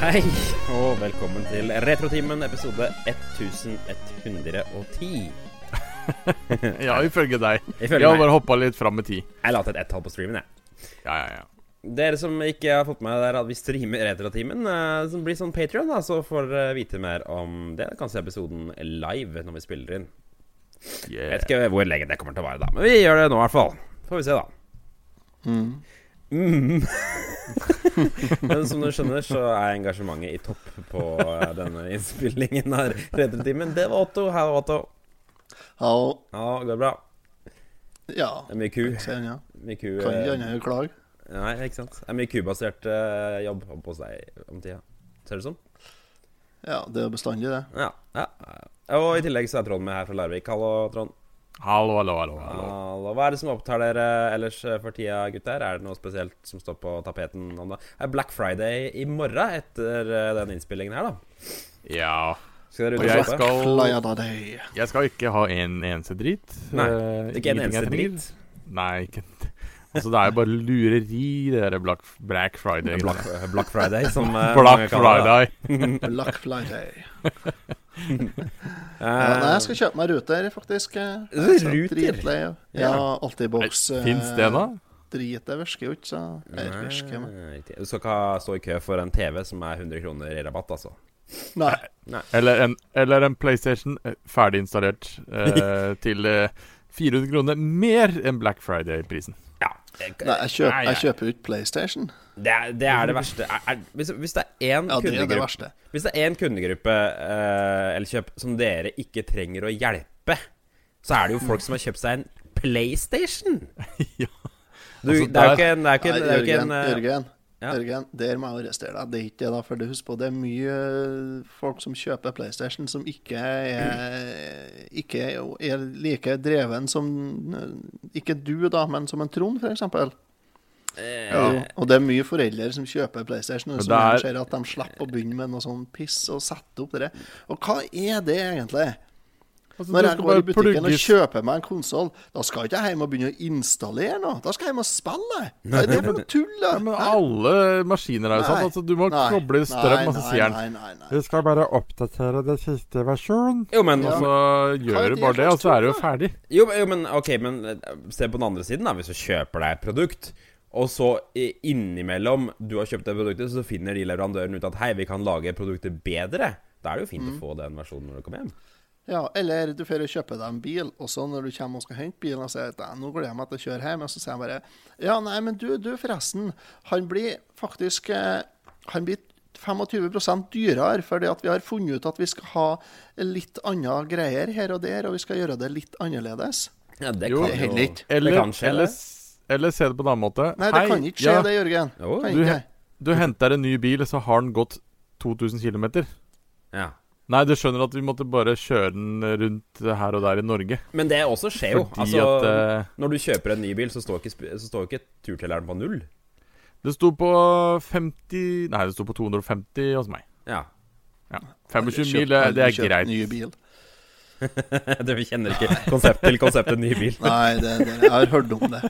Hei, og velkommen til Retrotimen, episode 1110. Ja, ifølge deg. Ifølge jeg har meg. bare hoppa litt fram i tid. Jeg la til et ett-tall på streamen, jeg. Ja, ja, ja. Dere som ikke har fått med dere at vi streamer Retrotimen, eh, som blir sånn Patreon da, så får dere vite mer om det. Dere kan se episoden live når vi spiller inn. Jeg Yeah. vet ikke hvor lenge det kommer til å være, da, men vi gjør det nå i hvert fall. Får vi se, da. Mm. men som du skjønner, så er engasjementet i topp på eh, denne innspillingen av Retrotimen. Det var Otto. Hei, Otto. Ja, Ja, det går bra. ja. Det er mye ku. Ikke sant, ja. Mye ku Kan ikke eh, annet enn å klage. Nei, ikke sant. Det er mye kubasert eh, jobb oppe hos deg om tida. Ser det sånn? Ja, det er bestandig, det. Ja. ja. Og i tillegg så er Trond med her fra Larvik. Hallo, Trond. Hallo, hallo, hallo. hallo. Hallo. Hva er det som opptar dere ellers eh, for tida, gutter? Er det noe spesielt som står på tapeten om da? Det er Black Friday i morgen etter eh, den innspillingen her, da. Ja. Skal dere Og ut og jeg kjøpe? skal, Flyer deg. jeg skal ikke ha en eneste drit. Nei, Eh, Ikke en ingenting jeg eneste trenger. drit. Nei, ikke Altså, det er jo bare lureri, det der Black, Black Friday. Black, Black Friday, som eh, mange Black kaller det. Friday. Black Friday. Eh, Ja, nei, jeg skal kjøpe meg ruter, faktisk. Jeg er Øh, så ruter? Dritlei. av- Ja, Ja. Altibox. eh, Fins det nå? Drit, det virker jo ikke, så. Eller virker, men Nei, riktig. Du skal ikke ha- stå i kø for en TV som er 100 kroner i rabatt, altså. Nei. Eller en, eller en PlayStation eh, ferdig installert eh, til eh, 400 kroner mer enn Black Friday-prisen. Ja. det- nei jeg, kjøper, Nei, jeg jeg- kjøper jo ikke PlayStation. Det er det, er det verste. Er, er, hvis, hvis det er én Ja, det er det kundegruppe, verste. hvis det er en kundegruppe eh, eller kjøp som dere ikke trenger å hjelpe, så er det jo folk som har kjøpt seg en PlayStation. Ja. Du, Altså, det er jo der- ikke en, det er jo ikke, Nei, en- det er jo ikke en Jørgen, eh, Jørgen, ja. Jørgen, der må jeg arrestere deg. Det er ikke det, da. For du husker på, det er mye eh, folk som kjøper PlayStation, som ikke er, ikke er like dreven som eh, Ikke du, da, men som en Trond, f.eks. eh, Ja. Og det er mye foreldre som kjøper PlayStation, og Men som det er- ser at de slipper å begynne med noe sånn piss og sette opp det. Og hva er det egentlig? Altså, Når du jeg skal går i bare butikken og plugges- kjøper meg en konsoll, da skal ikke jeg hjem og begynne å installere noe. Da skal jeg hjem og spille. Hva er det for noe tull? da? Ja, men alle maskiner er jo sånn. Altså, du må Nei, koble strøm, nei, og så nei, sier han Nei, nei, nei. Vi skal bare oppdatere den siste versjonen. Jo, men, Og så Hva er Altså, gjør det du bare det, og slags så er det jo tull, ferdig. jo, men- jo, men OK, men eh, se på den andre siden, da. Hvis du kjøper deg et produkt, og så eh, innimellom du har kjøpt det produktet, så finner de leverandøren ut at hei, vi kan lage produktet bedre. Da er det jo fint Mm. å få den versjonen når du kommer hjem. Ja, eller du får jo kjøpe deg en bil, og så når du kommer og skal hente bilen, og sier at «Nei, nå gleder jeg meg til å kjøre hjem, og så sier han bare Ja, nei, men du, du forresten, han blir faktisk eh, Han blir 25 dyrere, fordi at vi har funnet ut at vi skal ha litt andre greier her og der, og vi skal gjøre det litt annerledes. Ja, det Jo, kan jo heller ikke. Eller, kan skje, eller, det. eller se det på en annen måte. Nei, det Hei, kan ikke skje, ja, det, Jørgen. Jo, kan du, ikke. he- du henter en ny bil, så har den gått 2000 km. Ja. Nei, du skjønner at vi måtte bare kjøre den rundt her og der i Norge. Men det også skjer jo. Fordi Altså, at eh, Når du kjøper en ny bil, så står ikke, sp- så står ikke turtelleren på null. det sto på 50 Nei, det sto på 250 hos meg. Ja. Ja. 25 mil, det, det er greit. Ny bil. Du kjenner ikke konsept til konseptet ny bil. Nei, det, det, jeg har hørt om det.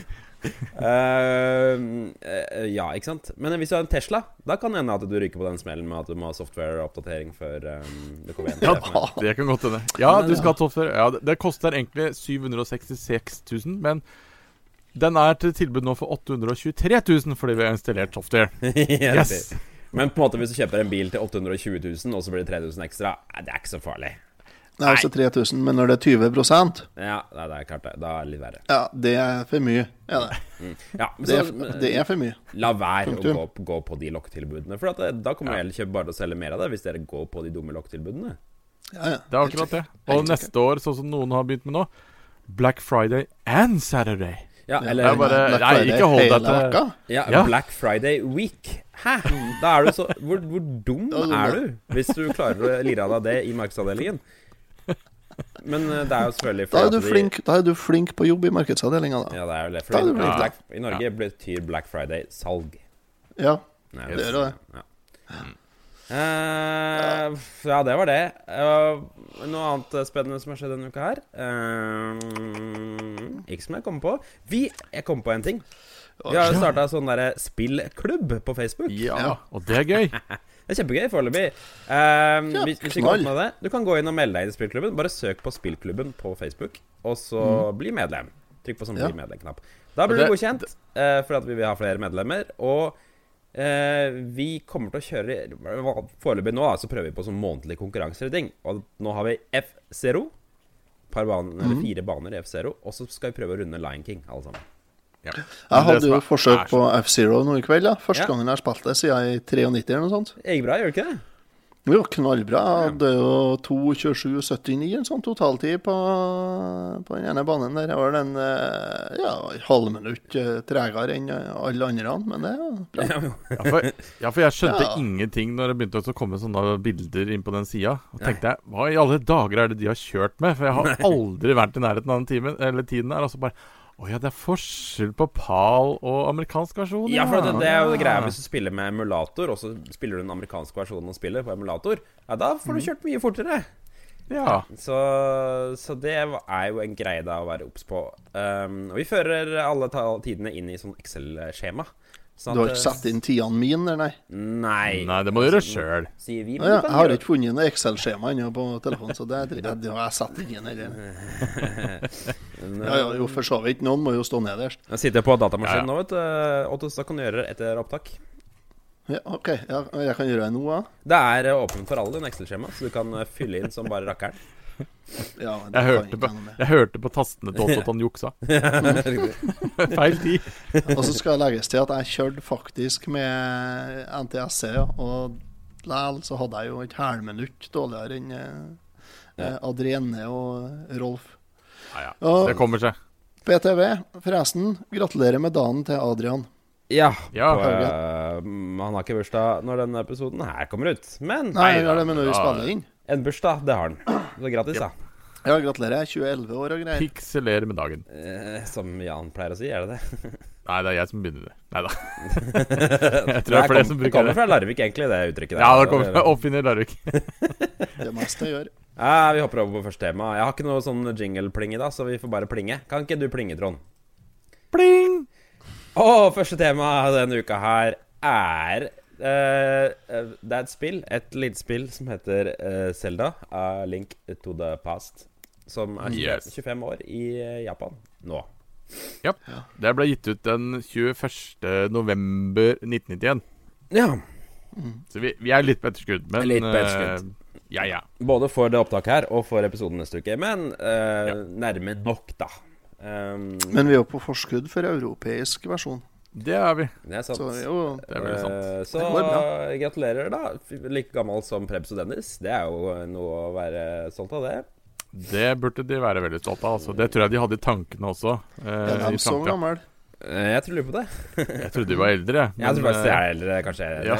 Eh, eh, ja, ikke sant. Men hvis du har en Tesla, da kan det hende at du ryker på den smellen med at du må ha software-oppdatering før um, det kommer en Ja, telefon. det kan godt hende. Ja, du skal ha software. Ja, det, det koster egentlig 766 000, men den er til tilbud nå for 823 000 fordi vi har installert software. Ja, Yes! riktig. Men på en måte hvis du kjøper en bil til 820 000, og så blir det 3000 ekstra, eh, det er ikke så farlig. Det er altså 3000, men når det er 20 Ja, nei, det er klart det. Da er det litt verre. ja, det er for mye. Ja, det. Ja, men Det, så, er, det er for mye. La være å Punktum. gå, gå på de lokketilbudene. For at, eh, da kommer ja. Elkjøp bare til å selge mer av det, hvis dere går på de dumme lokketilbudene. Ja, ja. Det er akkurat det. Og neste år, sånn som noen har begynt med nå, Black Friday and Saturday. Ja, Det eller er bare Black Nei, Friday ikke hold deg hele til vekka. ja, Ja. Black Friday Week. Hæ? Da er du så Hvor, hvor dum Da er du er dum. du hvis du klarer å lire av deg det i markedsavdelingen? Men eh, det er jo selvfølgelig Da fordi er, du at de- flink, da er du flink på jobb i markedsavdelinga, da. Ja, det er jo det. Da er Fordi du flink. Black, I Norge betyr Black Friday salg. Ja. Nei, Det gjør det. Ja. Mm. Eh, ja, det var det. Eh, noe annet spennende som har skjedd denne uka her? Eh, ikke som jeg kommer på. Vi Jeg kom på en ting. Vi har jo starta sånn derre spillklubb på Facebook. Ja, og det er gøy. Det er kjempegøy foreløpig. Ehm, Ja, hvis, hvis du, ikke knall. har fått med deg det, du kan gå inn og melde deg inn i spillklubben. Bare søk på Spillklubben på Facebook, og så bli medlem. Trykk på sånn Ja. 'bli medlem'-knapp. Da blir Og du det- godkjent, eh, for at vi vil ha flere medlemmer. Og eh, vi kommer til å kjøre Foreløpig nå da, så prøver vi på sånn månedlige konkurranser og ting. Og nå har vi F0. Par baner, eller fire baner i F0, og så skal vi prøve å runde Lion King, alle sammen. Ja. Jeg Men det hadde som jo er- forsøk er på F-Zero nå i kveld. da Første Ja. gangen jeg har spilt det siden i 93 eller noe sånt. Det gikk bra, gjør det ikke det? Det var knallbra. Jeg hadde jo 2.27,79 en sånn totaltid på, på den ene banen der. Jeg var den eh, ja, en halvminutt eh, tregere enn eh, alle andre, men det er jo bra. Ja, for, ja, for jeg skjønte Ja. ingenting når det begynte å komme sånne bilder inn på den sida. Og tenkte jeg, hva i alle dager er det de har kjørt med? For jeg har aldri vært i nærheten av den timen, eller tiden her. Og så bare Å ja, det er forskjell på PAL og amerikansk versjon. Ja, for det, det er jo Ja. det greia hvis du spiller med emulator, og så spiller du den amerikanske versjonen og spiller på emulator, ja, da får Mm. du kjørt mye fortere. Ja. Så, så det er jo en greie da å være obs på. Um, og vi fører alle ta- tidene inn i sånn Excel-skjema. Sånn Du har at, ikke satt inn tidene mine, der, nei? Nei. Nei, det må du gjøre sjøl. Sier vi, Å men Ja, du jeg kan har gjøre- ikke funnet noe Excel-skjema ennå på telefonen, så det er dritt. Det har jeg satt inn heller. Ja, ja, jo, for så vidt. Noen må jo stå nederst. Jeg sitter på datamaskinen Ja, ja. nå, vet du. Eh, Otto, så da kan du gjøre det etter opptak. Ja, OK, ja, jeg kan gjøre det nå, ja. Det er åpent for alle, den Excel-skjema, så du kan eh, fylle inn som bare rakkeren. ja Jeg det kan hørte, ikke på, jeg noe med. jeg hørte på tastene til Otto at han juksa. Feil tid. Og så skal det legges til at jeg kjørte faktisk med NTSC, ja, og likevel så hadde jeg jo et hælminutt dårligere enn eh, eh, Adrienne og Rolf. Ja, ja. Og- Det kommer seg. BTV, forresten, gratulerer med dagen til Adrian. Ja. Ja. på, eh, han har ikke bursdag når denne episoden her kommer ut. Men Nei, Nei, vi har det med når ja. vi spiller inn. en bursdag, det har han. Så gratis, da. Ja, gratulerer. 2011 år og greier. Pikselere med dagen. Eh, som Jan pleier å si, er det det? Nei, det er jeg som begynner det. Nei da. Jeg tror det Det er flere som bruker kommer fra Larvik, egentlig, det uttrykket der. Ja, det kommer fra oppfinner Larvik. Det meste jeg gjør. Ja, vi hopper over på første tema. Jeg har ikke noe sånn jingle-pling i dag, så vi får bare plinge. Kan ikke du plinge, Trond? Pling! Og første tema denne uka her er eh, eh, Det er et spill, et lite spill som heter eh, Zelda, A Link to the Past, som er 25, Yes. 25 år i eh, Japan nå. Ja. Det ble gitt ut den 21. november 1991. Ja. Så vi, vi er litt på etterskudd, men Litt på etterskudd. eh, ja, ja. Både for det opptaket her og for episoden neste uke. Men eh, nærme nok, da. Um, Men vi er jo på forskudd for europeisk versjon. Det er vi. det er sånn sant. Så vi er jo Det er veldig sant. Eh, Så Det går bra. gratulerer, da. F- Like gammel som Prebz og Dennis. Det er jo noe å være stolt av, det. Det burde de være veldig stolte av. Altså. Det tror jeg de hadde i tankene også. eh, er i de så framtida. gamle. Eh, Jeg tror lurer på det. jeg trodde de var eldre. Jeg tror faktisk jeg eh, er eldre, kanskje. ja.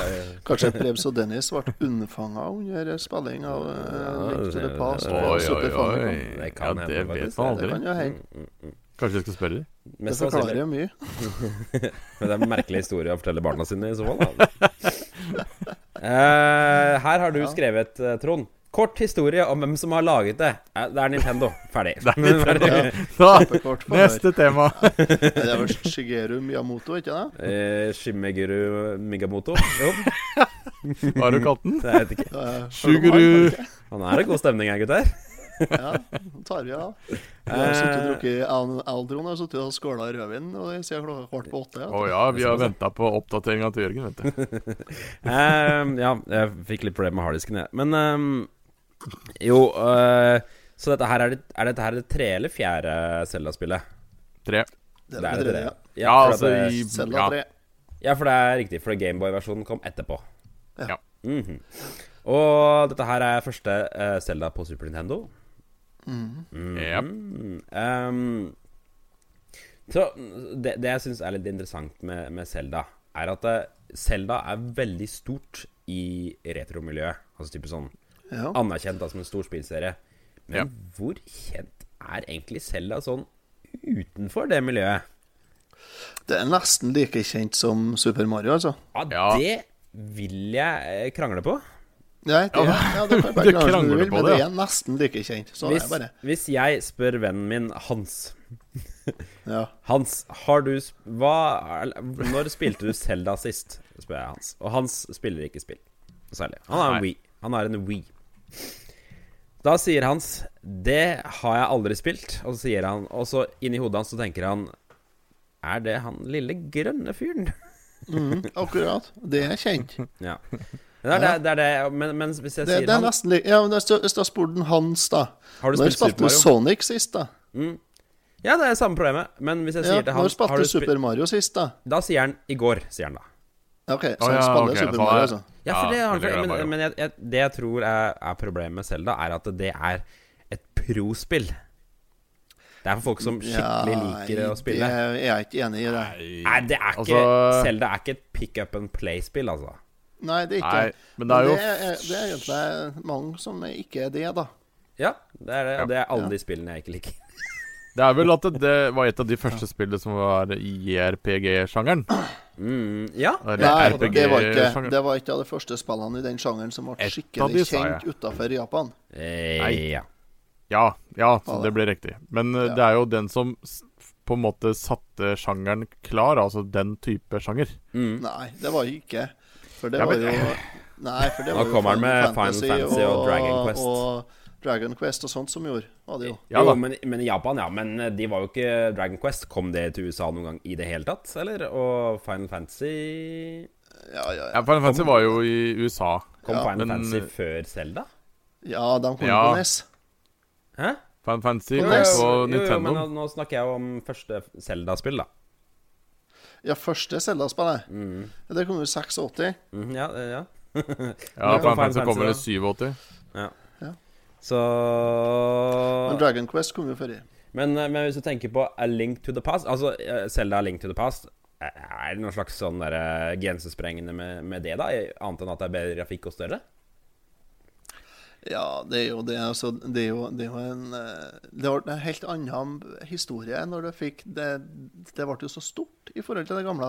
Kanskje Prebz og Dennis ble unnfanga under spilling av uh, Ja, Link to the det- Past. det- og Oi, oi, oi. Super Famicom. Det Ja, kan hende, det faktisk. Mm, vet man Det aldri. kan jo hende. Kanskje jeg skal spørre dem? Det Mest sannsynlig. forklarer jo mye. Men det er en merkelig historie å fortelle barna sine i så fall. Da. Eh, her har du skrevet, eh, Trond. Kort historie om hvem som har laget det. Eh, Det er Nintendo. Ferdig. Det er litt Ferdig. eldre. Da, Kort for neste tema. meg. Det er vel Shigeru Miyamoto, ikke det? Eh, Shimeguru Migamoto. Jo, Hva har du kalt den? det vet jeg ikke. det er- Suguru. Han er i god stemning her, gutter. Ja, nå tar vi av. Jeg har sittet og drukket Al- Aldron har sittet og skåla rødvin og det siden klokka kvart på åtte. Å Ja. ja, vi har venta på oppdateringa til Jørgen, vet du. Ehm, ja, jeg fikk litt problemer med harddisken, jeg. Men ehm, jo eh, Så dette her er, det, er dette her det tredje eller fjerde Zelda-spillet? Tre. Det er det tredje. Ja, Ja, for at altså det- i Selda ja. tre. ja, for det er riktig, for Gameboy-versjonen kom etterpå. Ja. Mhm. Og dette her er første eh, Zelda på Super Nintendo. Jep. Mm. Ehm, så det, det jeg syns er litt interessant med, med Zelda, er at eh, Zelda er veldig stort i retromiljøet. Altså type sånn Ja. anerkjent da, som en stor spillserie. Men Ja. hvor kjent er egentlig Selda sånn utenfor det miljøet? Det er nesten like kjent som Super Mario, altså. Ja, Ja. det vil jeg eh, krangle på. Nei, det, ja, ja, det kan Du være klart som du krangler vil, på men det, det ja. er nesten like kjent. Så er Hvis, det bare hvis jeg spør vennen min Hans Ja. Hans, har du sp- hva, eller, Når spilte du Selda sist? spør jeg Hans. Og Hans spiller ikke spill noe særlig. Han er en Nei. Wii. Han er en Wii. Da sier Hans 'Det har jeg aldri spilt', og så sier han Og så inni hodet hans så tenker han 'Er det han lille grønne fyren?' Mm, akkurat. Det er kjent. Ja. Men det er det, det, er det men, men hvis jeg Det, sier det er han, nesten likt. Ja, men det er- hvis du har spurt den Hans, da Har du Når spilt Super spilte du Mario? Sonic sist, da? Ja, det er samme problemet. Men hvis jeg Ja, sier til når Hans spilte har du du spilt, Super Mario sist, da? Da sier han 'i går', sier han da. Ja, OK, så Å, han ja, spiller ok, Super så han Mario, er- altså. Ja, for Ja, det, har han veldig ikke- glad i men, Mario. men jeg, jeg, det jeg tror er, er problemet med Selda, er at det er et prospill. Det er for folk som skikkelig liker å spille. Det er jeg er ikke enig i. det Nei, det er ikke Altså- Selda er ikke et pick up and play-spill, altså. Nei, det er ikke Nei, men det er jo det er, det er egentlig mange som ikke er det, da. Ja, det er det. Og det er alle de spillene jeg ikke liker. Det er vel at det, det var et av de første spillene som var i E JRPG-sjangeren. Mm, ja. Eller Nei, det var, ikke, RPG-sjangeren. det var ikke av de første spillene i den sjangeren som ble Et av skikkelig de, sa jeg. kjent utafor Japan. Eh, ja. Ja, ja så Ja, det det. ble riktig. Men eh, Ja. det er jo den som s- på en måte satte sjangeren klar, altså den type sjanger. Mm. Nei, det var ikke. For det Ja, var men- jo Nei, for det Nå var jo kommer han med Final Fantasy og Dragon Quest. Og Dragon Quest og sånt som gjorde, var det jo. Ja jo, da. men, men i Japan, ja. Men eh, de var jo ikke Dragon Quest. Kom det til USA noen gang i det hele tatt, eller? Og Final Fantasy Ja, ja, Ja, ja. Final Fantasy var jo i USA. Kom Ja, Final men- Fantasy før Selda? ja de kom Ja. på E NES. Hæ? Final Fantasy Jo, kom jo, på jo, jo, men Nintendo. nå, nå snakker jeg jo om første Zelda-spill, da. Ja, første Zelda-spillet. Det kom jo i 86. Mhm, ja, eh, ja. Ja, Nå kom Final Fantasy Final kommer i Fantasy, 87. Så Men men, Dragon Quest kom jo før i. eh, men hvis du tenker på A Link to the Past Altså, eh, Zelda A Link to the Past eh, Er det noe slags sånn der, eh, grensesprengende med, med det, da? I- Annet enn at det er bedre grafikk og større? Ja, det er jo det. Altså, det, er jo, det er jo en eh, Det ble en helt annen historie når du fikk det Det ble jo så stort i forhold til det gamle.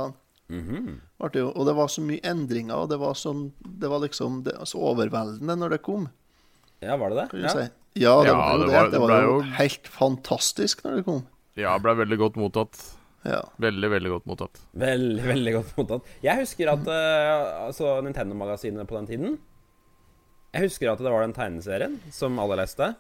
Mhm. Ble det jo, og det var så mye endringer, og det var, sånn, det var liksom det, så overveldende når det kom. Ja, var det det? Kan du Ja. si. Ja, det Ja, var jo det det. var- det det var ble jo jo- helt fantastisk når det kom. Ja, ble veldig godt mottatt. Ja. Veldig, veldig godt mottatt. Veldig, veldig godt mottatt. Jeg husker at eh, altså Nintendo-magasinet på den tiden Jeg husker at det var den tegneserien som alle leste.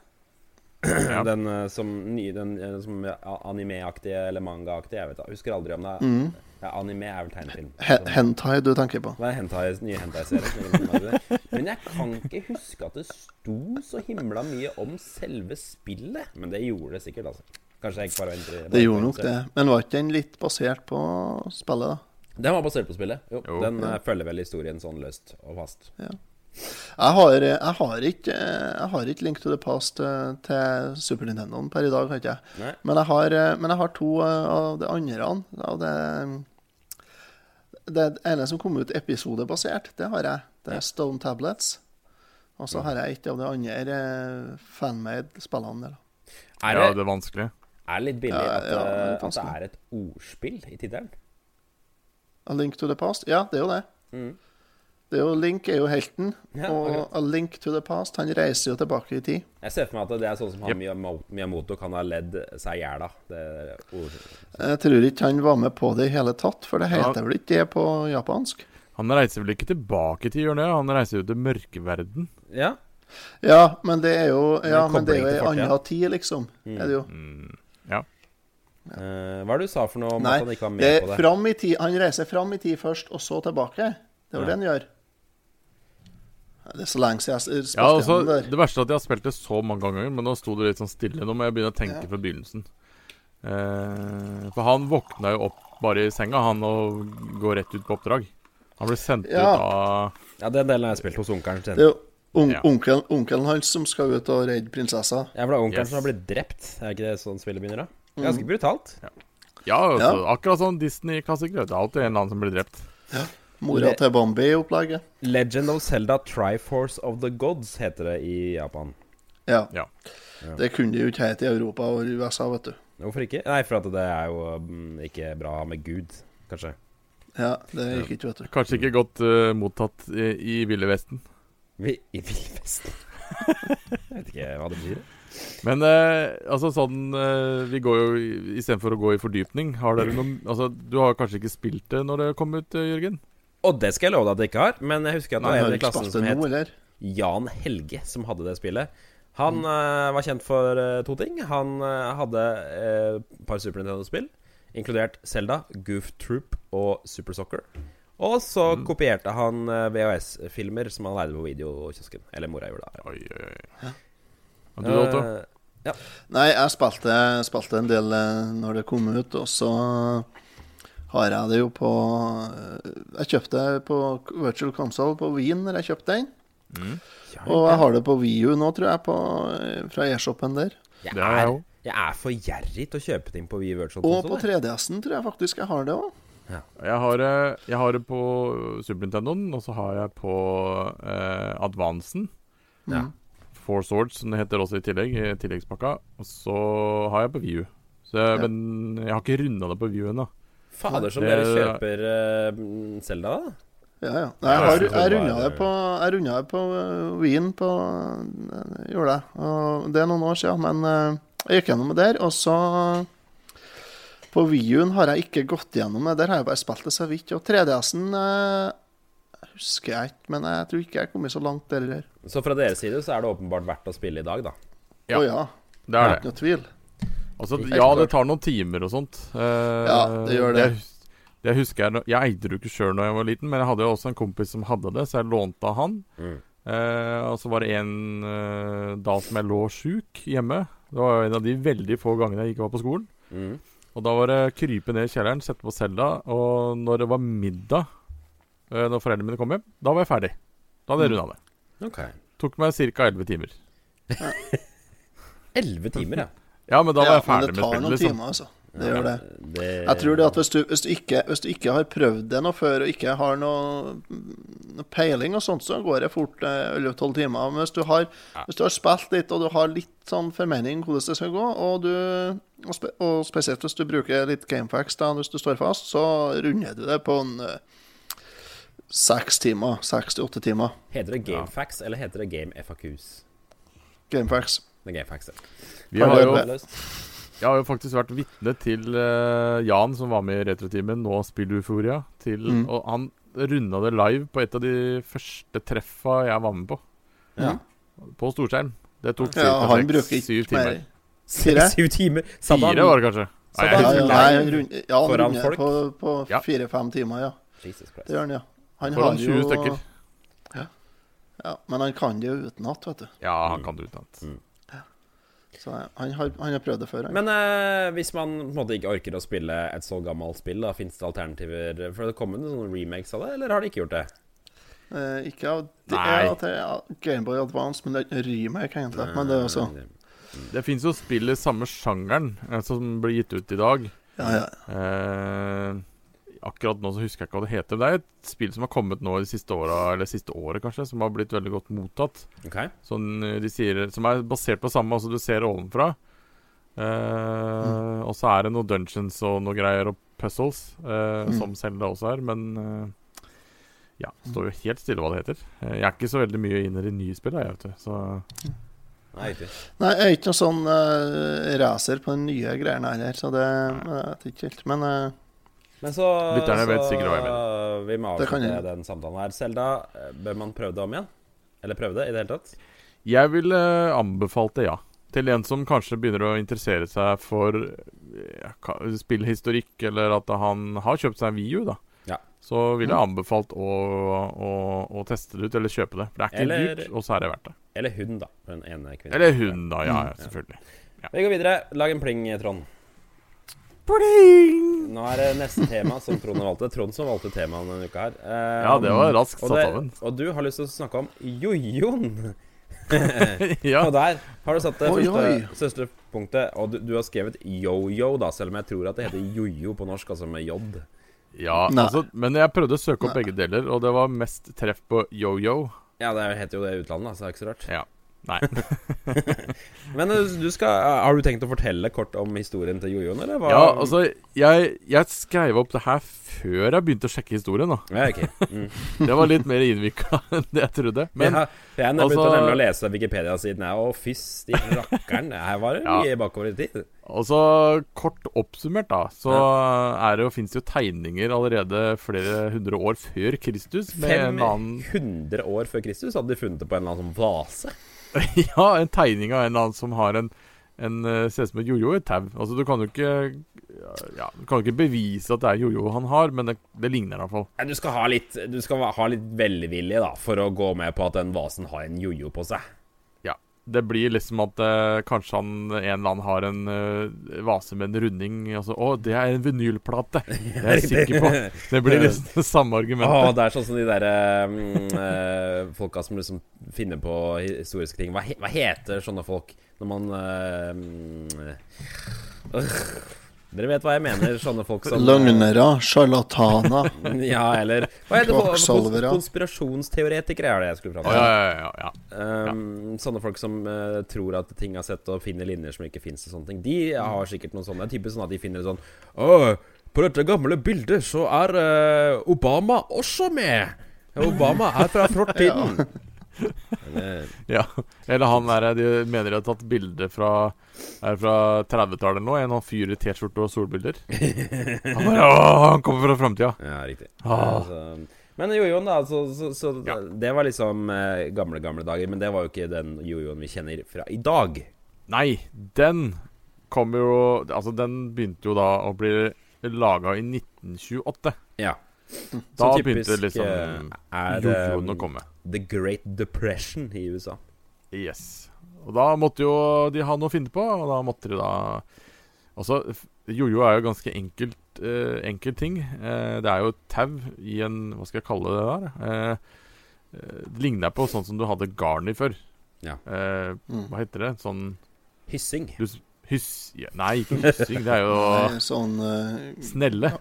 Ja. Den eh, som, nye- den, eh, som a- anime-aktige eller manga-aktige. Jeg vet da, husker aldri om det er ja, Anime er vel tegnefilm. Mm. Sånn. He- Hentai du tenker på. Det er hentai, nye hentai-serier. Men jeg kan ikke huske at det sto så himla mye om selve spillet. Men det gjorde det sikkert, altså. Kanskje jeg ikke bare venter Det gjorde nok det. Men var ikke den litt basert på spillet, da? Den var basert på spillet. Jo, Jo. Den eh, følger vel historien sånn løst og fast. Jeg har, jeg har ikke Jeg har ikke Link to the Past eh, til Super Nintendoen per i dag, har ikke jeg. Nei. Men jeg har, eh, men jeg har to eh, av de andre. Av det, det ene som kom ut episodebasert, det har jeg. Det er Stone Tablets. Og så har jeg et av de andre eh, fanmade spillene der. da. Er ja, det, det er vanskelig. er det litt billig Ja, at, ja, det er eh, litt at det vanskelig. er et ordspill i tittelen? A Link to the Past, ja, det er jo det. Mm. Det er jo Link er jo helten, Ja, og akkurat. A Link to the Past, han reiser jo tilbake i tid. Jeg ser for meg at det er sånn som han Jep. Miyamo- Miyamoto kan ha ledd seg i hjel av. Det er ord. Jeg tror ikke han var med på det i hele tatt, for det Ja. heter vel ikke det på japansk? Han reiser vel ikke tilbake til hjørnet, han reiser jo til mørkeverden. Ja. Ja, men det er jo Ja, en men det kobling er jo ei til fortiden. anna tid, liksom. Mm. Er det jo. Eh, hva er det du sa for noe om Nei, at han ikke var med det er på det? fram i tid. Han reiser fram i tid først, og så tilbake. Det er jo Ja. det han gjør. Ja, Det er så lenge siden jeg s- Ja, spilte altså, gjennom det der. Det verste er at jeg har spilt det så mange ganger, men nå sto det litt sånn stille. Nå må jeg begynne å tenke Ja. fra begynnelsen. Eh, for han våkna jo opp bare i senga, han, og går rett ut på oppdrag. Han ble sendt Ja. ut av Ja, Den delen har jeg spilt hos onkelen sin. Det er jo on Ja. onkelen, onkelen hans som skal ut og redde prinsessa. Ja, for det er onkelen Yes. som har blitt drept. Er ikke det sånn spillet begynner, da? Mm. Ganske brutalt. Ja, altså, akkurat sånn Disney-klassiker. Det er alltid en eller annen som blir drept. Mora Det- til Bambi i opplegget. Legend of Zelda Triforce of the Gods heter det i Japan. Ja. Ja. Det kunne de jo ikke hete i Europa og i USA, vet du. Hvorfor ikke? Nei, for at det er jo mm, ikke bra med Gud, kanskje. Ja, det gikk ikke, vet du. Kanskje ikke godt eh, mottatt i, i Ville Vesten. Vi, I Villvesten. jeg vet ikke hva det betyr. Men eh, altså sånn eh, Vi går jo i- Istedenfor å gå i fordypning, har dere noen Altså, du har kanskje ikke spilt det når det kom ut, eh, Jørgen? Og det skal jeg love deg at jeg ikke har, men jeg husker at det Jeg var en har i ikke klassen spilt det som nå, het eller? Jan Helge som hadde det spillet. Han eh, var kjent for eh, to ting. Han eh, hadde eh, et par Super Nintendo-spill, inkludert Selda, Goof Troop og Super Soccer. Og så kopierte han eh, VHS-filmer som han leide på videokiosken. Eller mora gjorde, da. Oi, oi, oi. Og du, Otto? Eh, Nei, jeg spilte, spilte en del eh, når det kom ut, og så har jeg det jo på eh, Jeg kjøpte det på Virtual Console på Wien når jeg kjøpte den. ja, Og jeg har det på Wii U nå, tror jeg, på, eh, fra e-shoppen der. jeg, Det har jeg er, òg. jeg er for gjerrig til å kjøpe ting på Wii Virtual Og på Console. 3DS-en tror jeg faktisk jeg har det òg. Jeg har, eh, jeg har det på Super Nintendoen, og så har jeg på eh, Advancen. Ja. Four Swords, som det heter også i tillegg, i tilleggspakka. Og så har jeg på View. Så, Ja. Men jeg har ikke runda det på View ennå. Fader, som Det- dere kjøper eh, Selda, da. Ja, ja. Nei, jeg Ja, jeg har- synes det jeg var- runda det på Jeg runda det på øh, Wien på øh, Gjorde jeg. Og det er noen år siden, men øh, jeg gikk gjennom det der. Og så På Wien har jeg ikke gått gjennom det. Der har jeg bare spilt det så vidt. Og 3DS-en øh, husker jeg ikke, men jeg tror ikke jeg har kommet så langt der heller. Så fra deres side så er det åpenbart verdt å spille i dag, da. Ja. Å ja, Det er det. ikke noe tvil. Altså, Helt ja, klart. det tar noen timer og sånt. Eh, Ja, det gjør det. hus- Jeg husker jeg, jeg eide det jo ikke sjøl da jeg var liten, men jeg hadde jo også en kompis som hadde det, så jeg lånte av han. Mm. Eh, og så var det en eh, da som jeg lå sjuk hjemme. Det var jo en av de veldig få gangene jeg ikke var på skolen. Mm. Og da var det krype ned i kjelleren, sette på cella, og når det var middag, eh, når foreldrene mine kom hjem, da var jeg ferdig. Da Mm. hadde jeg runda det. Ok. Tok meg ca. 11 timer. Elleve timer, ja. Ja, men da var Ja, jeg ferdig men med det tar spillet, noen liksom. timer, altså. Det gjør det. det Jeg tror det at hvis du, hvis, du ikke, hvis du ikke har prøvd det noe før, og ikke har noe, noe peiling og sånt, så går det fort eh, 11-12 timer. Men hvis du, har, hvis du har spilt litt, og du har litt sånn formening hvordan det skal gå, og, du, og, spe, og spesielt hvis du bruker litt gamefax da, hvis du står fast, så runder du det på en eh, seks timer. Seks til åtte timer Heter det GameFax, eller heter det Game FAQs? gamefax. Det er GameFax, ja. Vi har jo, Ja. Løst. jeg har jo faktisk vært vitne til eh, Jan, som var med i Retrotimen, nå Spilluforia, til Mm. Og han runda det live på et av de første treffa jeg var med på. Ja. På storskjerm. Det tok Ja, ca. han bruker syv ikke mer. timer. Fire? Syv timer. Satt han- Fire var det kanskje. Så Nei, da- Ja, jeg- ja, nei, han rund- ja, han Foran runder folk? på, på Ja. fire-fem timer, ja. Jesus Christ. Det gjør han, ja. Han Foran har 20 jo- stykker. Ja, men han kan det jo utenat, vet du. Ja, han kan det utenat. Så han har, han har prøvd det før. Han. Men eh, hvis man på en måte ikke orker å spille et så gammelt spill, da fins det alternativer? For det kommer det noen remakes av det, eller har de ikke gjort det? Eh, ikke av det Nei. er at det er Gameboy Advance, men det er ikke remake, egentlig. Men det er også Eh. Det fins jo spill i samme sjangeren eh, som blir gitt ut i dag. Ja, ja. Eh, akkurat nå så husker jeg ikke hva det heter. men Det er et spill som har kommet nå i de siste åra, eller siste året kanskje, som har blitt veldig godt mottatt. Ok. Sånn, eh, de sier, som er basert på samme, altså du ser ovenfra. Eh, Og så er det noen dungeons og noe greier og puzzles, eh, Mm. som Selda også er, men eh, ja, står jo helt stille hva det heter. Eh, Jeg er ikke så veldig mye inne i de nye spillene, jeg, vet du. Så Nei, riktig. Nei, jeg er ikke noe sånn eh, racer på den nye greiene heller, så det men jeg vet ikke helt. Men eh, Men så, Lytterne vet så sikkert hva jeg vi må Det kan avslutte jeg. den samtalen her. Selda, eh, bør man prøve det om igjen? Eller prøve det i det hele tatt? Jeg ville eh, anbefalt det, ja. Til en som kanskje begynner å interessere seg for eh, ka- spillhistorikk, eller at han har kjøpt seg en VU, da. Ja. Mm. Så ville jeg anbefalt å, å, å teste det ut, eller kjøpe det. For det er ikke Eller- dyrt, og så er det verdt det. Eller hun, da. For den ene kvinnen. Eller hun, da. Ja, Mm. ja, selvfølgelig. Vi går videre. Lag en pling, Trond. Nå er det neste tema som Trond har valgt. Det er Trond som valgte temaet denne uka her. Eh, Ja, det var raskt og, satt av en. det, og du har lyst til å snakke om jojoen. Ja. Og der har du satt det Oi, oi. første, første punktet. Og du, du har skrevet yo-yo, da, selv om jeg tror at det heter jojo på norsk, altså med j. ja Nei. altså, men jeg prøvde å søke opp begge deler, og det var mest treff på yo-yo. Ja, det heter jo det i utlandet, da, så det er ikke så rart. Ja. Nei. Men eh, du skal, har du tenkt å fortelle kort om historien til Jojon, eller? hva? Ja, altså, jeg, jeg skrev opp det her før jeg begynte å sjekke historien. da Ja, ok. Mm. Det var litt mer innvikla enn det jeg trodde. Men, Men ja, for jeg begynte altså- nemlig å lese Wikipedia-siden her, og fysti rakkeren, her var det Ja. mye bakover i tid. Altså, kort oppsummert, da, så er det jo, fins det jo tegninger allerede flere hundre år før Kristus med en annen 500 år før Kristus hadde de funnet det på en eller annen sånn vase. Ja, en tegning av en eller annen som har en en eh, ser ut som et jojo i et tau. Altså, du kan jo ikke Ja, du kan jo ikke bevise at det er jojo han har, men det, det ligner i hvert fall. Nei, Du skal ha litt, du skal ha litt velvilje da, for å gå med på at den vasen har en jojo på seg. Ja. Det blir liksom at eh, kanskje han en eller annen har en eh, vase med en runding. Altså, 'Å, det er en vinylplate'. Det er jeg sikker på. Det blir liksom det samme Å, argumentet. det er sånn som de der mm, eh, folka som liksom finner på historiske ting. Hva, he, hva heter sånne folk når man eh, mm, øh, Dere vet hva jeg mener? Sånne folk Sånn, eh, som Løgnere, sjarlataner. Ja, eller Hva heter det? Kvakksalvere. Kons- Konspirasjonsteoretikere er det jeg skulle fram Å, til. ja, ja, ja, ja. Um, Sånne folk som eh, tror at ting har sett og finner linjer som ikke fins og sånne ting. De eh, har sikkert noen sånne. Det er Typisk sånn at de finner sånn Å, på dette gamle bildet så er eh, Obama også med! Obama er fra fortiden! Men, eh, Ja, eller han der De mener de har tatt bilde fra Er fra 30-tallet nå En han fyr i t-skjorte og solbilder Han bare, åh, han kommer fra fremtiden ja, riktig. Ah. Altså, men jojoen, da. Så, så, så Ja. det var liksom eh, gamle, gamle dager. Men det var jo ikke den jojoen vi kjenner fra i dag. Nei, den kom jo Altså den begynte jo da å bli laget i 1928 Ja. Da Så begynte typisk, liksom eh, er det, jojoen å komme The Great Depression i USA. Yes Og da måtte jo de ha noe å finne på Og da måtte de da Altså, f- jojo er jo ganske enkelt eh, Enkel ting Eh, Det er jo et tau i en Hva skal jeg kalle det der? Eh, eh, det ligner på sånn som du hadde garn i før Ja. Eh, Mm. Hva heter det? Sånn Hyssing. du, s- hyss... ja, Nei, ikke hyssing Det er jo Nei, Sånn eh, snelle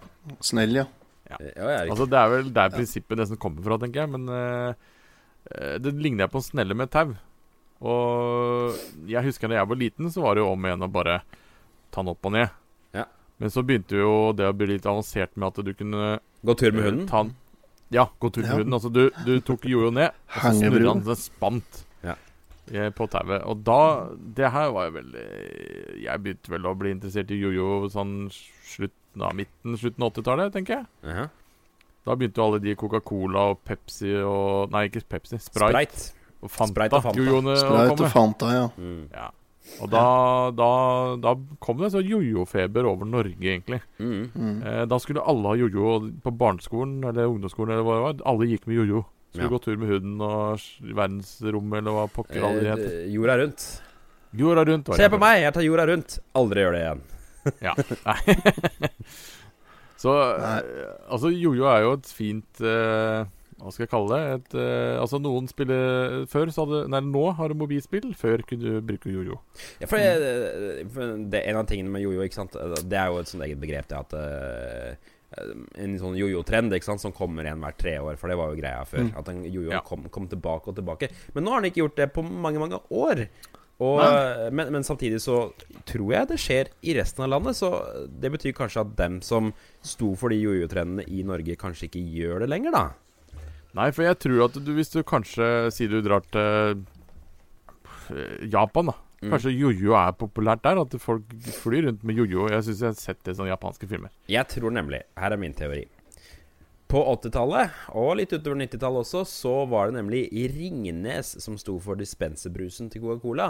snill, ja. Ja, Eh, ja, riktig. Altså det er vel der prinsippet nesten kommer fra, tenker jeg. Men eh, eh, det ligner jeg på en snelle med tau. Og jeg husker da jeg var liten, så var det jo om igjen å bare ta den opp og ned. Ja. Men så begynte jo det å bli litt avansert med at du kunne Gå tur med eh, hunden. ta den Ja, gå tur med Ja. hunden. Altså du, du tok jojo ned, og så snurra Hengebro. den seg spant. Ja. eh, På tauet. Og da Det her var jo veldig Jeg begynte vel å bli interessert i jojo sånn slutten av midten, slutten av 80-tallet, tenker jeg. Jaha. Da begynte jo alle de Coca-Cola og Pepsi og Nei, ikke Pepsi. Sprite, Sprite. og Fanta. Sprite og Fanta. Jojoene å Sprite og komme. Fanta, ja. Mm. Ja. Og da, da, da kom det en sånn jojo-feber over Norge, egentlig. Mm. Mm. Eh, da skulle alle ha jojo og på barneskolen eller ungdomsskolen. eller hva det var Alle gikk med jojo. Skulle Ja. gå tur med huden og s- verdensrommet eller hva pokker alle Eh, het. d- jorda rundt. Jorda rundt. var Se det. på meg, jeg tar jorda rundt. Aldri gjør det igjen. Ja. Nei. Så eh, altså, jojo er jo et fint eh, Hva skal jeg kalle det? Et, eh, altså, noen spiller Før så hadde Nei, nå har du mobilspill. Før kunne du bruke jojo. Ja, for, Mm. jeg, for det, En av tingene med jojo, ikke sant Det er jo et sånt eget begrep, det at eh, En sånn jojo-trend ikke sant som kommer igjen hvert tre år, for det var jo greia før. Mm. At den jojoen Ja. kom, kom tilbake og tilbake. Men nå har den ikke gjort det på mange, mange år. Og, men, men samtidig så tror jeg det skjer i resten av landet, så det betyr kanskje at dem som sto for de jojo-trendene i Norge, kanskje ikke gjør det lenger, da. Nei, for jeg tror at du, hvis du kanskje sier du drar til eh, Japan, da. Mm. Kanskje jojo er populært der? At folk flyr rundt med jojo? Jeg syns jeg har sett det i sånne japanske filmer. Jeg tror nemlig Her er min teori. På 80-tallet, og litt utover 90-tallet også, så var det nemlig i Ringnes som sto for dispenserbrusen til Coca-Cola.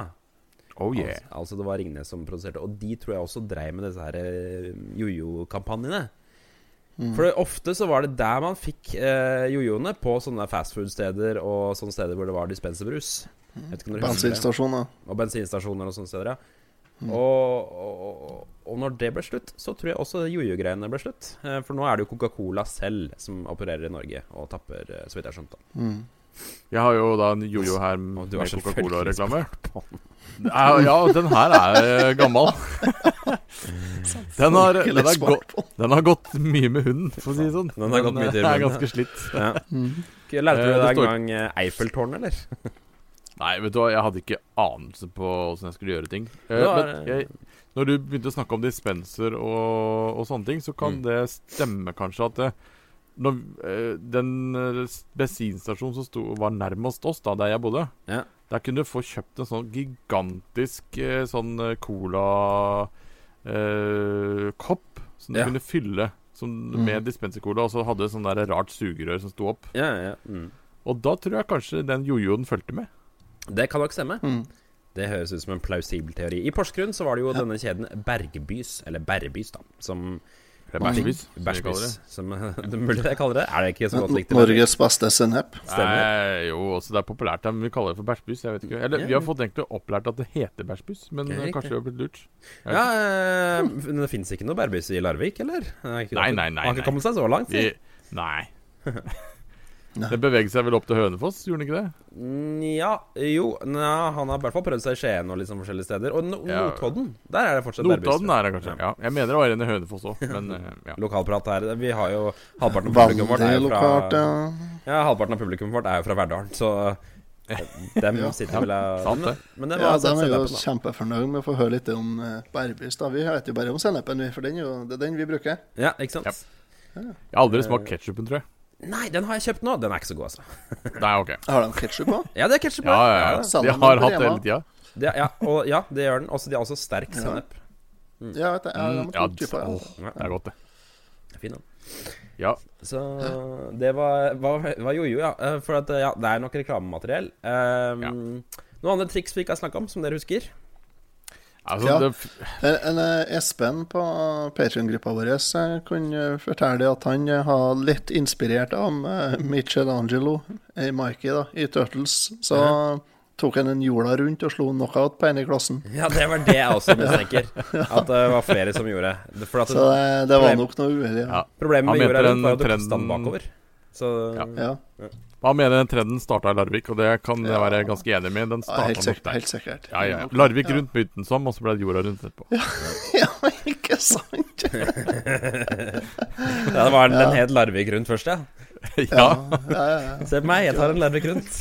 Oh yeah. Altså, altså det var Ringnes som produserte. Og de tror jeg også dreiv med disse her eh, jojo-kampanjene. Mm. For det- ofte så var det der man fikk eh, jojoene, på sånne fastfood-steder og sånne steder hvor det var dispenserbrus. Mm. Jeg vet ikke om dere husker det. Bensinstasjoner. Og bensinstasjoner og sånne steder, ja. Og, og, og når det ble slutt, så tror jeg også jojo-greiene ble slutt. Eh, For nå er det jo Coca-Cola selv som opererer i Norge og tapper, eh, så vidt jeg har skjønt. da Mm. Jeg har jo da en jojo her med du har selvfølgelig Coca-Cola-reklame. Ja, ja, den her er eh, gammel. Den har, den, har gått, den har gått mye med hunden, for å si det sånn. Den har gått mye til eh, er hunden, ja. ganske slitt. Ja. Mm. Lærte Eh, du det deg står- en gang eh, Eiffeltårnet, eller? Nei, vet du hva, jeg hadde ikke anelse på åssen jeg skulle gjøre ting. Eh, Det var- men jeg, når du begynte å snakke om dispenser og, og sånne ting, så kan Mm. det stemme kanskje at det, når, eh, den eh, s- bensinstasjonen som sto, var nærmest oss, da, der jeg bodde Ja. Der kunne du få kjøpt en sånn gigantisk eh, sånn eh, cola-kopp som du Ja. Mm. kunne fylle som, med dispensercola, og så hadde det sånn der rart sugerør som sto opp. Ja, ja, ja. Mm. Og da tror jeg kanskje den jojoen fulgte med. Det kan nok stemme. Mm. Det høres ut som en plausibel teori. I Porsgrunn så var det jo denne kjeden Bergbys, eller Bergbys, da, som Eller Mange- bæsjbys, som de kaller det. Bæsjbys, som det er mulig jeg kaller det. Er det ikke så godt likt? i Norge? Norges beste sennep. Stemmer. Nei, jo, også det er populært, men vi kaller det for bæsjbys. Jeg vet ikke. Eller Ja, vi har ja. fått egentlig opplært at det heter bæsjbys, men Det er eh, riktig. kanskje vi har blitt lurt. Jeg Ja, vet eh, men det fins ikke noe Bergbys i Larvik, eller? Er ikke det- Nei, nei, Man nei, har nei. ikke kommet seg så langt. ikke. si. Vi, nei. Nei. Den beveget seg vel opp til Hønefoss, gjorde den ikke det? Nja, jo Nja, han har i hvert fall prøvd seg i Skien og litt sånn forskjellige steder. Og no Ja. Notodden. Der er det fortsatt Bergbys. Notodden er det kanskje. Ja. Jeg mener det var en i Hønefoss òg, men eh, ja. Lokalprat her. Vi har jo halvparten av publikum vårt er jo fra Vandelokalt, ja. Ja, halvparten av publikum vårt er jo fra Verdalen, så eh, dem Ja. sitter vel sant det. Men det Ja, var altså de er jo setupen, da. kjempefornøyd med å få høre litt om eh, Bærbys. da. Vi vet jo bare om sennepen, vi, for den er jo, det er den vi bruker. Ja, ikke sant? Ja. Jeg har aldri smakt ketsjupen, tror jeg. Nei, den har jeg kjøpt nå. Den er ikke så god, altså. Nei, ok. Har de ketsjup på? Ja, det er ketsjup. Ja, ja, det er det. ja. De har hatt det hele tida. Det, ja, og, ja, det gjør den. Også, de har også sterk Ja. sennep. Ja, vet jeg, ja, de Mm, har ja, to typer, ja. åh, det er godt, det. Fin, den. Ja. Så det var, var, var jojo, ja. Eh, For at, ja, det er nok reklamemateriell. Um, Noen andre triks vi ikke har snakka om, som dere husker? Altså, Ja. det f- Her, en, eh, Espen på Patrion-gruppa vår eh, kunne fortelle at han eh, har litt inspirert av eh, Michelangelo i Mikey da, i Turtles. Så tok han en jorda rundt og slo knockout på en i klassen. Ja, det var det jeg også mistenker. At eh, det var flere som gjorde. For at Så det, det var Problem. nok noe uheldig. Ja. Ja. problemet med Han jorda mente rundt var at du den tok stand trenden- bakover. Så Ja. Ja. Man mener den trenden starta i Larvik, og det kan jeg Ja. være ganske enig med. Den Ja, starta helt, nok sikkert, der. helt sikkert. Ja, ja. ja. Larvik rundt begynte den som, og så ble det jorda rundt etterpå. Ja, men ikke sant? ja, det var en, en het Larvik rundt først, ja. ja. ja, ja. Se på meg, jeg tar en Larvik rundt.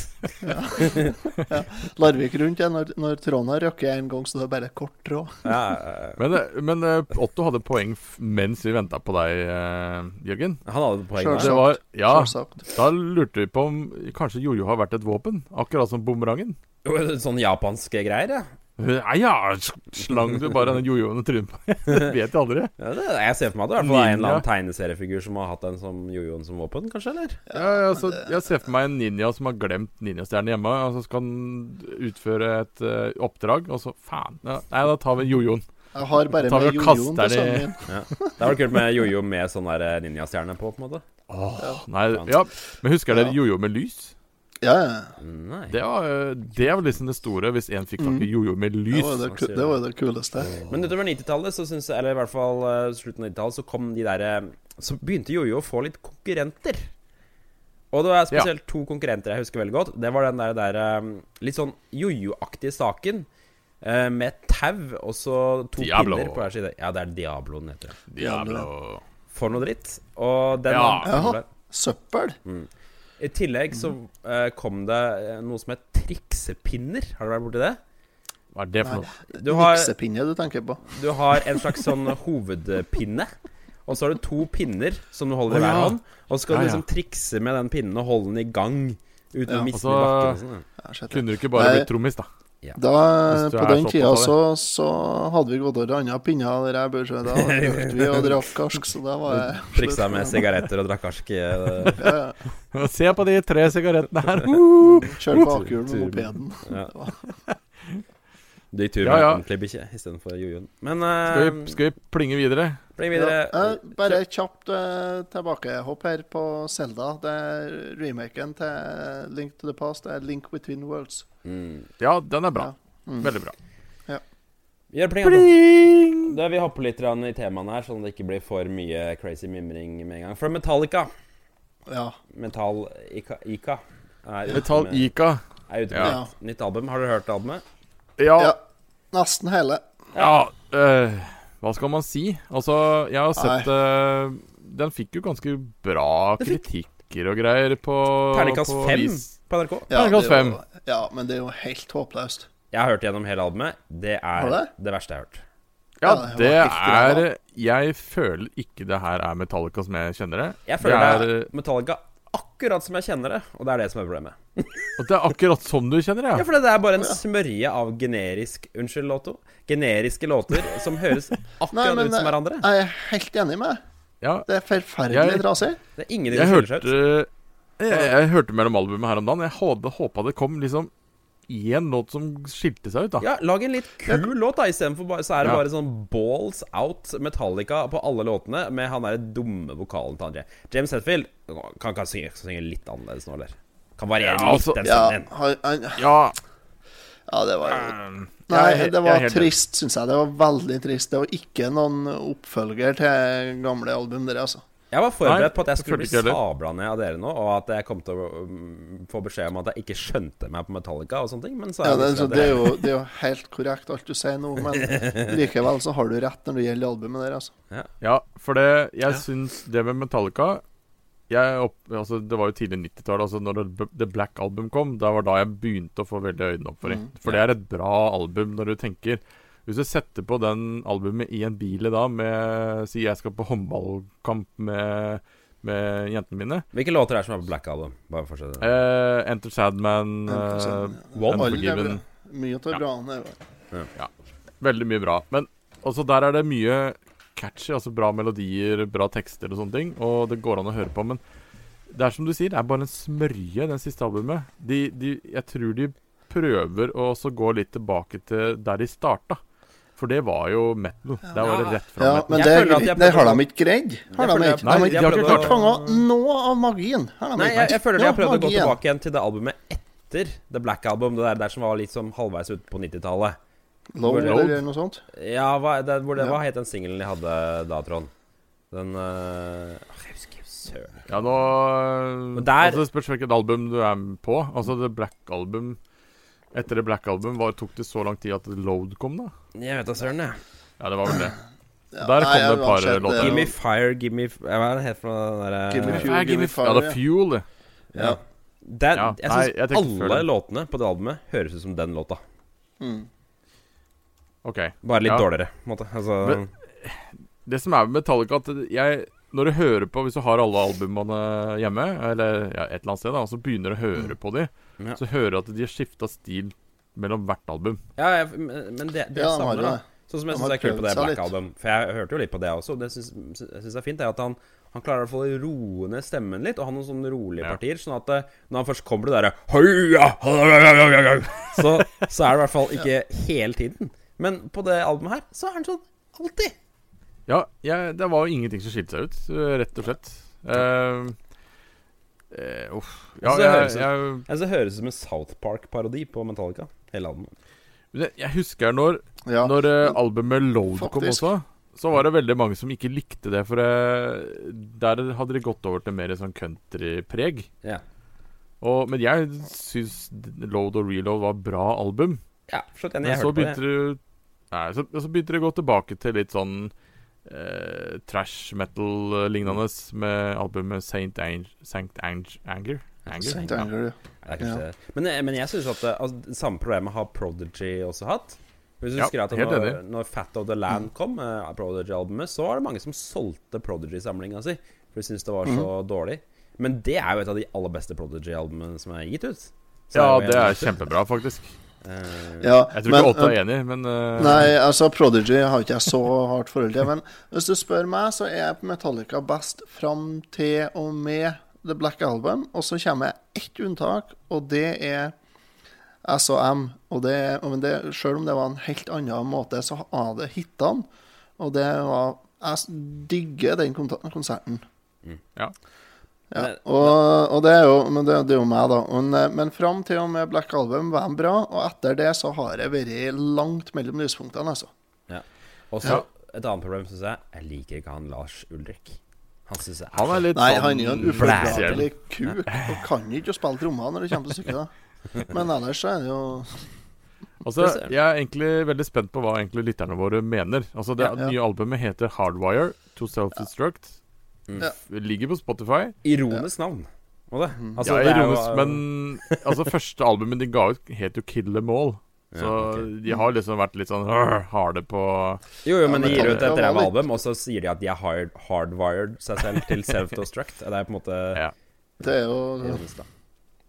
Larvik rundt er når, når tråden har røkket en gang, så det er bare kort tråd. Ja, eh, Men, eh, men eh, Otto hadde poeng f mens vi venta på deg, eh, Jørgen. han hadde et poeng Sure. der. Det var, ja, Selvsagt. da lurte vi på om kanskje jojo har vært et våpen? Akkurat som bumerangen. Jo, Sånn japanske greier, ja. Nei ja, s- slang du bare den jojoen i trynet på meg? Det vet jeg aldri. Ja, det, jeg ser for meg at det i hvert fall er en eller annen Ninja. tegneseriefigur som har hatt en som jojoen som våpen, kanskje, eller? Ja, altså, jeg ser for meg en ninja som har glemt ninjastjernen hjemme. Og så skal han utføre et eh, oppdrag, og så faen. Ja, nei, da tar vi jojoen. Jeg har bare Tar vi med og jojoen kaster på det i- sønnen min. Det var kult med jojo med sånn der ninjastjerne på, på en måte. Åh, nei, ja. Men husker dere jojo med lys? Ja, ja. Nei. Det var, eh, det var liksom det store, hvis en fikk tak i jojo med Det lys. var jo det, ku- det, var jo det kuleste. Mm. Men utover 90-tallet, så syns jeg- eller i hvert fall eh, slutten av 90-tallet, så kom de derre Så begynte jojo å få litt konkurrenter. Og det var spesielt to konkurrenter jeg husker veldig godt. Det var den der, der eh, litt sånn jojo-aktige saken. eh, Med tau og så to Diablo. pinner på hver side. Ja, det er Diabloen, heter det. Jævla For noe dritt. Og den Ja. Jaha. Søppel? I tillegg så eh, kom det eh, noe som het triksepinner. Har du vært borti det? Hva er det for noe? Du har, Niksepinne du tenker på. du har en slags sånn hovedpinne. Og så har du to pinner som du holder i Å, hver ja. hånd. Og så skal Ja, du ja. liksom trikse med den pinnen og holde den i gang. Uten Ja. å miste den i Altså- bakken. og sånn, ja. Ja, shit, ja. Kunne du ikke bare Nei. blitt trommis, da? Da, Hvis du på er den så tida opptatt så, så hadde vi gått over andre pinner der jeg bor, så da røkte vi og drakk karsk, så da var jeg Triksa med sigaretter og drakk arsk. eh, Ja, ja. Se på de tre sigarettene her! Uh! Kjørte bakhjul med mopeden. Ja. Det var- Du gikk tur med Ja, ja. ordentlig bikkje istedenfor jojoen. Men eh, Skal, vi, skal vi plinge videre? bli Ja. videre. Eh, Bare et kjapt eh, tilbakehopp her på Selda. Det er remaken til Link to the Past. Det er Link Between Worlds. Mm. Ja, den er bra. Ja. Mm. Veldig bra. Vi gjør plinga nå. Pling! Da vi hopper litt grann i temaene her, sånn at det ikke blir for mye crazy mimring med en gang. For Metallica Ja. Metall Ika, Ika er ute Metall med- Ica. er ute med Ja. et nytt album. Har dere hørt albumet? Ja, ja. Nesten hele. ja eh, Hva skal man si? Altså, jeg har sett eh, Den fikk jo ganske bra Den fikk- kritikk. lenker og greier på Terningkast på fem vis. på NRK. Ja, Terningkast det er jo- fem. Ja, men det er jo helt håpløst. Jeg har hørt gjennom hele albumet. Det er Har det? du det? verste jeg har hørt. Ja, Ja, det det var helt er greit, Jeg føler ikke det her er Metallica som jeg kjenner det. Jeg føler det det er Metallica akkurat som jeg kjenner det, og det er det som er problemet. Og det er akkurat som du kjenner det, Ja, ja. for det er bare en smørje av generisk Unnskyld, Lotto. Generiske låter som høres akkurat ut som hverandre. eh, jeg er helt enig med deg. ja Det er forferdelig Jeg- trasig. Det er ingen i det jeg, skiller seg hørte, ut. jeg, jeg hørte mellom albumet her om dagen. Jeg hadde håpa det kom liksom én låt som skilte seg ut, da. Ja, lag en litt kul låt, da, istedenfor bare Så er det Ja. bare sånn balls out Metallica på alle låtene, med han derre dumme vokalen til André. James Hetfield kan kan synge, synge litt annerledes nå, eller? Kan variere Ja, altså- litt den stemmen Ja, din. han, han, Ja, ja, det var jo ehm, jeg er Nei, he- det jeg er var helt trist, syns jeg. Det var veldig trist. Det var ikke noen oppfølger til gamle album, dere, altså. Jeg var Nei, forberedt på at jeg jeg skulle følte bli ikke heller. sabla ned av dere nå, og at jeg kom til å mm, få beskjed om at jeg ikke skjønte meg på Metallica og sånne ting, men så er Ja, det, det, så det, er jo, det er jo helt korrekt alt du sier nå, men likevel så har du rett når det gjelder albumet der, altså. Ja, for det Jeg syns det med Metallica jeg opp, altså Det var jo tidlig 90-tallet, altså når det, The Black Album kom. Da var da jeg begynte å få veldig øynene opp for det. For det er et bra album når du tenker. Hvis du setter på den albumet i en bil i dag med Si jeg skal på håndballkamp med, med jentene mine. Hvilke låter er det som er på Black Album? Bare fortsett. Eh, Enter Sadman, Enter Sandman, eh, ja. Alle er bra. Unforgiven. Mye av det Ja. bra han er jo. Veldig mye bra. Men altså, der er det mye catchy, altså bra melodier, bra tekster og sånne ting. Og det går an å høre på. Men det er som du sier, det er bare en smørje, den siste albumet. De, de, jeg tror de prøver å også gå litt tilbake til der de starta. For det var jo metal. Der var det rett Ja, fram. metal. men Jeg det, er føler at greit. jeg det har prøver- de ikke greid. Har føler de ikke. jeg- De har Nei, ikke de har ikke prøvd å- fanga noe av magien. Har de Nei, ikke. jeg, jeg føler jeg har prøvd å gå Magien. tilbake igjen til det albumet etter The Black Album. Det der, der som var litt sånn halvveis ute på 90-tallet. Load Load. eller noe sånt. Ja, hva, det, hvor det, Ja. hva het den singelen de hadde da, Trond? Den eh, åh, Jeg husker ikke søren. Ja, nå Men der- altså, Det spørs hvilket album du er på. Altså, The Black Album Etter The Black Album var, tok det så lang tid at Load kom, da? Jeg vet da søren, jeg. Ja, det var vel det. Ja, Der kom nei, det et par uansett, låter. eh, er jo- Give me fire, give me f- Hva er det het for noe den Give me derre fuel, give me ja, det fire. er Fuel, det. ja. Den, Ja, Jeg nei, syns jeg tenkte før alle den. låtene på det albumet høres ut som den låta. Mm. OK. Bare litt Ja. dårligere, på en måte. Altså, Men- Det som er med Metallica, at jeg Når du hører på Hvis du har alle albumene hjemme, eller ja, et eller annet sted, da, og så begynner du å høre på de, Mm. Ja. så hører du at de har skifta stil mellom hvert album. ja, jeg, men men det, det jeg Ja, de har savner, jo da det. Sånn som jeg Han syns har er kult på prøvd det seg Black litt. Album. For jeg hørte jo litt på det også. Det syns- jeg syns er fint, er at han, han klarer i hvert fall å roe ned stemmen litt, og ha noen sånne rolige Ja. partier. Sånn at eh, når han først kommer til det derre «Høya, høya, høya, høya», så, så er det i hvert fall ikke hele tiden. Men på det albumet her, så er han sånn alltid. Ja, jeg, det var jo ingenting som skilte seg ut, øh, rett og slett. Eh, eh, uff. Ja, Så jeg, høres det- jeg, Jeg synes Altså, det høres ut som en South Park-parodi på Metallica. Hele albumet. jeg, jeg husker når Ja. Når eh, albumet Load kom Faktisk. også, så var det veldig mange som ikke likte det. For eh, der hadde de gått over til mer sånn countrypreg. Ja. Og- Men jeg syns Load og Reload var bra album. Ja, forstått enig. Men Jeg så hørte på det. begynte det Nei, så, så begynte det å gå tilbake til litt sånn eh, trash metal-lignende med albumet Saint, Ang Saint Ang Anger. Anger? Saint Ja. Anger, ja. Det er kanskje det. Men, eh, men jeg syns at det, altså, det samme problemet har Prodigy også hatt. Hvis du Ja, husker at helt når, enig. når Fat of the Land kom, eh, av Prodigy-albumet, så var det mange som solgte Prodigy-samlinga si. For de syntes det var så dårlig. Men det er jo et av de aller beste Prodigy-albumene som er gitt ut. Så Ja, jo det er helt riktig. kjempebra, faktisk. Eh, Ja, Jeg tror ikke men, Åtte er enig, men eh, Nei, altså Prodigy har ikke jeg så hardt forhold til. Men hvis du spør meg, så er Metallica best fram til og med The Black Album. Og så kommer jeg ett unntak, og det er SOM. Og det, og men det, selv om det var en helt annen måte, så har det hitene. Og det var Jeg digger den konta- konserten. ja. Ja, Men- og, og det er jo Men det, det er jo meg, da. Men, eh, men fram til og med Black Album var de bra, og etter det så har jeg vært langt mellom lyspunktene, altså. ja. Og så et annet problem, syns jeg. Jeg liker ikke han Lars Ulrik. Han syns jeg er Han er litt Nei, sånn han er jo en spesiell. ufordragelig kuk og kan ikke å spille trommer når det kommer til stykket. da. Men ellers så er det jo Altså, jeg er egentlig veldig spent på hva egentlig lytterne våre mener. Altså, Det Ja, ja. nye albumet heter Hardwire to Self-Destruct. Ja. F- Ligger på Spotify. Ironisk navn. må det. Altså, ja, det er jo- ironisk, men altså, første albumet de ga ut, het jo 'Kill Them All'. Så Ja, de har liksom vært litt sånn øh, harde på Jo, jo, men Ja, de men gir det- ut et det var ræva litt- album, og så sier de at de har hard, hardwired seg selv til self-destruct. Det er på en måte ja. Det er jo, ironisk, da.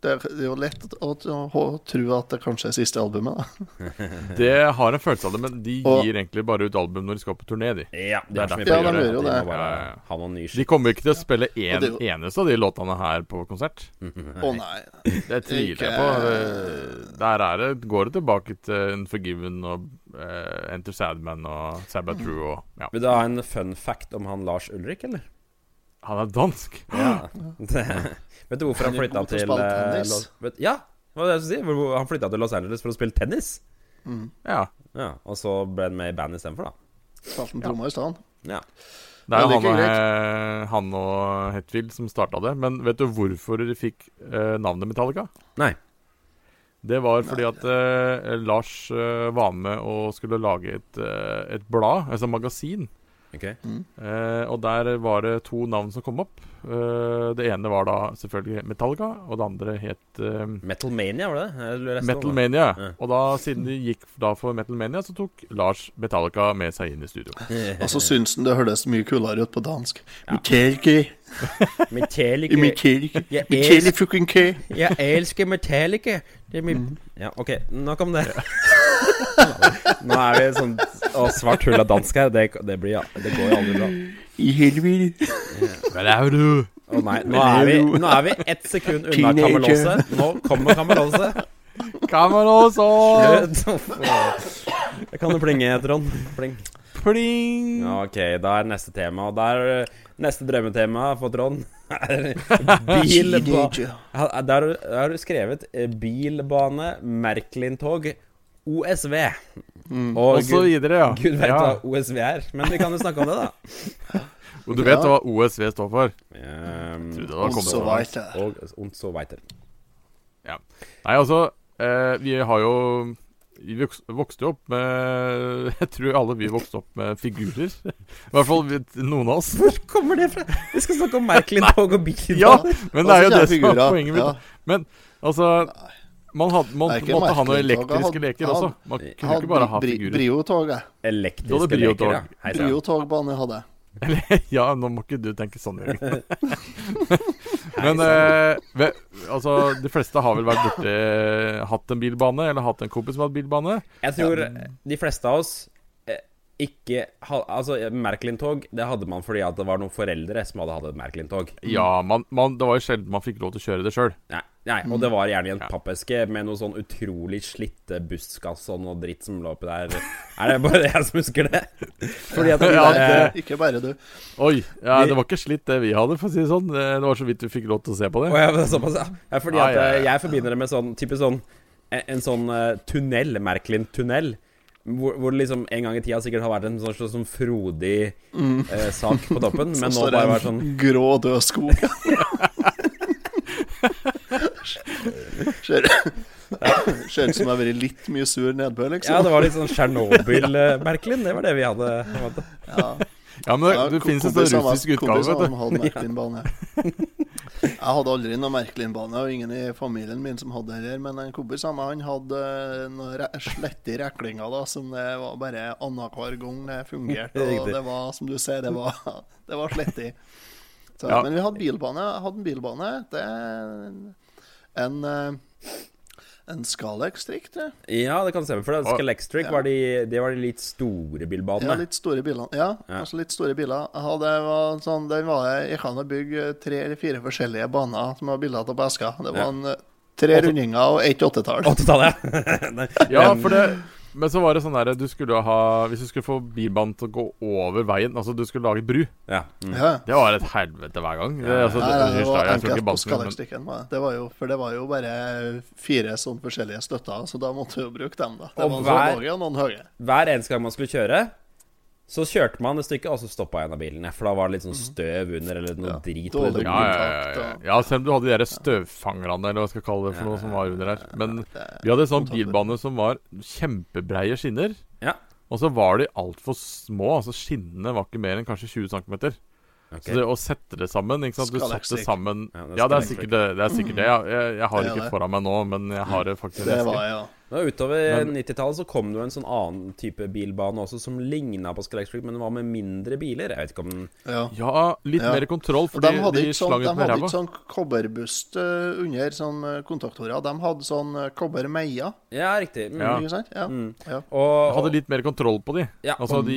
det er, det er jo lett å, å, å tro at det kanskje er siste albumet, da. Det har en følelse av det, men de Og- gir egentlig bare ut album når de skal på turné, de. Ja, de har så mye på derfor- å Ja, de gjøre. gjør jo at De må det. bare Ja, ja, ja. ha noen ny De shit. kommer ikke til å spille en Og det- eneste av de låtene her på konsert. Å nei. Det tviler jeg på. Det- Der er det, går det tilbake til Unforgiven og eh, Enter Sadman og Sabbath True og ja. Vil du ha en fun fact om han Lars Ulrik, eller? Han er dansk! Ja. Det, vet du hvorfor han Han er flytta god til til å spille eh, tennis. Los, vet, Ja, hva var det jeg skulle si? Hvor- hvor- Han flytta til Los Angeles for å spille tennis. Ja. Ja, og så ble han med i band istedenfor, da. Spilte en tromme i stedet. Ja. Det er Ja, jo det han, og, er ikke eh, han og Hetfield som starta det. Men vet du hvorfor de fikk eh, navnet Metallica? Nei. Det var fordi at eh, Lars eh, var med og skulle lage et, eh, et blad, altså magasin. Ok. Eh, og der var det to navn som kom opp. Eh, det ene var da selvfølgelig Metallica, og det andre het eh, Metalmania, var det det? Jeg leste om det? Metalmania. Ja. Og da, siden de gikk da for Metalmania, så tok Lars Metallica med seg inn i studio. Og så syns han det høres mye kulere ut på dansk. Metallica, Metallica. Metallica, Jeg Metallica elsker- fucking K. Jeg elsker Metallica. Det er min... Mm. Ja, ok, nok om det. Nå er vi sånn Å, svart hull av dansk her. Det, det, blir, det går jo aldri bra. I helvete. Hva er du? Å nei, nå er vi, nå er vi ett sekund unna Teenager. Kamelose. Nå kommer Kamelose. Kameros og Det kan du plinge, Trond. Pling. pling! Ja, ok, da er neste tema. Og der Neste drømmetema for Trond er bil på Teenager. Ja, Der har du- der har du skrevet eh, bilbane, Merklin-tog, OSV. Og, Og så gud, videre, ja. gud vet ja. hva OSV er, men vi kan jo snakke om det, da. Og du vet hva OSV står for? Ehm, Trodde det var Og kommet så over. veit jeg. og und so weiter. Ja. Nei, altså eh, Vi har jo Vi voks- vokste jo opp med Jeg tror alle vi vokste opp med figurer. I hvert fall vi- noen av oss. Hvor kommer det fra? Vi skal snakke om Merklin-tog og bilbaner. Ja, men det er jo Altså, det som er figurer, poenget ja. mitt. Men altså Man, hadde, man Det er ikke måtte ha noen merkelig, Torga. elektriske Hadde- leker hadde- også. Man Jeg Jeg kunne hadde ikke bare ha bri- figurer. Brio-toget. Da Elektriske hadde Brio leker, ja. tog. Hei sann. Brio-togbane hadde jeg. Eller, ja, nå må ikke du tenke sånn, Jørgen. sann. Men eh, ve, altså, de fleste har vel vært borti hatt en bilbane, eller hatt en kompis som har hatt bilbane. Jeg tror de fleste av oss eh, ikke ha, Altså, Merklin-tog, det hadde man fordi at det var noen foreldre som hadde hatt et Merklin-tog. Mm. Ja, man, man, det var jo sjelden man fikk lov til å kjøre det sjøl. Nei, nei, og det var gjerne i en Ja. pappeske med noe sånn utrolig slitte buskas og noe dritt som lå oppi der. Er det bare jeg som husker det? Fordi at de Ja, der, det- eh, Ikke bare du. Oi, ja, Vi- det var ikke slitt det vi hadde, for å si det sånn. Det det var så vidt du fikk lov til å se på Å det. ja, men det er såpass, ja. ja. Fordi Ja, at ja, eh, ja. jeg forbinder det med sånn type sånn En, en sånn eh, tunnel, Merklin-tunnel. Hvor, hvor det liksom en gang i tida sikkert har vært en sånn, sånn, sånn frodig eh, sak på toppen, men nå står bare det vært en sånn grå, død skog. Ser ser ut som jeg har vært litt mye sur nedbør, Ja, liksom. det var litt sånn Tsjernobyl-Merklin. Det var det vi hadde. på en måte. Ja. Ja, men det, Ja, det ko- finnes en sånn kompisene var- russisk utgave, kompisene vet du. hadde Merklin-bane. Jeg hadde aldri noen Merklin-bane, og ingen i familien min som hadde det. her, Men en kompis av meg han hadde eh, noen re- slette reklinger da, som det var bare annenhver gang det fungerte. Og Riktig. det var, som du sier, det var, det var slette. Så, Ja. Men vi hadde bilbane. Jeg hadde en bilbane. Det er en- en eh, en Scalex-trikk, tror jeg. Ja, det kan stemme. For det. Og- Skelextric var, de, det var de litt store Ja, bilbanene. litt store biler. Ja, Ja. altså litt store biler. Ja, det var sånn, den var jeg, jeg kan jo bygge tre eller fire forskjellige baner som var bilder av på eska. Det var Ja. en eh, tre rundinger og ett åttetall. 80-tallet, ja. Nei. Ja, for det Men så var det sånn derre Du skulle ha Hvis du skulle få bilbanen til å gå over veien, altså du skulle lage bru ja. Mm. Ja. Det var et helvete hver gang. Det, altså, Nei, nei, det hysj da, jeg var tror ikke enkelt på banken, men- skallerstykken. var det. Det var jo, for det var jo bare fire sånn forskjellige støtter, så da måtte du jo bruke dem, da. Det Og var hver- noen lave og noen høye. Hver eneste gang man skulle kjøre, så kjørte man et stykke, og så stoppa en av bilene. For da var det litt sånn støv under, eller noe Ja, drit. dårlig. Dårlig. ja, ja, ja, ja. ja, selv om du hadde de der støvfangerne, eller hva jeg skal kalle det for noe, som var under her. Men vi hadde en sånn bilbane som var kjempebreie skinner. Ja. Og så var de altfor små. altså Skinnene var ikke mer enn kanskje 20 cm. Så det å sette det sammen ikke sant? Du Skal satte jeg sammen Ja, det Ja, det skal er jeg sikkert det. det, er sikkert det. Ja, jeg, jeg har det Det er ikke det. foran meg nå, men jeg har det faktisk Det nesten. var jeg, ja. Nå, utover Men- 90-tallet så kom det jo en sånn annen type bilbane også, som ligna på Skelex Creek, men den var med mindre biler. Jeg vet ikke om den ja. Ja, litt Ja. mer kontroll, Og fordi de hadde de ikke sånn, slang de ut med hadde ræva. ikke sånn kobberbust eh, under sånn eh, kontaktorer. De hadde sånn eh, kobbermeier, Ja, riktig. Mm. Ja. ikke sant? Ja. ja. Og, Hadde litt mer kontroll på de. Ja. Altså de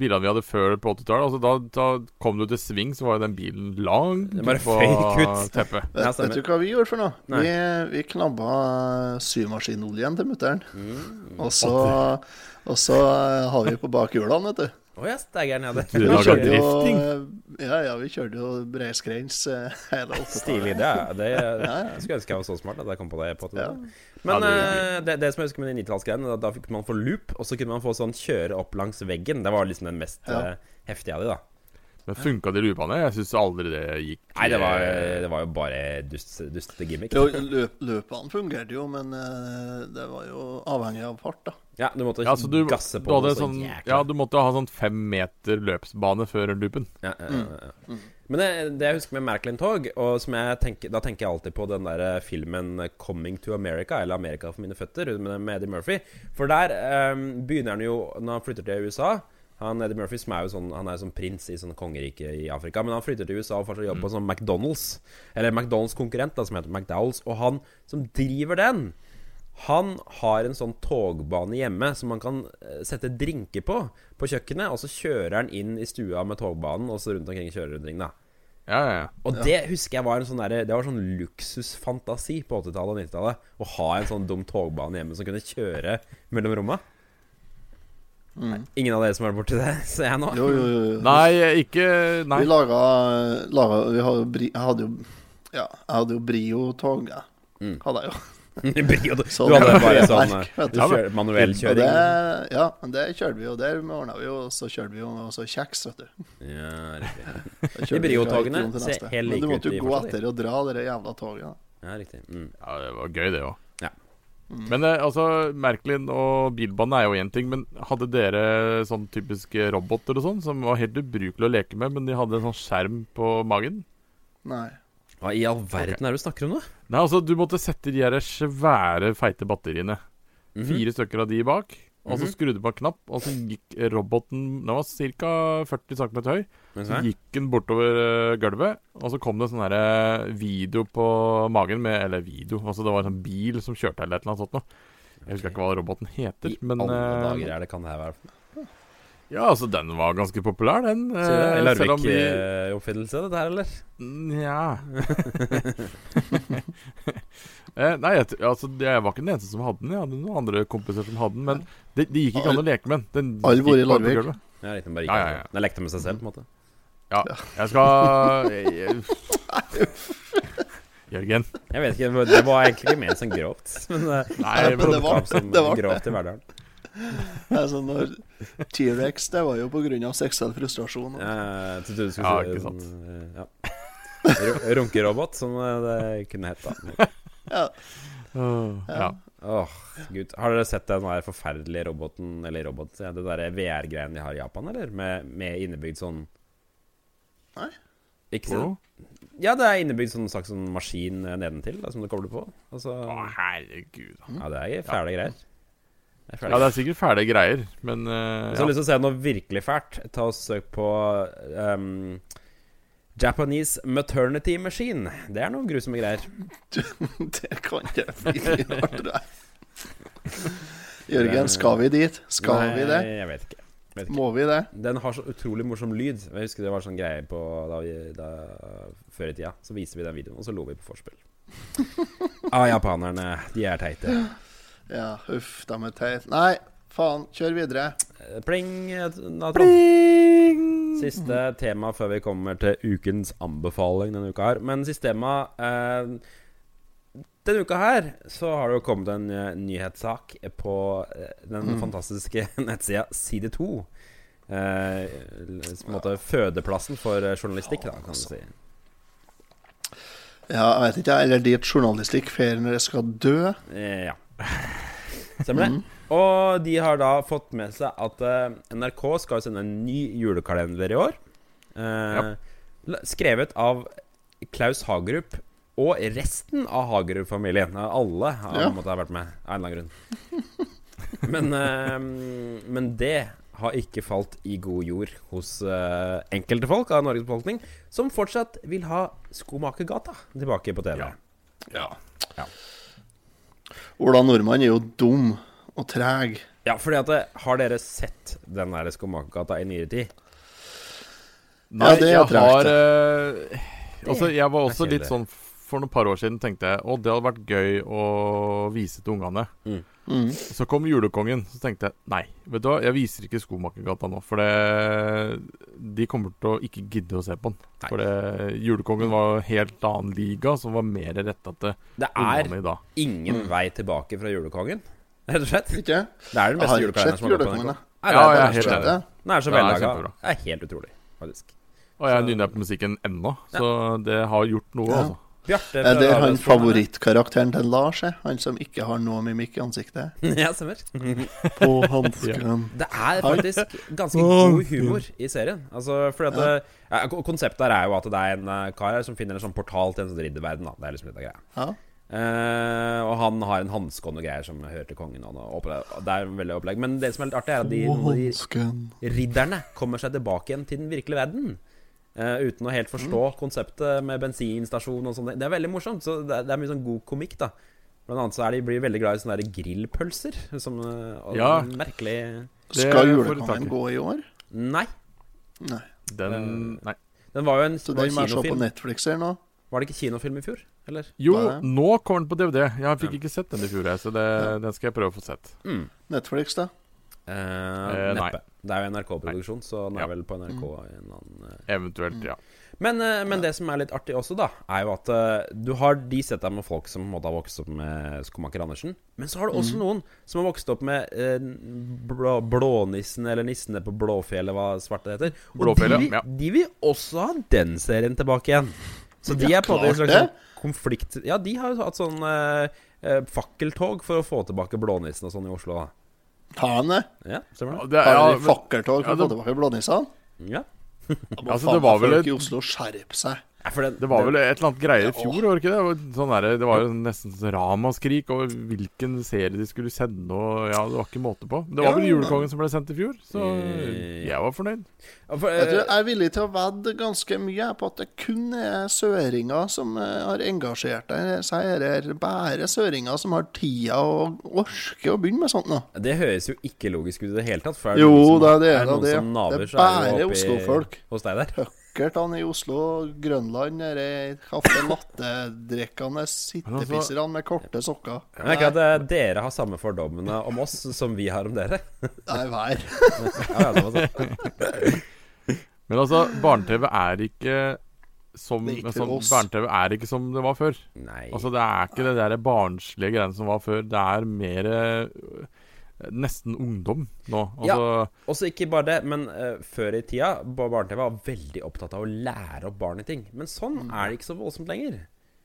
bilene vi hadde før på 80-tallet. Altså, da, da kom du til sving, så var jo den bilen langt Den bare ut på føyk ut. teppet. Ja, Vet, stemmer. vet du hva vi gjorde for noe? Nei. Vi, vi knabba eh, symaskinoljen til mutter'n. Mm. Og så, og så eh, har vi på bakhjulene, vet du. Å ja, staggeren hadde Du Vi lager kjørte jo, drifting? eh, Ja, ja, vi kjørte jo breiskrens eh, hele Stilig. åttetallet. Det, er- det jeg skulle ønske jeg var så smart at jeg kom på det. på Ja. Men Ja, det- eh, det, det som jeg husker med de 90-tallsgreiene, da, da fikk man få loop, og så kunne man få sånn kjøre opp langs veggen. Det var liksom den mest Ja. eh, heftige av de, da. Men funka de loopene? Jeg syns aldri det gikk. eh. Nei, det var, eh, det var jo bare dust, dustete gimmick. Jo, løp, løpene fungerte jo, men eh, det var jo avhengig av fart, da. Ja, du måtte ja, så du, gasse du på hadde noe så sånn, jækla. ja, du måtte ha sånn fem meter løpsbane før loopen. Ja, ja, ja, ja. Men det, det jeg husker med Merklin-tog, og som jeg tenker, da tenker jeg alltid på den der eh, filmen 'Coming to America', eller 'Amerika for mine føtter', med, med Eddie Murphy. For der eh, begynner han jo, når han flytter til USA han Eddie Murphy som er jo sånn, han er jo sånn prins i sånn kongerike i Afrika. Men han flytter til USA og får seg jobb på sånn McDonald's. Eller McDonald's konkurrent, da, som heter McDowells. Og han som driver den, han har en sånn togbane hjemme som man kan eh, sette drinker på på kjøkkenet, og så kjører han inn i stua med togbanen og så rundt omkring i kjørerundringen, da. Ja, ja, ja. Og det husker jeg var en sånn derre- Det var sånn luksusfantasi på 80-tallet og 90-tallet. Å ha en sånn dum togbane hjemme som kunne kjøre mellom romma. Nei, Ingen av dere som er borti det, ser jeg nå. Jo, jo, jo. jo. Nei, ikke Nei. Vi laga, laga Vi hadde, jo bri- jeg hadde jo Ja, jeg hadde jo Brio-tog, jeg. Mm. Hadde jeg jo. Brio, du, Sånn du hadde bare treverk, sånn eh, vet du du. kjører, manuell Og det, kjøring. ja, men det kjørte vi jo. Der ordna vi jo, og så kjørte vi jo også kjeks, vet du. Ja, riktig. Da kjørte vi fra Brio-togene et rom til ser neste. helt like Men du ut i måtte jo gå forskjellig. etter og dra det jævla toget. Ja, riktig. Mm. Ja, det var gøy, det òg. Ja. Men eh, altså, Merklin og bilbanen er jo én ting, men hadde dere sånn typiske roboter og sånn, som var helt ubrukelige å leke med, men de hadde en sånn skjerm på magen? Nei. Hva i all verden er det du snakker om nå? Nei, altså, du måtte sette de her svære, feite batteriene. Mhm. Fire stykker av de bak. Og så skrudde man knapp, og så gikk roboten Den var ca. 40 cm høy. Så gikk den bortover eh, gulvet, og så kom det sånn her, eh, video på magen med Eller video, altså det var en sånn bil som kjørte eller et eller annet sånt noe. Jeg husker ikke hva roboten heter, I men alle eh, dager er det kan det her være Ja, altså den var ganske populær, den. eh, En selv om vi- eh, Larvik-oppfinnelse, dette her, eller? Nja Eh, Nei, jeg, tr- altså, jeg var ikke den eneste som hadde den. Jeg hadde noen andre kompiser som hadde den, men det, det gikk ikke an å leke med den. den. Alle bor gikk i bare på Larvik. gulvet. Ja, riktig, den bare gikk Ja, ja, over. ja. Den lekte med seg selv, på en måte. Ja. Jeg skal Jørgen. Jeg vet ikke, Det var egentlig ikke ment som grovt. Men, eh, Nei, men det var- oppgav som det var det. grovt i hverdagen. Altså, når T-rex, det var jo på grunn av seksuell frustrasjon. Eh, så du skulle Ja, si- ikke sant. eh, Ja. Ru- Runkerobot, som eh, det kunne hett. da. Ja. Åh, gud. Har dere sett den der forferdelige roboten Eller robot, ja, det derre VR-greien de har i Japan, eller? Med, med innebygd sånn Nei. Ikke så, ja, det er innebygd sånn slags sånn maskin eh, nedentil da, som du kobler på. Og så, Å, herregud. ja, det er fæle greier. Det er fæle Ja, det er sikkert fæle greier, men eh, Hvis du ja. har lyst til å se noe virkelig fælt, ta og søk på ehm, Japanese Maternity Machine. Det er noen grusomme greier. Det kan ikke bli rart, tror jeg. Jørgen, skal vi dit? Skal Nei, vi det? Jeg vet ikke. Jeg vet ikke. Må vi det? Den har så utrolig morsom lyd. Jeg husker det var sånn greie på da vi, da, før i tida. Så viste vi den videoen, og så lo vi på forspill. ah, japanerne. De er teite. Ja, huff, de er teite. Nei, faen, kjør videre. Eh, Pling, eh, Natron. Pling! Siste tema før vi kommer til ukens anbefaling denne uka her. Men siste tema eh, Denne uka her så har det jo kommet en eh, nyhetssak på eh, den fantastiske nettsida Side 2. Eh, på en måte fødeplassen for eh, journalistikk, da, kan du si. Ja, jeg vet ikke, jeg. eller dit journalistikk feirer når jeg skal dø. Eh, ja. Stemmer det. Og de har da fått med seg at eh, NRK skal sende en ny julekalender i år. Eh, la- Skrevet av Klaus Hagerup og resten av Hagerup-familien. Eh, Alle har på Ja. en måte vært med, av en eller annen grunn. Men, eh, men det har ikke falt i god jord hos eh, enkelte folk av Norges befolkning, som fortsatt vil ha Skomakergata tilbake på TV. Ja. Ja. Ola Nordmann er jo dum og treg. Ja, fordi at eh, Har dere sett den der Skomakergata i nyere tid? Nei, det er jeg tregt, har eh, altså, Jeg var også er litt kjedelig. sånn For noen par år siden tenkte jeg Å, det hadde vært gøy å vise til ungene. Mm. Mm. Så kom julekongen. Så tenkte jeg nei, vet du hva, jeg viser ikke Skomakergata nå. For det, de kommer til å ikke gidde å se på den. Nei. For det, julekongen var helt annen liga, som var mer retta til Det er ungene i dag. ingen vei tilbake fra julekongen, rett og slett. Ikke? Det er den Jeg beste har ikke julekalenderen sett som har gått på julekongen, NRK. jeg. Nei, det Ja, jeg er er helt kjempebra. enig. Den er så Ja, det er vellaga. kjempebra. Det er helt utrolig, faktisk. Og jeg nynner på musikken ennå, så det har gjort noe, Ja. altså. Bjarte Er det fra han Radioskolen, favorittkarakteren til Lars, er? han som ikke har noe mimikk i ansiktet? eller? Ja, stemmer. På hansken. Det er faktisk ganske god humor i serien. Altså, fordi at det, ja, ko- Konseptet her er jo at det er en eh, kar her som finner en sånn portal til en sånn ridderverden. Da. Det er liksom litt av greia. Ja. Eh, og han har en hanske og noe greier som hører til kongen. Og noe opplegg. Og det er veldig opplegg Men det som er litt artig, er at de, På noen av de hansken. ridderne kommer seg tilbake igjen til den virkelige verden. eh, uten å helt forstå Mm. konseptet med bensinstasjon og sånn. Det er veldig morsomt. Så det er, det er mye sånn god komikk, da. Blant annet så er de blir veldig glad i sånne der grillpølser. Som eh, og Ja. merkelig Det Skal får du tak julekongen i. gå i år? Nei. Nei. Den Nei. Den var jo en Så var den en må jeg se på kinofilm. Netflix her nå. Var det ikke kinofilm i fjor? Eller? Jo, Nei. nå kommer den på DVD. Jeg fikk ikke sett den i fjor, jeg, så det, den skal jeg prøve å få sett. Mm. Netflix, da. Eh, Eh, nei. neppe. Det er jo NRK-produksjon, så den Ja. er vel på NRK en annen eh, Eventuelt, ja. Mm. Men, eh, men det som er litt artig også, da, er jo at eh, du har de sett deg med folk som på en måte har vokst opp med Skomaker Andersen. Men så har du også noen som har vokst opp med eh, blå, Blånissen, eller Nissene på Blåfjellet, hva svarte heter. Og Blåfjellet, de, vil- ja. de vil også ha den serien tilbake igjen. Så de Ja, er på en måte en klart slags det. sånn konflikt Ja, de har jo hatt sånn eh, eh, fakkeltog for å få tilbake Blånissen og sånn i Oslo. da Faen, jeg. Ja, stemmer det? Ja, det, Har ja, de fakkeltog for ja, å få det- tilbake blånissene? Ja. Da må Altså, faen det var meg vel folk et- i Oslo skjerpe seg. Ja, for den- Det var den- vel et eller annet greie i Ja, fjor, var det ikke det? det? var Sånn der, det var jo nesten sånn ramaskrik over hvilken serie de skulle sende og Ja, det var ikke måte på. Men Det var vel Ja, men- Julekongen som ble sendt i fjor, så Eh, jeg var fornøyd. Ja, for, Jeg, tror eh, jeg er villig til å vedde ganske mye jeg, på at det kun er søringer som eh, har engasjert seg i dette. Bare søringer som har tida og orker å begynne med sånt nå. Det høres jo ikke logisk ut i det hele tatt. For Jo, noen som- det er det, noen det er det. som naver, Det er så det jo bare oppi- Oslo-folk. Hos deg der. Puckertene i Oslo, Grønland, dere kaffe latte-drikkende sittepisserne med korte sokker. Men det er ikke at eh, dere har samme fordommene om oss som vi har om dere. Nei, vær. Ja, ja, det var sånn. Men altså, barne-TV er ikke som Det er ikke for sånn, oss. Barne-TV er ikke som det var før. Nei. Altså, det er ikke det der barnslige greiene som var før. Det er mer eh, nesten ungdom nå. Altså Også ikke bare det, men eh, før i tida ba- barne-TV var veldig opptatt av å lære opp barn i ting. Men Mm. sånn er det ikke så voldsomt lenger.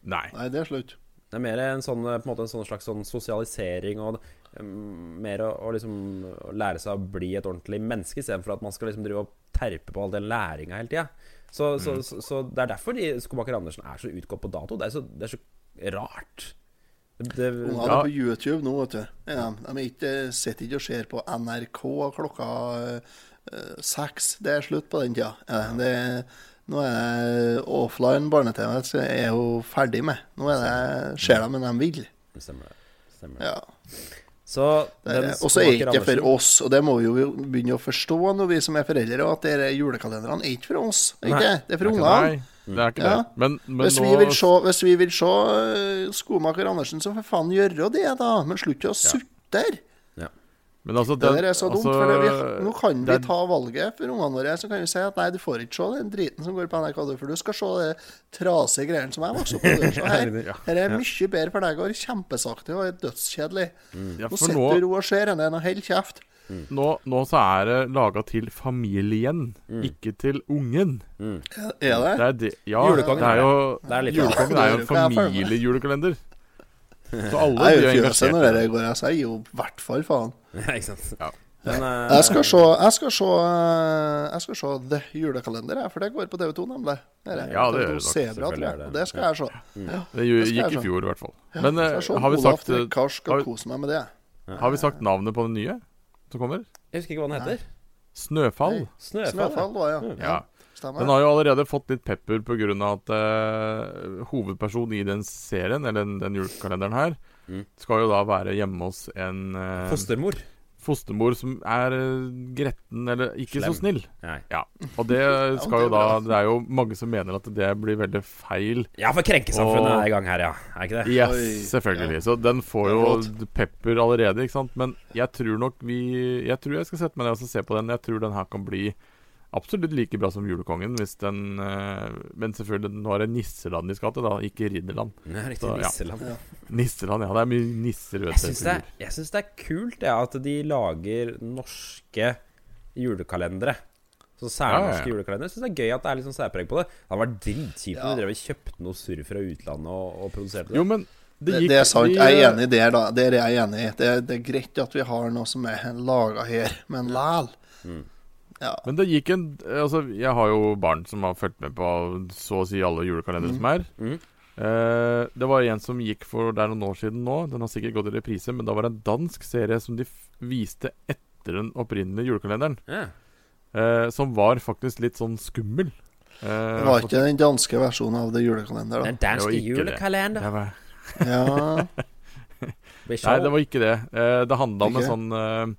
Nei. Nei, det er slutt. Det er mer en, sånn, eh, på en, måte en sånn slags sånn sosialisering og mm, mer å, å liksom å lære seg å bli et ordentlig menneske istedenfor at man skal liksom drive og terpe på all den læringa hele tida. Så, så, Mm. så, så det er derfor de Skomaker Andersen er så utgått på dato. Det er så, det er så rart. Det, det, Ungene Ja. er på YouTube nå, vet du. Ja, de er ikke, sitter ikke og ser på NRK klokka eh, seks. Det er slutt på den tida. Ja, det, nå er det offline barne-TV, så jeg er jo ferdig med. Nå er det, ser de men de vil. stemmer det. Stemmer det. Ja. Så det er den det. Og så er Skomaker ikke det for Andersen- oss, og det må vi jo begynne å forstå når vi som er foreldre, at dere julekalenderne er ikke for oss. er Ikke? Nei. det? Det er for Nei, ungene. det er ikke Ja. det. Men, men Hvis vi nå vil se, hvis vi vil se eh, Skomaker Andersen, så for faen gjøre det, da. Men slutt å sutte. ja. Men altså, Det den- der er så dumt, altså, for det vi, nå kan vi det er- ta valget for ungene våre. Så kan vi si at nei, du får ikke se den driten som går på NRK, du, for du skal se de trasige greiene som jeg vokste opp med. Se her. Ja. Her er mye bedre for deg, går kjempesakte og er dødskjedelig. Mm. ja, Nå for sitter nå, du ro og ser henne og holder kjeft. nå, nå så er det laga til familien, Mm. ikke til ungen. Er Det det? er det, ja, Julekongen det er er det. jo Det er litt Julekongen er jo en Ja, jeg føler meg. familiejulekalender. Så alle Jeg blir er jo jo fjøset engasjert. når i det. altså. det går, jeg sier jo i hvert fall faen. Ja, ikke sant. Ja. Men eh, Jeg skal se, jeg skal se, eh, jeg skal se The Julekalender, jeg, for det går på TV2, nemlig. Det er Ja, det gjør det TV2 nok, Sebra, tror selvfølgelig er jeg. det. Og det skal jeg se. Det gjo- Det skal jeg gikk i se. fjor, i hvert fall. Men eh, Jeg skal se om har, vi Olaf sagt, eh, Trekkars har skal vi- kose meg med det. har vi sagt navnet på den nye som kommer? jeg husker ikke hva den heter. Snøfall. Nei. Snøfall. ja. Snøfall, var det, ja. Ja. ja. Stemmer. Den har jo allerede fått litt pepper pga. at eh, hovedpersonen i den serien, eller den, den julekalenderen her, Mm. skal jo da være hjemme hos en eh, Fostermor. fostermor som er eh, gretten eller ikke Slem. så snill. Nei. Ja. Og det skal jo da Det er jo mange som mener at det blir veldig feil. Ja, for krenkesamfunnet Åh. er i gang her, ja. Er ikke det? Yes, Oi, selvfølgelig. Så den får Det er jo pepper allerede, ikke sant. Men jeg tror nok vi Jeg tror jeg skal sette meg ned og så se på den. Jeg tror den her kan bli absolutt like bra som Julekongen, hvis den eh, Men selvfølgelig, nå er det Nisseland de skal til, da, ikke Ridderland. Det er riktig Så, ja. nisseland. Ja. Nisseland, ja. Det er mye nisser, Jeg vet syns du. det, jeg syns det er kult ja, at de lager norske julekalendere. Så Ja, ja, Særnorske ja. julekalendere. Jeg syns det er gøy at det er litt sånn særpreg på det. Det hadde vært dritkjipt om Ja. de drev og kjøpte noe surr fra utlandet og, og produserte det. Jo, men det Det, gikk det er sant. de- Jeg er enig der, da. Der er jeg enig. Det, det er greit at vi har noe som er laga her, men læl. Ja. Men det gikk en Altså, jeg har jo barn som har fulgt med på så å si alle julekalendere som er. Mm. Eh, det var en som gikk for det er noen år siden nå. Den har sikkert gått i reprise, men da var det en dansk serie som de f viste etter den opprinnelige julekalenderen. Ja. eh, som var faktisk litt sånn skummel. Eh, Det var ikke den danske versjonen av det julekalender, da. Den danske Det var ikke det. julekalender. det var, Ja. Vi Nei, skal- det var ikke det. Eh, det handla om en Ikke? sånn eh,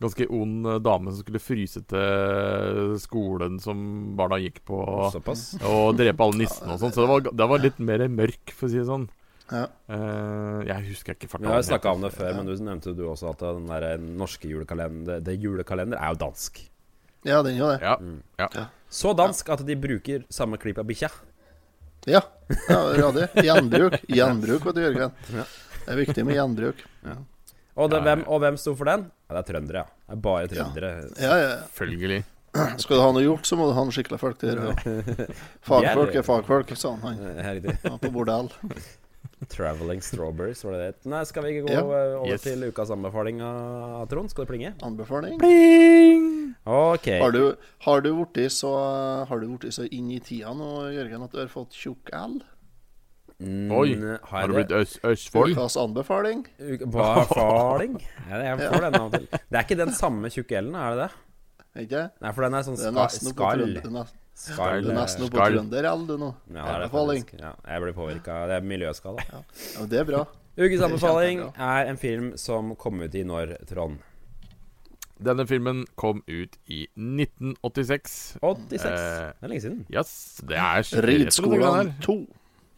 ganske ond eh, dame som skulle fryse til eh, skolen som barna gikk på. og- Såpass. Og drepe alle nissene og sånn. Så det var, det var litt mer mørk, for å si det sånn. Ja. Eh, jeg husker ikke farta. Vi har jo snakka om det før, men du nevnte jo du også at den der eh, norske julekalender Det julekalender er jo dansk. Mm. ja, den gjør det. Ja, ja. Så dansk at de bruker samme klipp av bikkja. Ja. ja Radio. Gjenbruk. Gjenbruk, vet du, Jørgen. Ja. Det er viktig med gjenbruk. Og, det, Ja, ja. hvem, og hvem sto for den? Ja, det er trøndere, ja. Det er bare trøndere. Ja, ja. Selvfølgelig. Skal du ha noe gjort, så må du ha noen skikkelige folk til å gjøre. Fagfolk er fagfolk, sa han, han Eh, Her riktig. var på bordell. Traveling Strawberries, var det det het? Nei, skal vi ikke gå Ja. eh, over Yes. til ukas anbefaling av Trond? Skal det plinge? Anbefaling. Ok. Har du, har du blitt så, har du blitt så inn i tida nå, Jørgen, at du har fått tjukk L? Mm, Oi, har Har du jeg blitt det? Øs Østfold? Ukas anbefaling? Uka- Hva er faling? Ja, det- jeg får den av og til. Det er ikke den samme tjukke L-en, er det det? Ikke? Nei, for den er sånn Det er ska nesten oppe på skall. trønder- det er nesten- Skall. det er nesten oppe på Skall. trønder-L, du nå. Ja, det er det Anbefaling. faktisk. Ja, jeg blir påvirka. Det er miljøskade. Ja, men det er bra. Ukens anbefaling Det er er en film som kom ut i når, Trond? Denne filmen kom ut i 1986. 86. Eh. Det er lenge siden. Yes, det er skikkelig retro, det greiene Ridskolen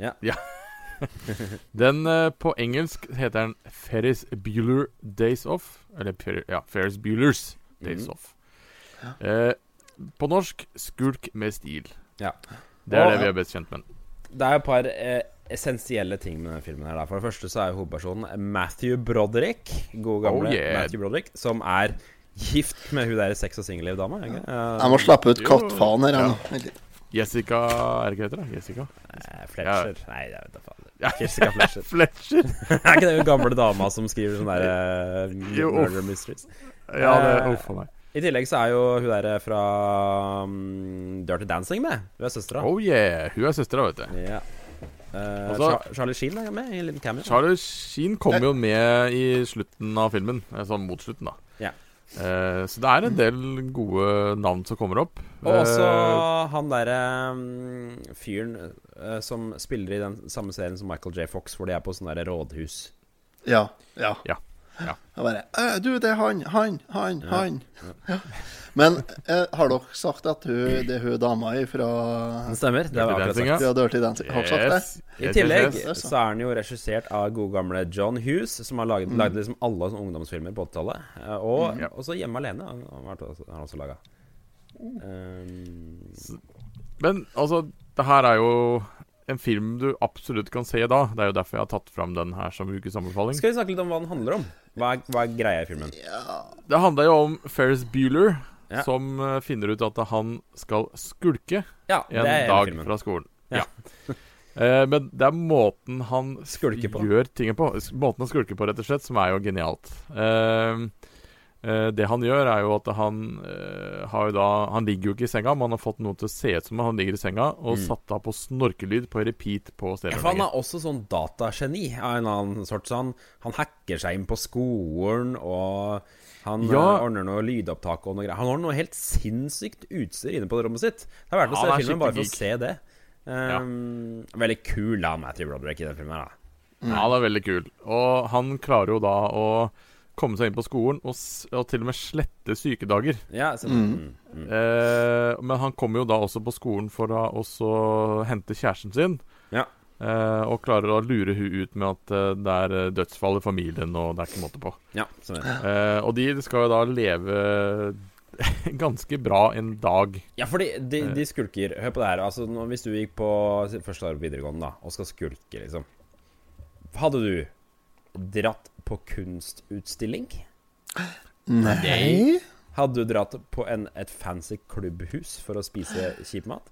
her. 2. Den eh, på engelsk heter den Ferris Bueller Days Off. Eller Fer ja, Ferris Buellers Days Mhm. Off. Eh, på norsk Skulk med stil. Ja. Det er Og- det vi er best kjent med. Det er et par eh, essensielle ting med denne filmen. her da. For det første så er jo hovedpersonen Matthew Broderick. God gamle Oh, yeah. Matthew Broderick. Som er gift med hun der sex- og singelliv-dama. er det ikke? Jeg må slappe ut Jo. kattfaen her Ja. ennå. Vent litt. Jessica Er det ikke det heter? det? Jessica? Eh, Fletcher. Nei, jeg vet da faen. Ja. Jessica Fletcher. Fletcher! er ikke det hun gamle dama som skriver sånne der, eh, Jo, uff. murder mysteries? Ja, det Eh, Uff a meg. I tillegg så er jo hun der eh, fra mm, Dirty Dancing med. Hun er søstera. Oh yeah! Hun er søstera, vet du. Ja. Eh, Og så- Cha- Charlie Sheen er med i en liten cameo. Charlie Sheen kommer jo med i slutten av filmen. eh, Sånn mot slutten, da. Ja. Eh, så det er en del gode navn som kommer opp. og også Eh, han derre mm, fyren eh, som spiller i den samme serien som Michael J. Fox, hvor de er på sånn derre rådhus. Ja. Ja. Ja, ja. Jeg bare «Æ, Du, det er han, han, han, han. Ja. Men eh, har dere sagt at hun, det er hun dama fra, Den stemmer. Det Dirty var akkurat Dancing, sagt. ja. fra Dirty Dancing? Har dere sagt det? Eh, yes, I yes, tillegg yes, yes. så er han jo regissert av gode gamle John Hughes, som har laget, lagde liksom alle sånne ungdomsfilmer på 80-tallet. Eh, Og Mm. Ja. også Hjemme alene han- han har også- han har også laga. Mm. Um, Men altså, det her er jo en film du absolutt kan se da. Det er jo derfor jeg har tatt fram den her som ukens anbefaling. skal vi snakke litt om hva den handler om? Hva er, hva er greia i filmen? Det handler jo om Ferris Bueller, Ja. som eh, finner ut at han skal skulke Ja, det en er hele dag filmen. fra skolen. Ja. Ja. Eh, men det er måten han Skulker på. gjør tingene på. s- Måten han skulker på, rett og slett, som er jo genialt. Eh, Eh, det han gjør, er jo at han eh, har jo da Han ligger jo ikke i senga, men han har fått noe til å se ut som han ligger i senga, og Mm. satt da på snorkelyd på repeat på Ja, for han stereoanlegget. er også sånn datageni av en annen sort. Så han, han hacker seg inn på skolen, og han Ja. eh, ordner noe lydopptak og noe greier. Han har noe helt sinnssykt utstyr inne på rommet sitt. Det er verdt å Han se er filmen bare for skikkelig å se det. Um, Veldig kul da, Matthew Broderick i den filmen. her, Da. Ja, han er veldig kul. Og han klarer jo da å komme seg inn på skolen og, s og til og med slette sykedager. Ja, så, Mm. mm, mm. Eh, men han kommer jo da også på skolen for å også hente kjæresten sin. Ja. Eh, og klarer å lure hun ut med at eh, det er eh, dødsfall i familien, og det er ikke måte på. ja så, Eh, og de skal jo da leve ganske bra en dag. Ja, fordi de, Eh. de skulker. Hør på det her. Altså, nå- hvis du gikk på første år på videregående da, og skal skulke, liksom Hadde du dratt på kunstutstilling? Nei. Hadde du dratt på en, et fancy klubbhus for å spise kjip mat?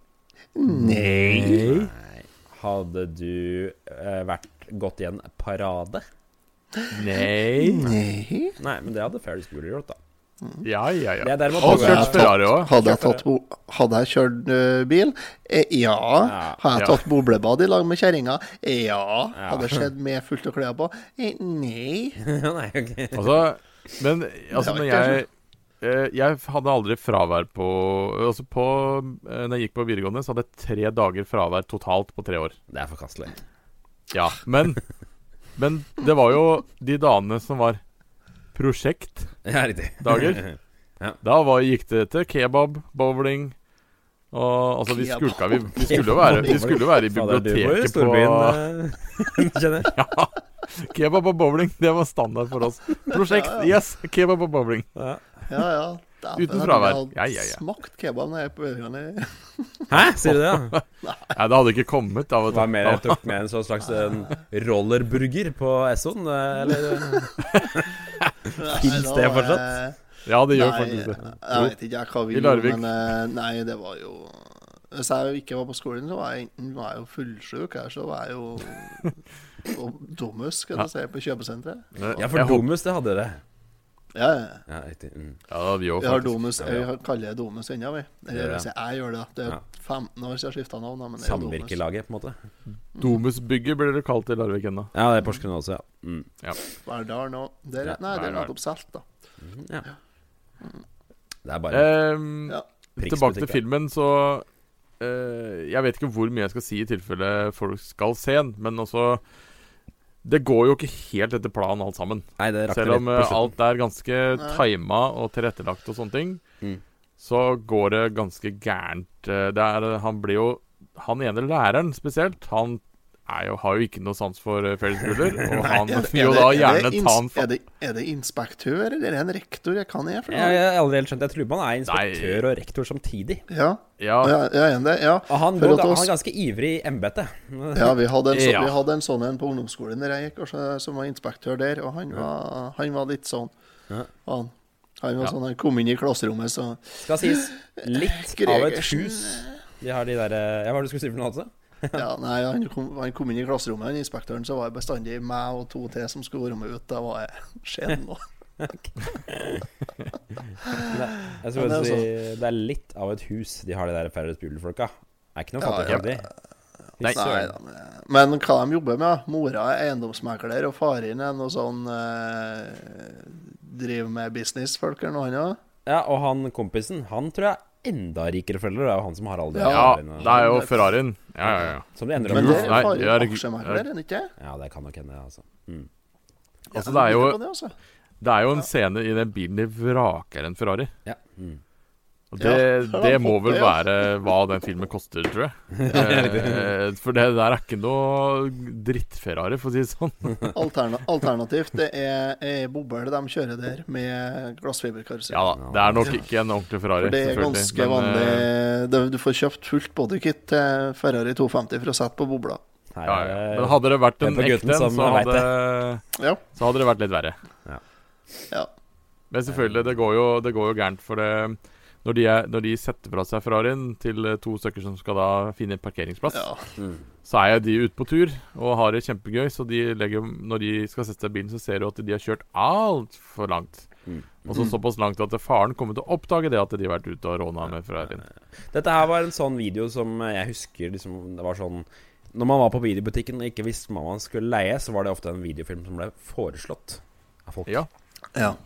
Nei. Nei. Hadde du eh, vært gått i en parade? Nei Nei. Nei, men det hadde Fairly Schooler gjort, da. Ja, ja, Det ja. er derimot Og noe- kjørt Ferrari òg. Hadde jeg, tatt bo hadde jeg kjørt ø, bil? Eh, ja. Ja. Hadde jeg Ja. tatt boblebad i lag med kjerringa? Eh, ja. Hadde jeg sett med fullt av klær på? Eh, nei. Nei, ok. Altså, men altså, Det når var jeg ikke eh, Jeg hadde aldri fravær på Altså, på eh, Når jeg gikk på videregående, så hadde jeg tre dager fravær totalt på tre år. Det er forkastelig. Ja, men Men det var jo de dagene som var prosjektdager. Ja, riktig. Da var, gikk det til kebab, bowling og altså vi Kebab. skulka vi, vi skulle jo være, vi skulle jo være i Fader, du bor jo i biblioteket på storbyen, eh, kjenner jeg. ja, Kebab og bowling, det var standard for oss. Prosjekt, yes! Kebab og bowling. Ja. Ja, ja. Dæven, Uten fravær. Jeg hadde Ja, ja, ja. smakt kebab når jeg er på videregående. Hæ, sier du det? ja? Nei, det hadde ikke kommet. Da, vet Hva er mer jeg du. tok med en sånn slags en rollerburger på Essoen? eh, Eller Finnes det fortsatt? Ja, det gjør Nei, faktisk det. Jeg vet ikke jeg, hva vi I gjorde, Larvik. men eh, nei, det var jo Hvis jeg ikke var på skolen, så var jeg enten var jeg jo fullsjuk, eller så var jeg jo og dummus, skal jeg si, på kjøpesenteret. Ja, for Jeg håper- Domus, det hadde det. Ja, ja. Ja, riktig. Mm. Ja, vi Vi også, har faktisk. domus, Ja, ja. jeg kaller det domus ennå, vi. Gjør Eller det. hvis jeg, jeg gjør det, da. Det Ja. er 15 år siden jeg skifta navn, da, men det er jo domus. Samvirkelaget, på en måte. Domusbygget blir det kalt i Larvik ennå. Ja, det er Porsgrunn også, ja. Mm. Hva er det der nå? Der, Ja, nei, det der, er der. nettopp solgt, da. Mm, ja. Det er bare Ehm, Ja. tilbake til Priksbutikk, filmen, så eh, Jeg vet ikke hvor mye jeg skal si i tilfelle folk skal se den, men altså Det går jo ikke helt etter planen, alt sammen. Nei, det rakk Selv om eh, alt alt er ganske Nei. tima og tilrettelagt og sånne ting, Mm. så går det ganske gærent. Eh, Det er, han blir jo Han ene læreren spesielt, han er jo, har jo ikke noe sans for eh, Ferris Bueller, og han Er det- vil jo er da det- er gjerne det ta ins- han fa... er, det, er det inspektør, eller er det en rektor? Jeg kan jeg for Jeg, noe? jeg har aldri helt skjønt Jeg tror man er inspektør og rektor samtidig. Ja, Ja, ja, ja, er det, ja. Og han, For går, at han oss- er ganske ivrig i embetet. Ja, vi hadde en, så, Ja. vi hadde en sånn en på ungdomsskolen der jeg gikk, og så, som var inspektør der, og han var, han var litt sånn. Ja. Han, han var Ja. sånn, han kom inn i klasserommet, så Skal sies litt av et Gregersen. hus. De har de derre Ja, hva var det du skulle si for noe, altså? Ja, nei, han kom, han kom inn i klasserommet, han inspektøren, så var det bestandig meg og to til som skulle være med ut. Da var jeg skjedd nå. Jeg skulle Ja, bare det er si Det er litt av et hus de har, de der Ferris Bueller-folka. Er ikke noe fattig Ja, ja. kjempe. Nei. Nei da, men, men hva de jobber med, da? Mora er eiendomsmegler, og faren er noe sånn eh, Driver med businessfolk eller noe annet. Ja, og han kompisen, han tror jeg er enda rikere foreldre. Det er jo han som har alle de Ja. ja, foreldrene. det er jo Ferrarien. Ja, ja, ja. Som de endrer Men om. det er Nei, faren det er ikke- aksjemegler, er han ikke? Ja, det kan nok hende, altså. Mm. Altså, Ja, det er jo- lurer på det, altså. Det er jo en scene i den bilen de vraker en Ferrari. Ja. Mm. Og Ja, det, har han det må fått vel det, ja. være hva den filmen koster, tror jeg. Eh, for det der er ikke noe dritt-Ferrari, for å si det sånn. Alterna alternativt det er ei boble de kjører der med glassfiberkarusell. Ja da, det er nok ikke en ordentlig Ferrari. For det er selvfølgelig, ganske men, vanlig eh, det- Du får kjøpt fullt bodykit til Ferrari 250 for å sette på bobla. Her Ja, er ja. det- Men hadde det vært Det er en på ekte gutten en, som så vet hadde, Ja. så hadde det vært litt verre. ja. Men selvfølgelig, det går jo, det går jo gærent. For det, når, de er, når de setter fra seg Ferrarien til eh, to stykker som skal da finne en parkeringsplass, ja. Mm. så er jo de ute på tur og har det kjempegøy. Så de legger, når de skal sette seg i bilen, så ser du at de har kjørt altfor langt. Og så såpass langt at faren kommer til å oppdage det at de har vært ute og råna med Ferrarien. Dette her var en sånn video som jeg husker liksom, Det var sånn Når man var på videobutikken og ikke visste hva man skulle leie, så var det ofte en videofilm som ble foreslått av folk. Ja. Ja.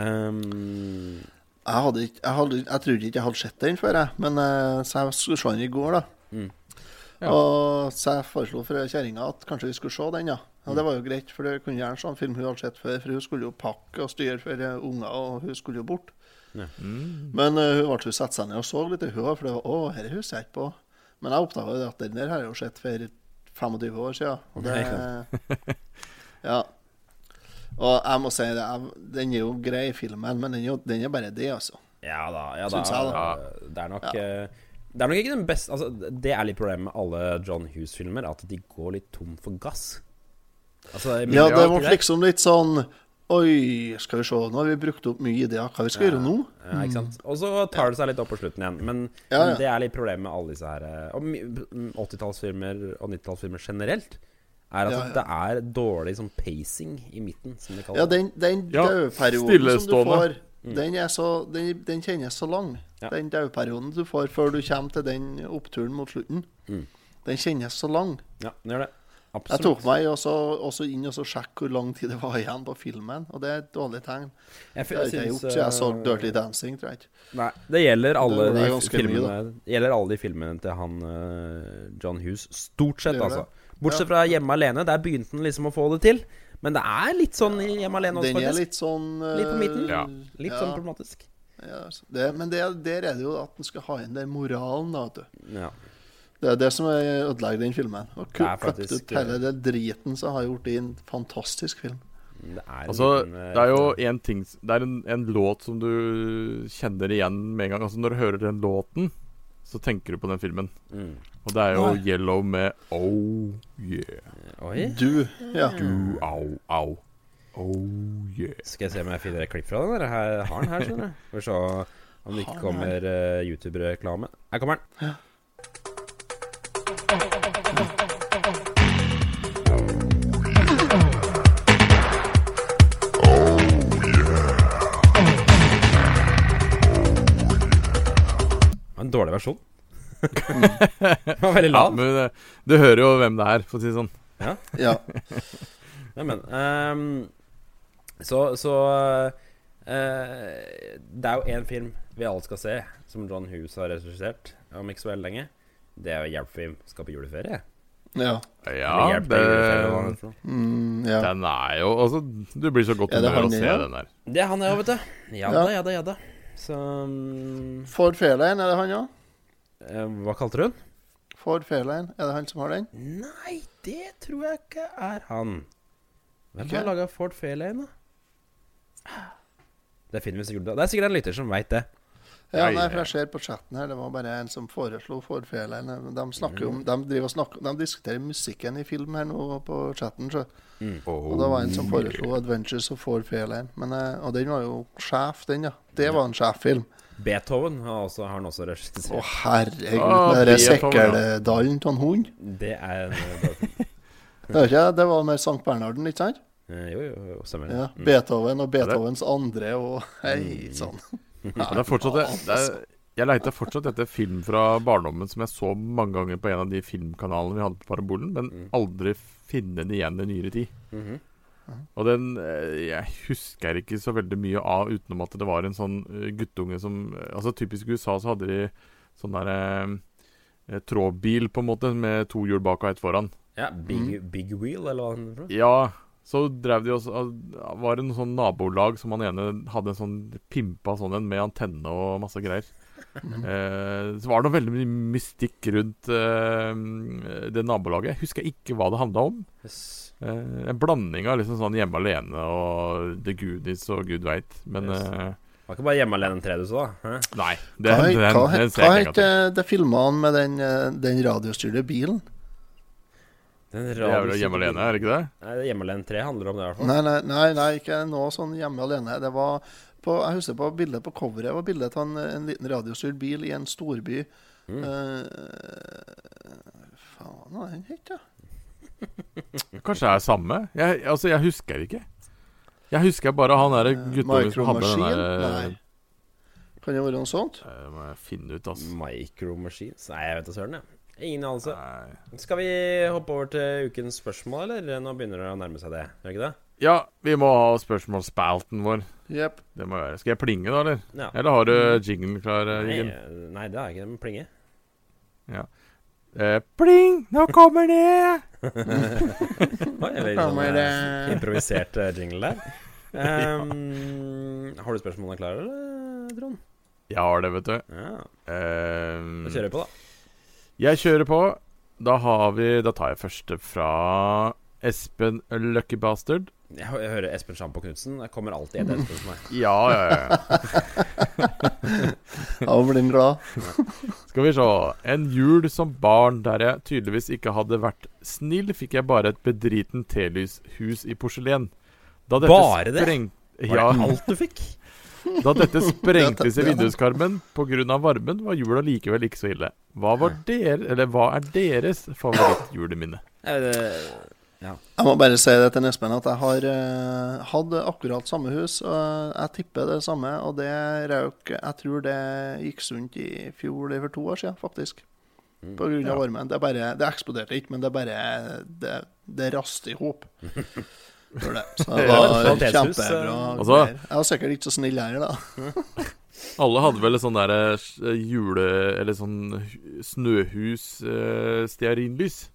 Ehm, Jeg, hadde ikke, jeg, hadde, jeg trodde ikke jeg hadde sett den før, jeg. Men eh, så jeg skulle se den i går, da. Mm. Ja. Og så jeg foreslo for kjerringa at kanskje vi skulle se den, ja. Og det var jo greit, for det kunne gjerne sånn film hun hadde sett før. For hun skulle jo pakke og styre for eh, unger, og hun skulle jo bort. Mm. Men eh, hun ble satte seg ned og så litt i hodet, for det var 'Å, dette husker jeg ikke på'. Men jeg oppdaga jo at den der har jeg jo sett for 25 år siden. Og det, ja. Og jeg må si det, jeg, den er jo grei, filmen, men den er jo den er bare det, altså. ja da. Ja, da Syns jeg, da. eh, Det er nok eh, Det er nok ikke den beste altså, Det er litt problemet med alle John Hughes-filmer, at de går litt tom for gass. Altså, jeg mener, Ja, det det var ble ikke det. liksom litt sånn Oi, skal vi se, nå har vi brukt opp mye ideer. Hva vi skal gjøre nå? Ja, ikke sant? Og så tar det seg litt opp på slutten igjen. Men, Mm. Ja, ja. men det er litt problemet med alle disse her eh, og mi- 80-tallsfilmer og 90-tallsfilmer generelt. Er at Ja, ja. det er dårlig sånn pacing i midten, som de Ja, kaller det. den, den Ja, dauperioden som du stillestående. får, den, er så, den, den kjennes så lang. Ja. Den dauperioden du får før du kommer til den oppturen mot slutten, Mm. den kjennes så lang. Ja, den gjør det. Jeg Absolutt. tok meg også, også inn og så sjekk hvor lang tid det var igjen på filmen, og det er et dårlig Jeg, tegn. Det har ikke jeg syns, gjort siden jeg så eh, Dirty Dancing, tror jeg ikke. Nei, det gjelder alle Det var de ganske mye, filmene Det gjelder alle de filmene til han eh, John Hughes, stort sett, Det gjør altså. Bortsett fra Hjemme alene, der begynte han liksom å få det til. Men det er litt sånn i Hjemme alene også, Den er faktisk. litt sånn eh, Litt på midten. Ja. Litt ja, sånn problematisk. ja, altså. det, Men det, der er det jo at en skal ha inn den moralen, da, vet du. Ja. Det er det som er- ødelegger den filmen. Og Det er kutt kutt faktisk- ut hele eh, den driten som har gjort det i en fantastisk film. Det er, en Altså, liten, eh, det er jo en ting s- Det er en, en låt som du kjenner igjen med en gang. Altså Når du hører den låten, så tenker du på den filmen. Mm. Og det er jo Nei. Yellow med Oh yeah. eh, Oi. Du, ja. Du, au, au. Oh yeah. Skal jeg se om jeg finner et klipp fra den? Eller her, har den her, skjønner du? Får vi se om det ikke Har den her. kommer eh, YouTube-reklame. Her kommer den. Det var En dårlig versjon. Den var veldig Ja, lav. men eh, du hører jo hvem det er, for å si det sånn. ja. Nei, men ehm, Så, så eh, Det er jo én film vi alle skal se, som John Hughes har regissert, om ikke så veldig lenge. Det er jo 'Hjelpfilm skal på juleferie'. Ja. Eller Ja, hjelp til juleferie, eller hva det det, er for noe. Mm, ja. den er jo Altså, du blir så godt Er det humør av han å se igjen? den der. Det er han der òg, vet du. Ja Ja. da, ja da, ja da. Så mm, Ford Fairlane, er det han òg? eh, Hva kalte du den? Ford Fairlane, er det han som har den? Nei, det tror jeg ikke er han. Hvem Ikke? har laga Ford Fairlane, da? Det finner vi sikkert ut av. Det er sikkert en lytter som veit det. Ja, Ja, ja, nei, for ja. jeg ser på chatten her, det var bare en som foreslo Ford Fairlane. De snakker jo Mm. om De driver og snakker De diskuterer musikken i film her nå på chatten, så. Mm. Og da var det en Oh. som foreslo 'Adventures of Ford Fairlane'. Men, eh, og den var jo sjef, den, ja. Det var en sjeffilm. Beethoven har, også, har han også regissert. Å, herregud. Ah, Den derre Beethoven, ja. sekkeldalen av en hund. Det er en eh, bra film. Det, er ikke, det var med Sankt Bernharden, ikke sant? Eh, Jo, jo, jo, stemmer det. Ja, Mm. Beethoven og Beethovens andre og Mm. hei sånn. sann. Men det er fortsatt det, det er, Jeg leita fortsatt etter film fra barndommen som jeg så mange ganger på en av de filmkanalene vi hadde på Parabolen, men Mm. aldri finne den igjen i nyere tid. Mhm. Og den eh, Jeg husker ikke så veldig mye av utenom at det var en sånn eh, guttunge som eh, Altså Typisk i USA så hadde de sånn derre eh, trådbil, på en måte, med to hjul bak og ett foran. Ja, Mm. big, big Wheel, eller hva han heter. for noe? Ja, så drev de også Var det noe sånn nabolag som han ene hadde en sånn pimpa sånn en med antenne og masse greier. Mhm. Eh, så var det noe veldig mye mystikk rundt eh, det nabolaget. Jeg husker ikke hva det handla om. Yes. Eh, en blanding av liksom sånn hjemme alene og The Goodies og gud veit. Men Yes. eh, Det Var ikke bare hjemme alene tre du så, da? Hæ? nei. Det, Hva den, den, hva- den hva ser jeg ikke. heter det filma han med den, eh, den radiostyrte bilen? Den Det er vel hjemme alene, er det ikke det? Nei, det er Hjemme alene 3 handler om det, i hvert fall. Nei, nei, nei, nei ikke noe sånn hjemme alene. Det var på, jeg husker på bildet på coveret var bildet av en, en liten radiostyrt bil i en storby. Mm. faen, hva er den het, da? Kanskje det er samme? Jeg, altså, jeg husker ikke. Jeg husker bare han der guttungen som hadde den Micromaskin? der Nei. Kan det være noe sånt? eh, Må jeg finne ut, Mm. altså. Micromachines? Nei, jeg vet da søren, jeg. Ingen anelse. Nei. Skal vi hoppe over til ukens spørsmål, eller? Nå begynner det å nærme seg det, gjør det ikke det? Ja, vi må ha spørsmålsspalten vår. Jepp. Det må jeg gjøre. Skal jeg plinge, da, eller? Ja. Eller har du jinglen klar, eh, Mm. Nei, Jørgen? eh, nei, det er ikke det med plinge. Eh, pling! Nå kommer det! Oi, veldig sånn, Kommer eh, det Improvisert eh, jingle der. Ehm, har du spørsmålene klare, eller, Trond? Jeg har det, vet du. Ja, Eh, Da kjører vi på, da. Jeg kjører på. Da har vi Da tar jeg første fra Espen Lucky Bastard. Jeg, hø- jeg hører Espen Sjampo Knutsen. Jeg kommer alltid etter Espen for meg. Ja, ja, ja. Ja, blir den glad? Skal vi se. En jul som barn der jeg tydeligvis ikke hadde vært snill, fikk jeg bare et bedriten telys-hus i porselen. Da Bare det? spreng- Var Ja, det alt du fikk? da dette sprengtes i vinduskarmen pga. varmen, var jula likevel ikke så ille. Hva, var dere, eller hva er deres favorittjuleminne? Er det- Jeg må bare si det til Espen at jeg har eh, hatt akkurat samme hus. Og jeg tipper det samme, og det røk Jeg tror det gikk sunt i fjor eller for to år siden, faktisk. Mm. På grunn Ja. av varmen. Det, bare, det eksploderte ikke, men det bare Det, det raste i hop. Så det Det var var et kvalitetshus, kjempebra. eh. Altså- greier. jeg var sikkert ikke så snill heller, da. Alle hadde vel et sånn der eh, s- eh, jule... Eller sånn hu- snøhus eh, stearinlys.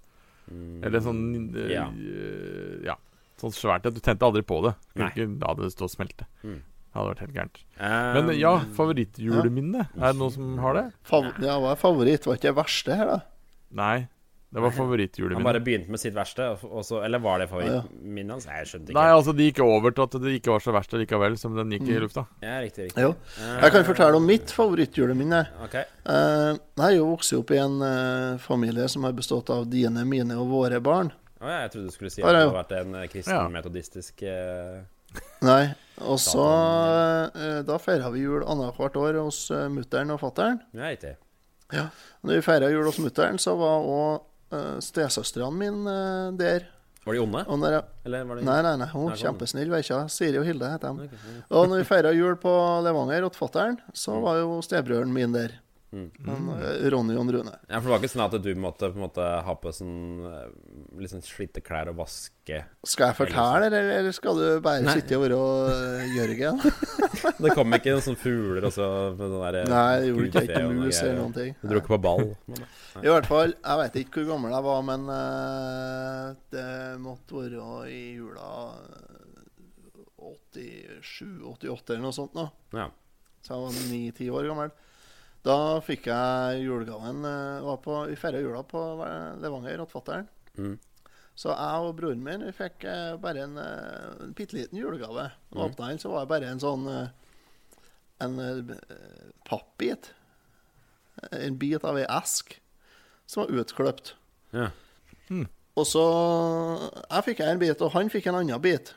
Mm. Eller sånn eh, Ja. eh, ja. Sånn svært at du tente aldri på det. Nei. Kunne ikke la det stå og smelte. Mm. Det hadde vært helt gærent. Ehm, Men ja, favorittjuleminne. Er det noen som har det? Fav ja, hva er favoritt? Var ikke det verste her, da? Nei. Det var Han favorittjuleminne. bare begynte med sitt verste, og- og så Eller var det favorittminnet hans? Nei, Jeg skjønte Nei, ikke. altså, de gikk over til at det ikke var så verst likevel, som den gikk Mm. i lufta. Ja, riktig, riktig. Jo. Jeg kan fortelle om mitt favorittjuleminne. Ok. Eh, nei, jeg vokste jo opp i en eh, familie som har bestått av dine, mine og våre barn. Å ja, jeg trodde du skulle si Har at det jeg hadde vært en eh, kristen Ja. metodistisk eh, Nei, og så eh, Da feira vi jul annethvert år hos uh, mutter'n og fatter'n. Ja, riktig. Når vi feira jul hos mutter'n, så var òg uh, stesøstrene mine eh, der. Var de onde, Og når jeg, eller var de nei, nei, nei, hun Nei, er sånn. kjempesnill, vet ikke. Siri og Hilde heter de. Ok, ja. Og når vi feira jul på Levanger hos fatter'n, så var jo stebrødren min der. Mm. Han, eh, Ronny og Rune. Ja, for det var ikke sånn at du måtte på en måte ha på sånn eh, Litt sånn slitte klær og vaske Skal jeg fortelle, eller, eller skal du bare Nei. sitte og være eh, Jørgen? Det kom ikke noen sånne fugler og så med sånn der Nei, jeg gjorde ikke kute helt og noe mus greier. eller noen ting. Du dro ikke på ball? I hvert fall, jeg vet ikke hvor gammel jeg var, men eh, det måtte være i jula 87-88 eller noe sånt nå. Ja. Så jeg var 9-10 år gammel. Da fikk jeg julegaven eh, var på, Vi feira jula på eh, Levanger hos fatter'n. Mm. Så jeg og broren min vi fikk eh, bare en, eh, en bitte liten julegave. Mm. Og åpna den, så var det bare en sånn eh, En eh, pappbit. En bit av ei esk som var utkløpt. ja. Og så Jeg fikk en bit, og han fikk en annen bit.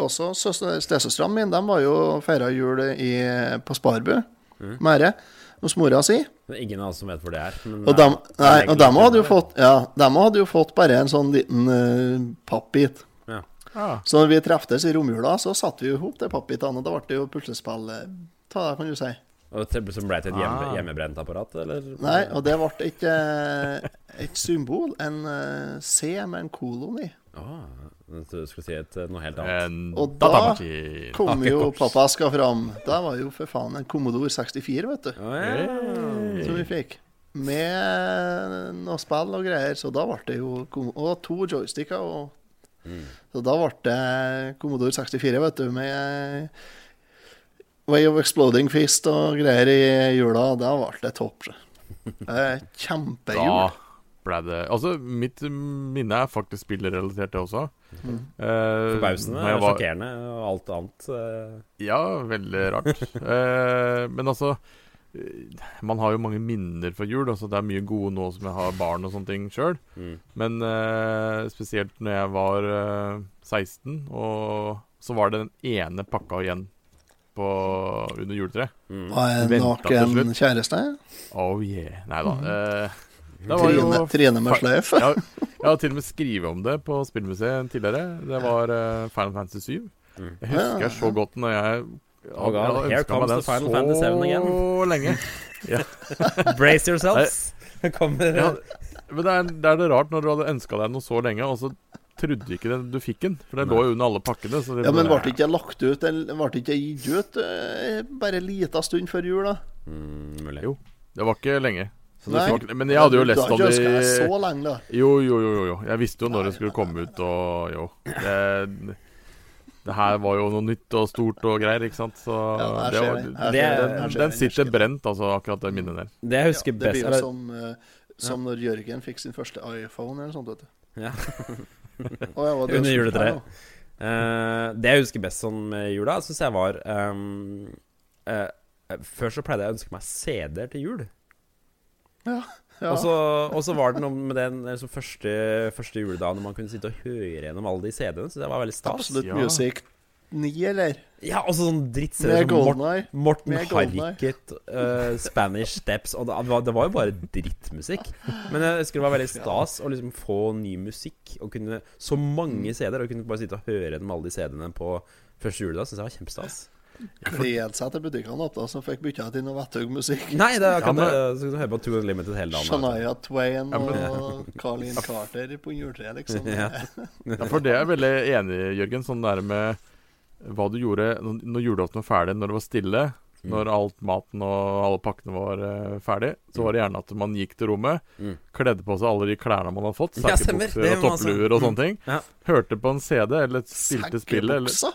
Også søster- stesøstrene mine de var jo feira jul i, på Sparbu, Mhm. Mære, hos mora si. Det er ingen av oss som vet hvor det er. Men Og dem, nei, og dem hadde jo fått Ja, dem hadde jo fått bare en sånn liten eh, pappbit. Ah. Så når vi treftes i romjula, så satte vi jo ihop de pappbitene, og da ble det jo puslespill. eh, Ta det, kan du si. Og det- Som ble til et hjemme, Ah. hjemmebrent apparat, eller? Nei, og det ble et, eh, et symbol. En eh, C med en kolon i. Ah, jeg trodde du skulle si et, noe helt annet. En Og da datamaskin. Kom jo Hakekoks. pappa skal fram. Da var jo for faen en Commodore 64, vet Eh, du, Å, ja. som vi fikk. Med noe spill og greier, så da ble det jo kom- Og to joysticker. Og, Mm. så da ble det Commodore 64, vet du, med eh, Way of Exploding Fist og greier i jula. Da ble det topp. Eh, Da Kjempejul. ble det Altså, mitt minne er faktisk spillrelatert, det også. Mm. Eh, Forbausende, når jeg var- sjokkerende og alt annet. eh, Ja, veldig rart. Eh, men altså eh, Man har jo mange minner fra jul. Altså, det er mye gode nå som jeg har barn og sånne ting sjøl. Mm. Men eh, spesielt når jeg var eh, 16, og så var det den ene pakka igjen på, under juletreet. Mm. Var jeg Venta til naken kjæreste? Oh yeah. Nei Mm. da. Eh, det var jo Trine, Trine med sløyf? Jeg har, jeg har til og med skrevet om det på spillmuseet tidligere. Det var eh, Final Fantasy 7. Jeg husker jeg så godt når jeg Oh God, jeg here ønsket meg comes den the Final Fantasy 7 again. Så lenge. Mm. Brace yourselves. Det kommer Ja, men det er, det er det rart når du hadde ønska deg noe så lenge, og så trodde ikke den, du fikk den. For det lå jo under alle pakkene. Så det Ja, men ble bare- det ikke lagt ut den- Ble det ikke gitt ut eh, bare en liten stund før jul, da? mm, mulig. Jo. Det var ikke lenge. Så det Nei. var, men jeg hadde jo lest om om det det Du har ikke ønsket i deg så lenge, da. Jo, jo, jo. jo, jo. Jeg visste jo når det skulle komme ut, og jo. Det, det her var jo noe nytt og stort og greier, ikke sant. Så Ja, her det skjer var, det. Her det- skjer den- her den, skjer den sitter energien. brent, altså, akkurat det minnet der. Det jeg husker Ja, det best blir jo eller- som, eh, som når Jørgen fikk sin første iPhone eller sånt, vet du. Ja. Å, ja, hva det Under skulle juletreet. være nå? Eh, det jeg husker best sånn med jula, syns jeg var ehm, eh, Før så pleide jeg å ønske meg CD-er til jul. Ja. Og så- Og så var det noe med den eh, så første, første juledagen når man kunne sitte og høre gjennom alle de CD-ene. Så det var veldig stas. Absolutt Ja. Music 9, eller? Ja, og så sånn dritt-CD-er Med som Morten, Golden Eye. Morten Med Golden Eye. Harket, eh, Spanish Steps og det, det, var, det var jo bare drittmusikk. Men jeg husker det var veldig stas å liksom få ny musikk og kunne Så mange CD-er, og kunne bare sitte og høre gjennom alle de CD-ene på første juledag. Syns jeg var kjempestas. Glede seg til butikkene åpna, så fikk bytta til noe vettug musikk. Nei, det Ja, kan men- du, så kan du høre på Two Unlimited hele dagen. da. Shania Twain Ja, men- og Carlin Carter på juletreet, liksom. Ja. Ja, for det er jeg veldig enig i, Jørgen. Sånn der med hva du gjorde når når julaften var ferdig, når det var stille. Mm. Når alt maten og alle pakkene var eh, ferdig, så var det gjerne at man gikk til rommet, Mm. kledde på seg alle de klærne man hadde fått, Ja, stemmer. sekkebukser Det og var masse- toppluer og sånne ting, Ja. hørte på en CD eller spilte spillet eller Sekkebuksa?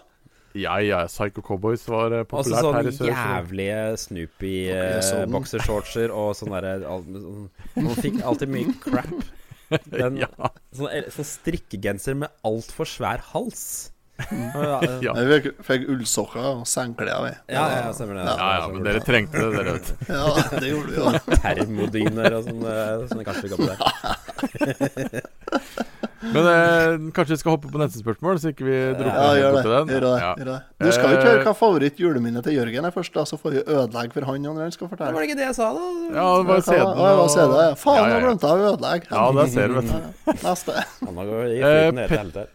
Ja, ja, Psycho Cowboys var eh, Og så populært her sånne i sør. Altså, så- sånn jævlige Jeg så sånn- den. Snoopy-boksershortser og sånn derre al- sånn- Man fikk alltid mye crap. Den, Ja, sånn, el- sånn strikkegenser med altfor svær hals. Ja, ja, Mm. ja. Nei, vi fikk, fikk ullsokker og sengklær, vi. ja, ja, stemmer det. Sånn ja, ja, men dere trengte det, dere vet. Ja, det gjorde vi jo. Termodyner sånn og sånn. eh, Sånne kanskje ikke opp der. Men eh, kanskje vi skal hoppe på neste spørsmål, så ikke vi drukner Ja, gjør det. borti den. Gjør det, Ja. gjør det. Du skal jo Eh, ikke høre hva favorittjuleminnet til Jørgen er først, da, så får vi ødelegge for han når han skal Det fortelle. var det ikke det jeg sa, da? ja, det var Hva- CD-en. Å, ja, hva CD, ja. Faen, Ja, ja, nå ja. glemte jeg å ødelegge. Ja, der ser du, vet du. Ja, Neste. Han har gått i Eh, flyten hele tiden.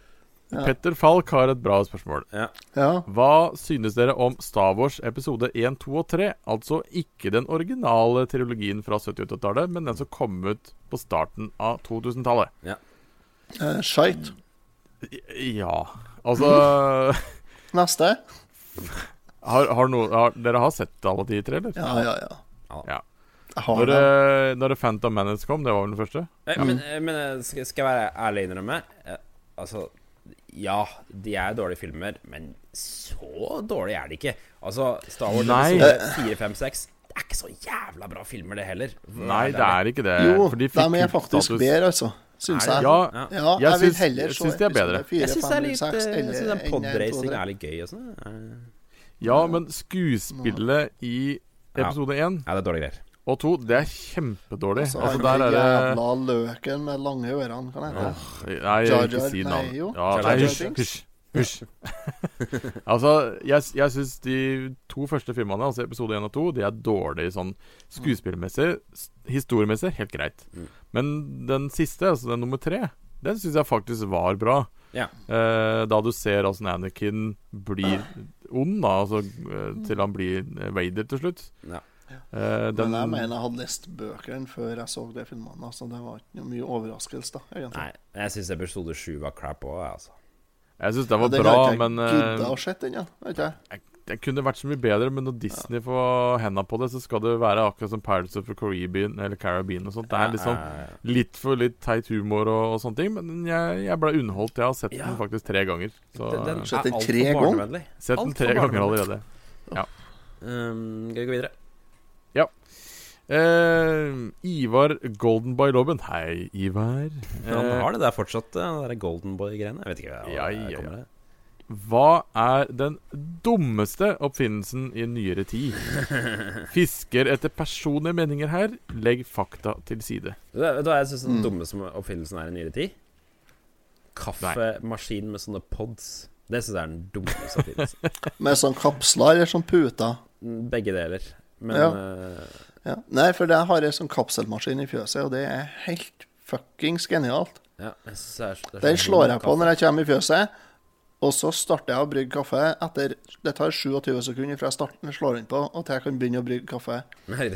Ja. Petter Falk har et bra spørsmål. Ja. Ja. Hva synes dere om Star Wars episode 1, 2 og 3? Altså ikke den originale trilogien fra 70-80-tallet, men den som kom ut på starten av 2000-tallet. Eh, Shite. I- Ja Altså Neste. har, har noen- har, Dere har sett alle de tre, eller? Ja, ja, ja. Ja. Jeg har Når, det. eh, når Phantom Menace kom, det var vel den første? Eh, Men, eh, men eh, skal skal jeg være ærlig innrømme eh, Altså, ja, de er dårlige filmer, men så dårlige er de ikke. Altså, Star Wars Nei. episode 4, 5, 6 Det er ikke så jævla bra filmer, det heller. Nei, det er ikke det. Jo, eh, for de de fikk er faktisk kultstatus. bedre, altså. Syns Er det? jeg. Ja, Ja. Ja, Jeg jeg vil syns- heller jeg se syns de er bedre. Jeg syns det er litt eh, Jeg syns den podracingen er litt gøy og sånn. eh. ja, men skuespillet i episode 1 Ja, det er dårlige greier. og 2, det er kjempedårlig. Så Altså, han der er det jævla løken med lange ørene, kan jeg hete. Nei, Jar jeg vil ikke Jar- si nei, navn. jo. Ja, Jar nei, Jar hysj, Binks. hysj, hysj. altså, jeg, jeg syns de to første filmene, altså episode 1 og 2, de er dårlige sånn skuespillmessig. s- Historiemessig helt greit. Mm. Men den siste, altså den nummer tre, den syns jeg faktisk var bra. Ja. Eh, da du ser åssen Anakin blir ond, da, altså Mm. eh, til han blir eh, Vader til slutt. Ja. Eh, den, Men jeg mener jeg hadde lest bøkene før jeg så de filmene, så det var ikke noe mye overraskelse, da, egentlig. Nei, jeg syns episode 7 var crap òg, altså. jeg syns den var Ja, den bra, har ikke men jeg eh, gidda å sett den, ja. Vet ikke jeg. Det kunne vært så mye bedre, men når Disney får henda på det, så skal det være akkurat som Pirates of the Caribbean eller Caribbean og sånt. Det er liksom Ja, ja, litt for litt teit humor og, og sånne ting, men jeg, jeg ble underholdt. Jeg har sett Ja. den faktisk tre ganger. Så ja. Den, den Sett den er tre altfor ganger? barnevennlig. sett den alt for tre ganger barnevennlig. allerede. Um, skal vi gå videre? Eh, Ivar Golden by Lobben. Hei, Ivar. Han Eh, har det der fortsatt, det der Golden Boy-greiene. Jeg vet ikke hva Ja, det ja, kommer ja. det. Hva er den dummeste oppfinnelsen i nyere tid? Fisker etter personlige meninger her. Legg fakta til side. Vet du vet du hva jeg syns Mm. den dummeste oppfinnelsen er i nyere tid? Kaffemaskin med sånne pods. Det syns jeg er den dummeste oppfinnelsen. Mm, Med sånn kapsler eller sånn puter. Begge deler. Men Ja. eh, Ja. Nei, for jeg har en sånn kapselmaskin i fjøset, og det er helt fuckings genialt. ja, jeg synes det er, det er så Den dum slår jeg på kaffe. når jeg kommer i fjøset, Og så starter jeg å brygge kaffe etter Det tar 27 sekunder fra jeg starten slår inn på, og til jeg kan begynne å brygge kaffe. Nei,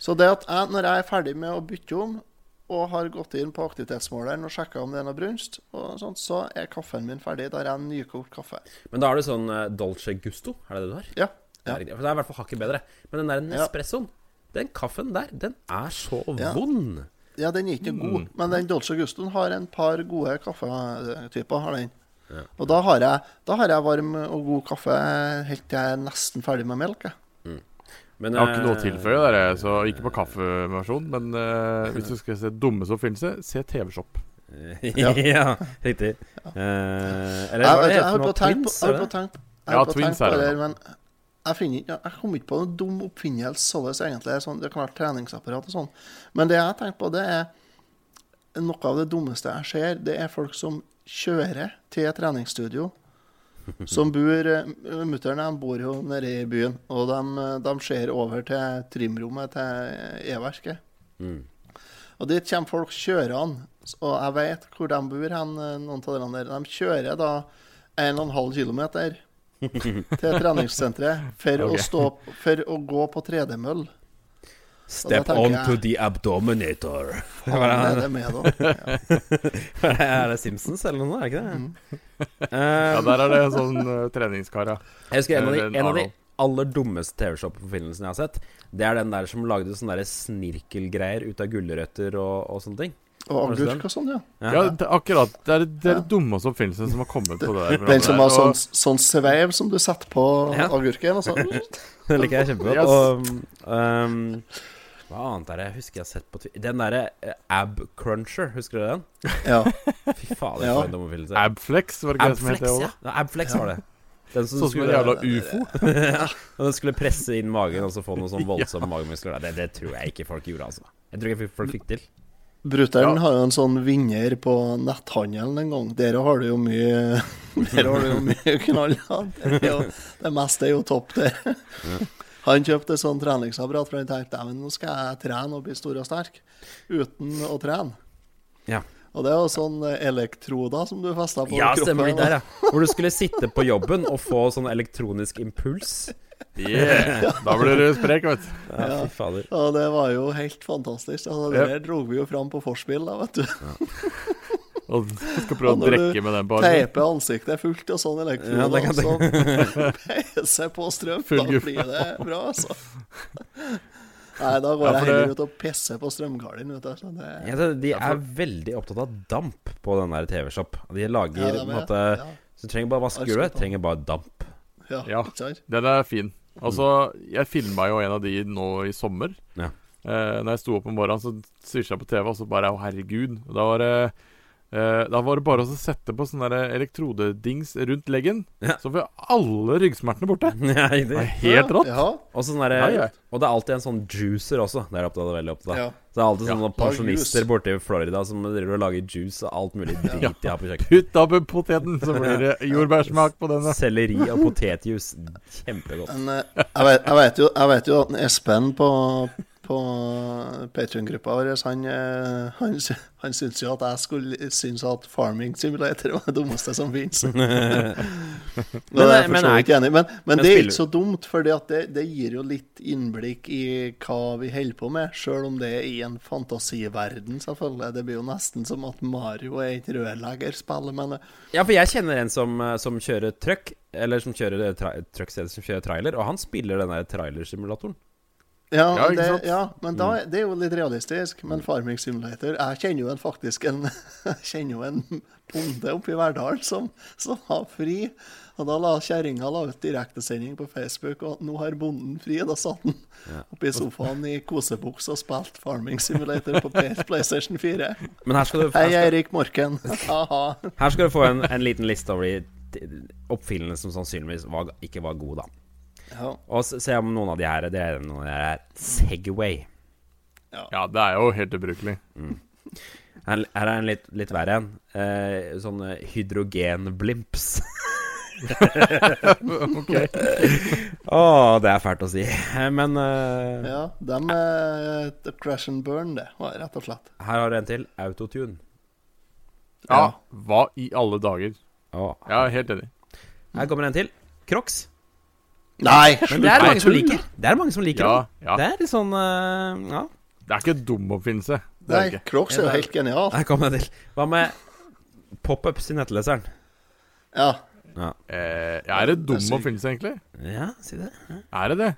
Så det at jeg, når jeg er ferdig med å bytte om, og har gått inn på aktivitetsmåleren og sjekka om det er noe brunst, og sånt, så er kaffen min ferdig. Da har jeg en nykokt kaffe. Men da har du sånn eh, Dolce Gusto, er det det du har? Ja. Ja. Ja. Det er i hvert fall hakket bedre. Men den der Nespressoen, den kaffen der, den er så Ja. vond. Ja, den er ikke god, men den Dolce Gustoen har en par gode kaffetyper. har den. Ja. Og da har, jeg, da har jeg varm og god kaffe helt til jeg er nesten ferdig med melk. Jeg. Men, Jeg har ikke noe å eh, tilføye der, jeg, så ikke på kaffeversjon. Men eh, hvis du skal se dumme som finnes, det, se TV-shop. ja. riktig. Eh, eller Jeg, hva vet du, jeg heter det holdt nå? på å tenke på- Twins? jeg holdt er på det å tenke- jeg Ja, holdt på å Twins tenke er på det. det, men jeg, finner, ikke- jeg kom ikke på noen dum oppfinnelse således, egentlig. Sånn, det kan være treningsapparat og sånn. Men det jeg har tenkt på, det er noe av det dummeste jeg ser, det er folk som kjører til treningsstudio. Som bor eh, Mutter'n bor jo nede i byen, og de, eh, de ser over til trimrommet til E-verket. Mm. Og dit kommer folk kjørende, og jeg vet hvor de bor hen, eh, noen av de der. De kjører da 1,5 km til treningssenteret for, Ok. å stå, for å gå på tredemøll. Step tenker on jeg- to the abdominator. Hva er det med, da? Ja. er det Simpsons eller noe? Er det ikke det? Eh, Ja, der er det en sånn eh, treningskar, ja. Jeg husker en av de, Eller en en av de Arnold. aller dummeste TV-shop-forfinnelsene jeg har sett. Det er den der som lagde sånne der snirkelgreier ut av gulrøtter og, og sånne ting. Og Var det agurk og sånn, ja. Ja, det, akkurat. Det er det er den dummeste oppfinnelsen som har kommet på det der. Den som programmet har der, sånn, og- sånn sveiv som du setter på Ja. agurken. Og sånn. Det liker jeg kjempegodt. Og um, Hva annet er det jeg husker jeg har sett på Twitter? Den derre eh, Ab Cruncher, husker du den? Ja. Fy fader, Ja. for en domofilelse. Abflex, var det ikke det som het Abflex, det også? ja. ja. Abflex var det. Den som Sånn som en skulle, jævla ufo. ja, og den skulle presse inn magen og så få noen sånn voldsomme magemuskler. Det, det tror jeg ikke folk gjorde, altså. Jeg tror ikke folk fikk til. Brutter'n Ja. har jo en sånn vinner på netthandelen en gang. Der har du jo mye Der har du jo mye knall. ja. Det, er jo- det meste er jo topp der. Han kjøpte sånn treningsapparat, for han tenkte "Nei, men nå skal jeg trene og bli stor og sterk uten å trene. Ja. Og det er jo sånn eh, elektroder som du festa på Ja, kroppen, stemmer det da. der, ja. Hvor du skulle sitte på jobben og få sånn elektronisk impuls. Yeah. Da blir du sprek, vet du. Ja, fy fader. Og det var jo helt fantastisk. Altså, det Ja. der dro vi jo fram på vorspiel, da, vet du. Og du skal prøve Og å når du drikke med den bare. Teipe ansiktet fullt og sånn Ja, elektroder, det kan og så peise på strøm. Full Da guffe. blir det bra, altså. Nei, da går Ja, for jeg heller det- ut og pisser på strømgardinen, vet du. Så det... Ja, det- de er veldig opptatt av damp på den der TV-shop. De lager Ja, på det er en med. måte Ja, Så du trenger bare å vaske gulvet. Trenger bare damp. ja, Ja. ikke sant? Den er fin. Altså, jeg filma jo en av de nå i sommer. Ja. Eh, når jeg sto opp om morgenen, så svisja jeg på TV, og så bare Å, herregud. Og Da var det eh, da var det bare å sette på sånne der elektrodedings rundt leggen, Ja. så får alle ryggsmertene borte. Ja, Det er riktig. helt rått. Ja, Og, sånn der, Ja, ja. og det er alltid en sånn juicer også. Det er jeg opptatt av, veldig opptatt av. ja. Så det er alltid sånne lag pensjonister juice. borte i Florida som driver og lager juice og alt mulig drit de har på kjøkkenet. Putt opp i poteten, så blir det jordbærsmak på den. Sånn, da. Selleri og potetjuice. Kjempegodt. Men eh, jeg vet, jeg vet, jo, jeg vet jo at Espen på, på Patrion-gruppa vår, han, eh, han, sy- han syntes jo at jeg skulle synes at Farming Simulator var det dummeste som finnes. Men, Men- jeg er for men så er- vidt enig, men, men, men det er spiller- ikke så dumt, for det, det gir jo litt innblikk i hva vi holder på med, sjøl om det er i en fantasiverden, selvfølgelig. Det blir jo nesten som at Mario er et rørleggerspill, men eh, Ja, for jeg kjenner en som, eh, som kjører truck, eller som kjører eh, tra truck, som kjører trailer, og han spiller den der trailersimulatoren. Ja, Ja, ikke det, sant? Mm. ja men da, det er jo litt realistisk. Men Farming Simulator Jeg kjenner jo en faktisk en, jeg kjenner jo en bonde oppe i Verdal som, som har fri. Og da la kjerringa la ut direktesending på Facebook, og nå har bonden fri. Da satt han oppe i sofaen i kosebukse og spilte Farming Simulator på P- PlayStation 4. Men her skal du, Hei, her skal, Eirik Morken. Aha. her skal du få en, en liten liste over de t- oppfinnelsene som sannsynligvis var, ikke var gode, da. Ja, Og s- se om noen av de her Det er noen av de her Segway. Ja, det er jo helt ubrukelig. Her, her er en litt, litt verre en. Eh, sånne hydrogenblimps. Ok Å, det er fælt å si. Eh, Men eh, ja dem er the crash and burn, det, var rett og slett. her har du en til. Autotune. Ja, hva i alle dager? Å, Jeg er helt enig. Her kommer en til. Crocs. Nei! Men det er mange som liker. Det er mange som liker Ja, dem. ja. Det er litt sånn eh, Ja, Det er ikke en dum oppfinnelse. Det er Nei, det ikke. Crocs er jo helt genialt. her kommer en til. Hva med pop-ups i nettleseren? Ja. Eh, er det Det dum er sykt. oppfinnelse, egentlig? Ja, si det. Er det det?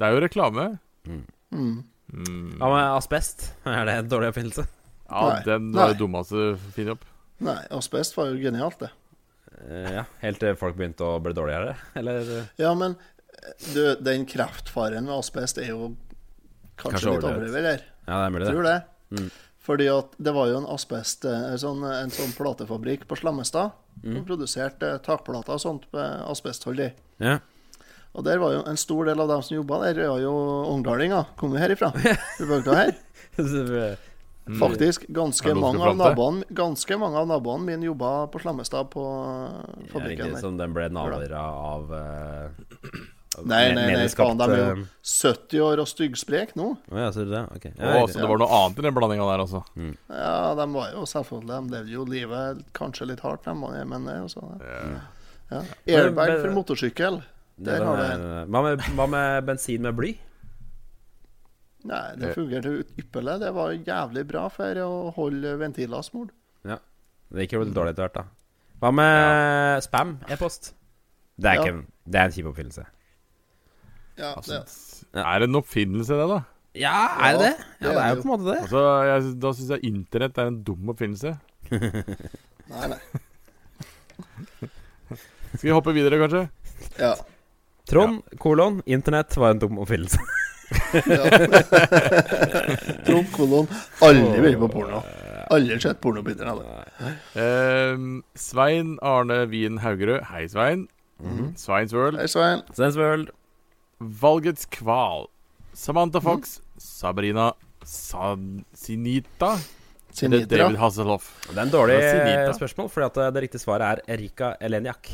Det er jo reklame. Mm. Mm. Hva med asbest? Er det en dårlig oppfinnelse? Ja, Nei. den var Nei. det dummeste du finner opp. Nei, asbest var jo genialt, det. Eh, ja, helt til folk begynte å bli dårligere? Eller eh, Ja, men eh, du, den kreftfaren med asbest er jo kanskje, Kanskje litt overdrevet. overdrevet her. Ja, det er mulig, det. Tror det. Mm. Fordi at det var jo en asbest eh, sånn, En sånn platefabrikk på Slemmestad Mm. som produserte takplater og sånt med asbesthold i. Ja. Og der var jo en stor del av dem som jobba der, var jo ungdalinger. Kom jo herifra. Fra bygda her. eh, Mm. Faktisk. Ganske Er det noen mange, som av fant det? naboene, ganske mange av naboene mine jobba på Slemmestad, på eh, Det er fabrikken ikke der. som den ble nalere av eh, av Nei, nei, nei, medieskapt, faen, de er eh, jo 70 år og styggsprek nå. Å ja, ser du det? Ok. Å, Ja, riktig. så det var noe annet i den blandinga der, altså. Mm. Ja, de var jo selvfølgelig De levde jo livet kanskje litt hardt, de, var- men det er jo sånn. det. Ja. Airbag Men- for motorsykkel. Det Der har du er- Hva med, hva med bensin med bly? Nei, det fungerte jo ypperlig. Det var jo jævlig bra for å holde ventiler smurt. Det gikk jo litt dårlig etter hvert, da. Hva med spam e-post? Det er, Ja. ikke en, det er en kjip oppfinnelse. Ja, altså det- Er det en oppfinnelse, det, da? Ja, er det det? Ja, det er jo på en måte det. Altså, jeg, Da syns jeg internett er en dum oppfinnelse. Nei, nei. Skal vi hoppe videre, kanskje? Ja. Trond, kolon, internett var en dum oppfinnelse. ja. Trond kolon. Aldri vært på porno. Aldri sett porno på internett. Ehm, Svein Arne Wien Haugerød. Hei, Svein. Sveins World. Hei, Svein. Sensworld. Valgets kval. Samantha Fox. Sabrina San Sinita. Eller Sinitra. David Hasselhoff. Det er en dårlig Det er Sinita. spørsmål, fordi at eh, det riktige svaret er Erika Eleniak.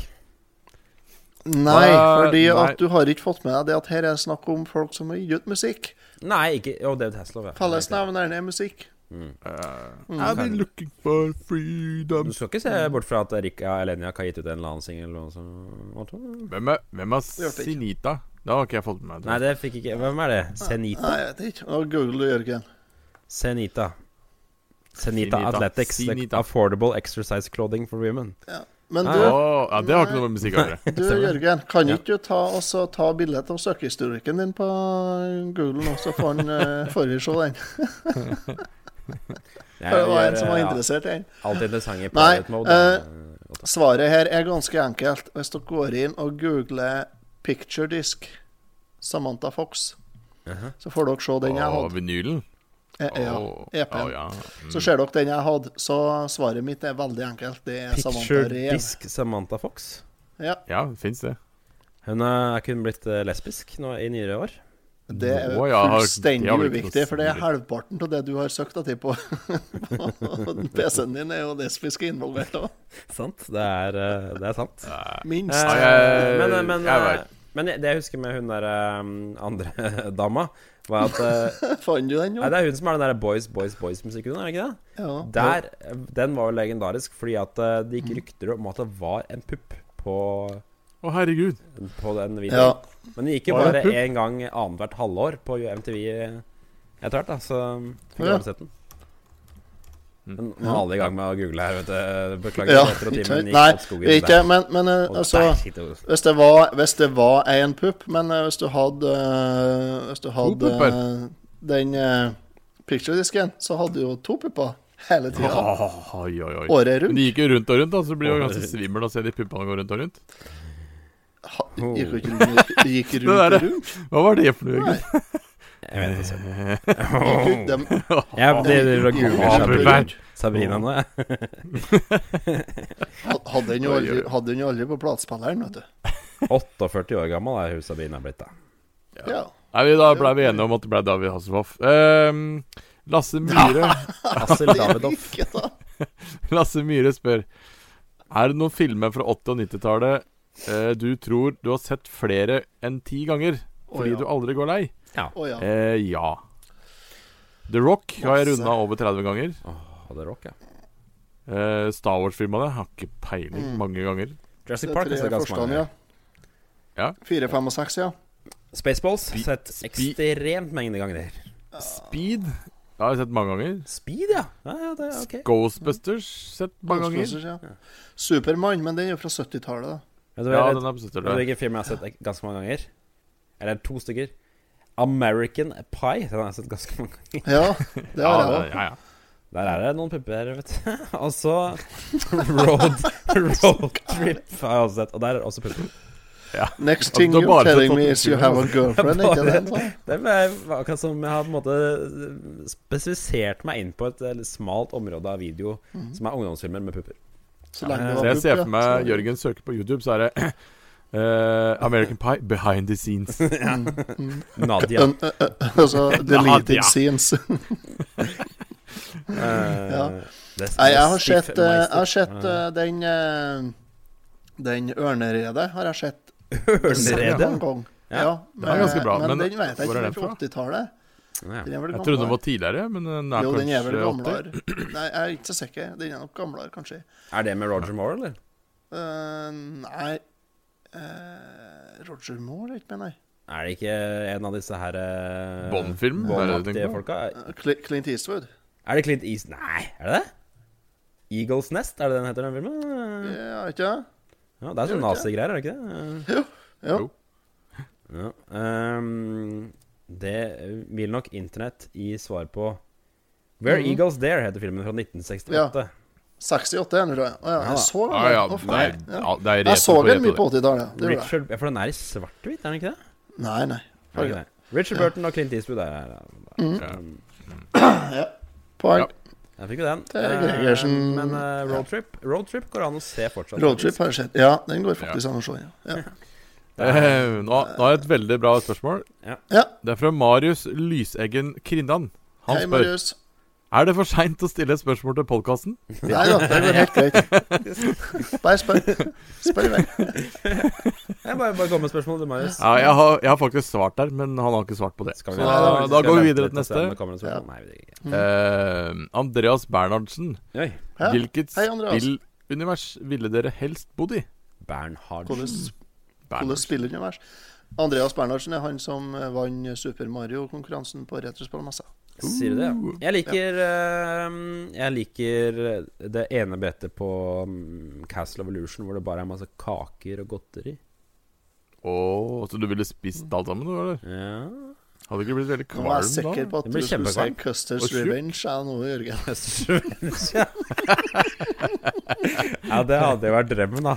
Nei, Hva- fordi nei. at du har ikke fått med deg det at her er snakk om folk som har gitt ut musikk. Nei, ikke Jo, David Hasselhoff. ja. Fellesnevneren er musikk. I've been looking for freedom. Du skal ikke se bort fra at Erika Eleniak har gitt ut en eller annen singel. og sånn. Hvem er, hvem er hørte jeg ikke. Sinita? Det har ikke jeg fått med meg. Nei, det fikk ikke Hvem er det? Senita? Nei, jeg vet ikke. Nå Google du, Jørgen. Senita. Senita Senita. Athletics. the Senita. Affordable exercise clothing for women. Ja. Men Å, du, ja, det har ikke noe med musikk å gjøre. du Jørgen, kan ikke du ta, og så ta bildet av søkehistorikken din på Google nå, så får, han, eh, får vi se den? Jeg, For det var en som var ja, interessert i den. Alt interessant i Nei, private mode. eh, Svaret her er ganske enkelt. Hvis dere går inn og googler 'picture disk' Samantha Fox, så får dere se den jeg Å, hadde. vinylen. Eh, Ja, Å, å, EP-en. ja. Mm. Så ser dere den jeg hadde. Så svaret mitt er veldig enkelt. Det er Picture Samantha Rehn. disk Samantha Fox. Ja, ja, fins det. Hun er kun blitt eh, lesbisk nå i nyere år. det er Å, ja, har- det fullstendig har vel ikke noe uviktig, for det er stor- halvparten av det du har søkt deg til på på PC-en din, er jo lesbiske involvert òg. Sant? Det er, eh, det er sant. Minst. Eh, jeg- men, eh, men, jeg eh, vet. men det jeg husker med hun der eh, andre dama, var at eh, Fant du den, jo? Nei, det er hun som er den der Boys, Boys, Boys-musikken, er det ikke det? Ja. Der, eh, Den var jo legendarisk fordi at eh, det Mm. gikk rykter om at det var en pupp på, Å, herregud. på den Ja. videoen. Men det gikk jo Var det bare en pupp? én gang annethvert halvår på MTV etter hvert, da, så fikk jeg Ja. aldri sett den. Men nå er alle i gang med å google her, vet du. Beklager. ja. etter at Ikke, timen sant? gikk nei, åt skogen ikke, der. men, men eh, Og altså der sitter hun. hvis det, var, hvis det var en pupp, men eh, hvis du hadde eh, Hvis du hadde pupper. eh, den eh, picturedisken, så hadde du jo to pupper hele tida. Å, Oi, oi, oi. Året Men rundt. de gikk jo rundt og rundt, da, så du blir jo Året ganske rundt. svimmel av å se de puppene gå rundt og rundt. Ha, gikk jo ikke rundt, gikk rundt der, og rundt. Hva var det for noe? Nei. egentlig? Jeg vet ikke. altså. Oh. Gikk ut, dem- Jeg driver og gikk googler rundt Ja, og men Sabrina, vær- rundt. Sabrina nå, jeg. Had- Hadde den jo aldri, hadde den jo aldri på platespilleren, vet du. 48 år gammel er hun Sabrina blitt, da. Ja. Nei, vi da ble vi enige om at det ble David Hasselhoff. Ehm, Lasse Myhre Hassel Davidoff. Ikke da. Lasse Myhre spør Er det noen filmer fra 80- og 90-tallet eh, du tror du har sett flere enn ti ganger fordi ja. du aldri går lei? Ja. Å ja. Eh, ja. The Rock har jeg Masse. runda over 30 ganger. Hadde rock, ja. Eh, Star Wars-filmene har ikke peiling mange ganger. Jurassic Det Park har er sett tre ganske forstand, mange. ja. Ja. Fire, fem og seks, ja. Spaceballs Spi- sett spi- ekstremt mengde ganger. Speed det har jeg sett mange ganger. Speed, ja. Ja, ja, det er ok. Ghostbusters sett mange ganger. Ghostbusters, ja. Supermann, men den er jo fra 70-tallet. da. Vet du hva Ja, jeg- den er på vet du 70-tallet. hvilken film jeg har sett ek- ganske mange ganger? Eller to stykker. American Pie. Den har jeg sett ganske mange ganger. Ja, det Ja, har jeg det- òg. ja, ja. Der er det noen pupper, vet du. Og så Road Road Trip har jeg også sett. Og der er også pupper. Next thing Du har you're bare telling fått me opp is you have a girlfriend. Jeg ikke bare- den, da? Det er akkurat som jeg har på en måte spesifisert meg inn på et eh, smalt område av video Mhm. som er ungdomsfilmer med pupper. Så lenge Ja, Så det var jeg ser pupp, for ja. meg Så- Jørgen søker på YouTube, så er det eh, American Pie behind the scenes. Nadia. Un- uh, uh, altså deleted Ja. scenes. Eh, Ja. det- Nei, jeg har det stiff sett, eh, jeg har meister. sett eh, den eh, Den ørneredet har jeg sett Ørneredet? mange ganger. Ja, Ja, den er ganske bra, men men den vet jeg hvor er ikke den den fra fra? 80-tallet. Ja. Den er vel Jeg trodde den gamlere. var tidligere, men den er Jo, den er vel kanskje 80. gamlere. Nei, jeg er ikke så sikker. Den er nok gamlere, kanskje. Er det med Roger Moore, eller? Eh, nei eh, Roger Moore, er ikke med, nei. Er det ikke en av disse her eh, Bond-film? Er det det du Bond-aktige tenker på? folka? Eh, Cl- Clint Eastwood. Er det Clint East Nei, er det det? Eagles Nest, er det den heter, den Mm. filmen? Ja, ikke det? Ja, det er sånn gjør det nazigreier, er det ikke det? Jo. Jo. Ja. ehm, det vil nok Internett gi svar på. Where Mhm. Eagles Dare heter filmen fra 1968. 68 er den, tror jeg. Å ja, Ja. jeg så den. Ja, ja, Å, det faen. er, Ja. ja, det er Jeg så retro på den mye retro. på 80-tallet. det gjorde jeg. Richard, ja, for den er i svart-hvitt, er den ikke det? Nei, nei. Er det ikke det? Richard Burton og Clint Eastwood er her. Mhm. Poeng. Ja. Jeg fikk jo den. Det er Eh, Gregersen. Men eh, Roadtrip Roadtrip går an å se fortsatt. Roadtrip har skjedd. Ja, den går faktisk an å se. Ja. Ja. Eh, Nå, nå har jeg et veldig bra spørsmål. Ja. Det er fra Marius Lyseggen Krindan. Han Hei, spør Marius. Er det for seint å stille et spørsmål til podkasten. Nei da, det går helt greit. Bare spør. Spør i vei. Jeg bare, bare kom med spørsmål til Marius. Ja, jeg, har, jeg har faktisk svart der, men han har ikke svart på det. Skal Så vi- da, skal da går vi vente videre litt til og se om neste. det kommer noen spørsmål? Ja. Nei, vi drikker ikke. Eh, Andreas Bernhardsen. Oi. Ja. Hvilket Hei, Andreas. spillunivers ville dere helst bodd i? Bernhardsen. Hvordan hvordan spiller den i vers? Andreas Bernhardsen er han som eh, vant Super Mario-konkurransen på Retrospillmessa. Sier du det? ja? Jeg liker eh, Jeg liker eh, det ene brettet på mm, Castle of Illusion hvor det bare er masse kaker og godteri. Åh, så du ville spist alt sammen, du, eller? Ja. Hadde ikke blitt veldig Nå er jeg kvalm da? sikker på at Det du blir skulle si kjempekvalm. Custer's Og tjukk. Revenge er nå, Jørgen. ja, det hadde jo vært drømmen, da.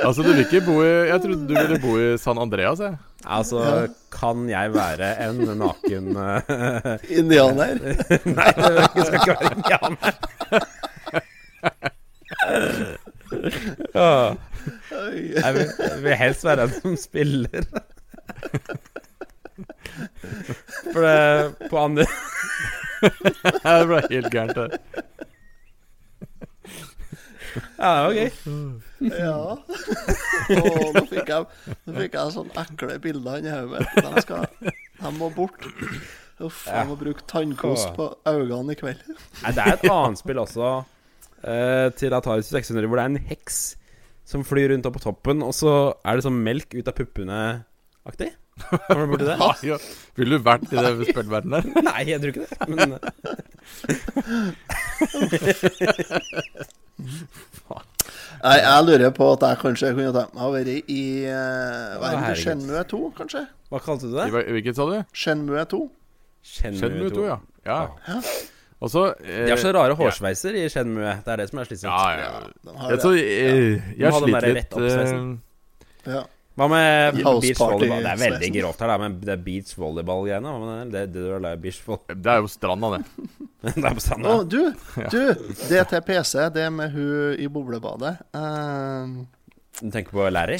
Altså, du vil ikke bo i Jeg trodde du ville bo i San Andreas, jeg. Altså, kan jeg være en naken eh, Indianer. Nei, det skal ikke være indianer. Åh, Oi. Jeg vil, jeg vil helst være den som spiller. For det på andre Det ble helt gærent, det. Ja, ok. Ja. Åh, nå fikk jeg, nå fikk jeg sånne ekle bilder i hodet. De skal De må bort. Uff, jeg må bruke tannkos på øynene i kveld. Nei, det er et annet spill også, eh, til Atari 600, hvor det er en heks som flyr rundt opp på toppen, og så er det sånn melk ut av puppene-aktig. Kommer du borti det? Ah, ja. Ville du vært i den spillverdenen der? Nei, jeg tror ikke det. Men eh, Nei, jeg lurer på at jeg kanskje kunne tenkt meg å være i Å, uh, Hva er det? herregud. Shenmue 2, kanskje? hva kalte du I det? hva- i Hvilket, sa du? Shenmue 2. Shenmue 2, ja. ja. Og så eh, De har så rare hårsveiser i Shenmue. Det er det som er slitsomt. Ja, ja. De Jeg, har så, det. eh, jeg Du må ha den sliter der litt rett oppsveisen. eh, Ja. Hva med House beach party volleyball? Det er veldig sveisen. grovt her, da, men det er beach volleyball-greiene. Hva med det? Det, det, det er beach volley... eh, Det er jo stranda, det. det er på Å, stranda. du! Du! Det til PC, det med hun i boblebadet. Eh, Du tenker på Larry?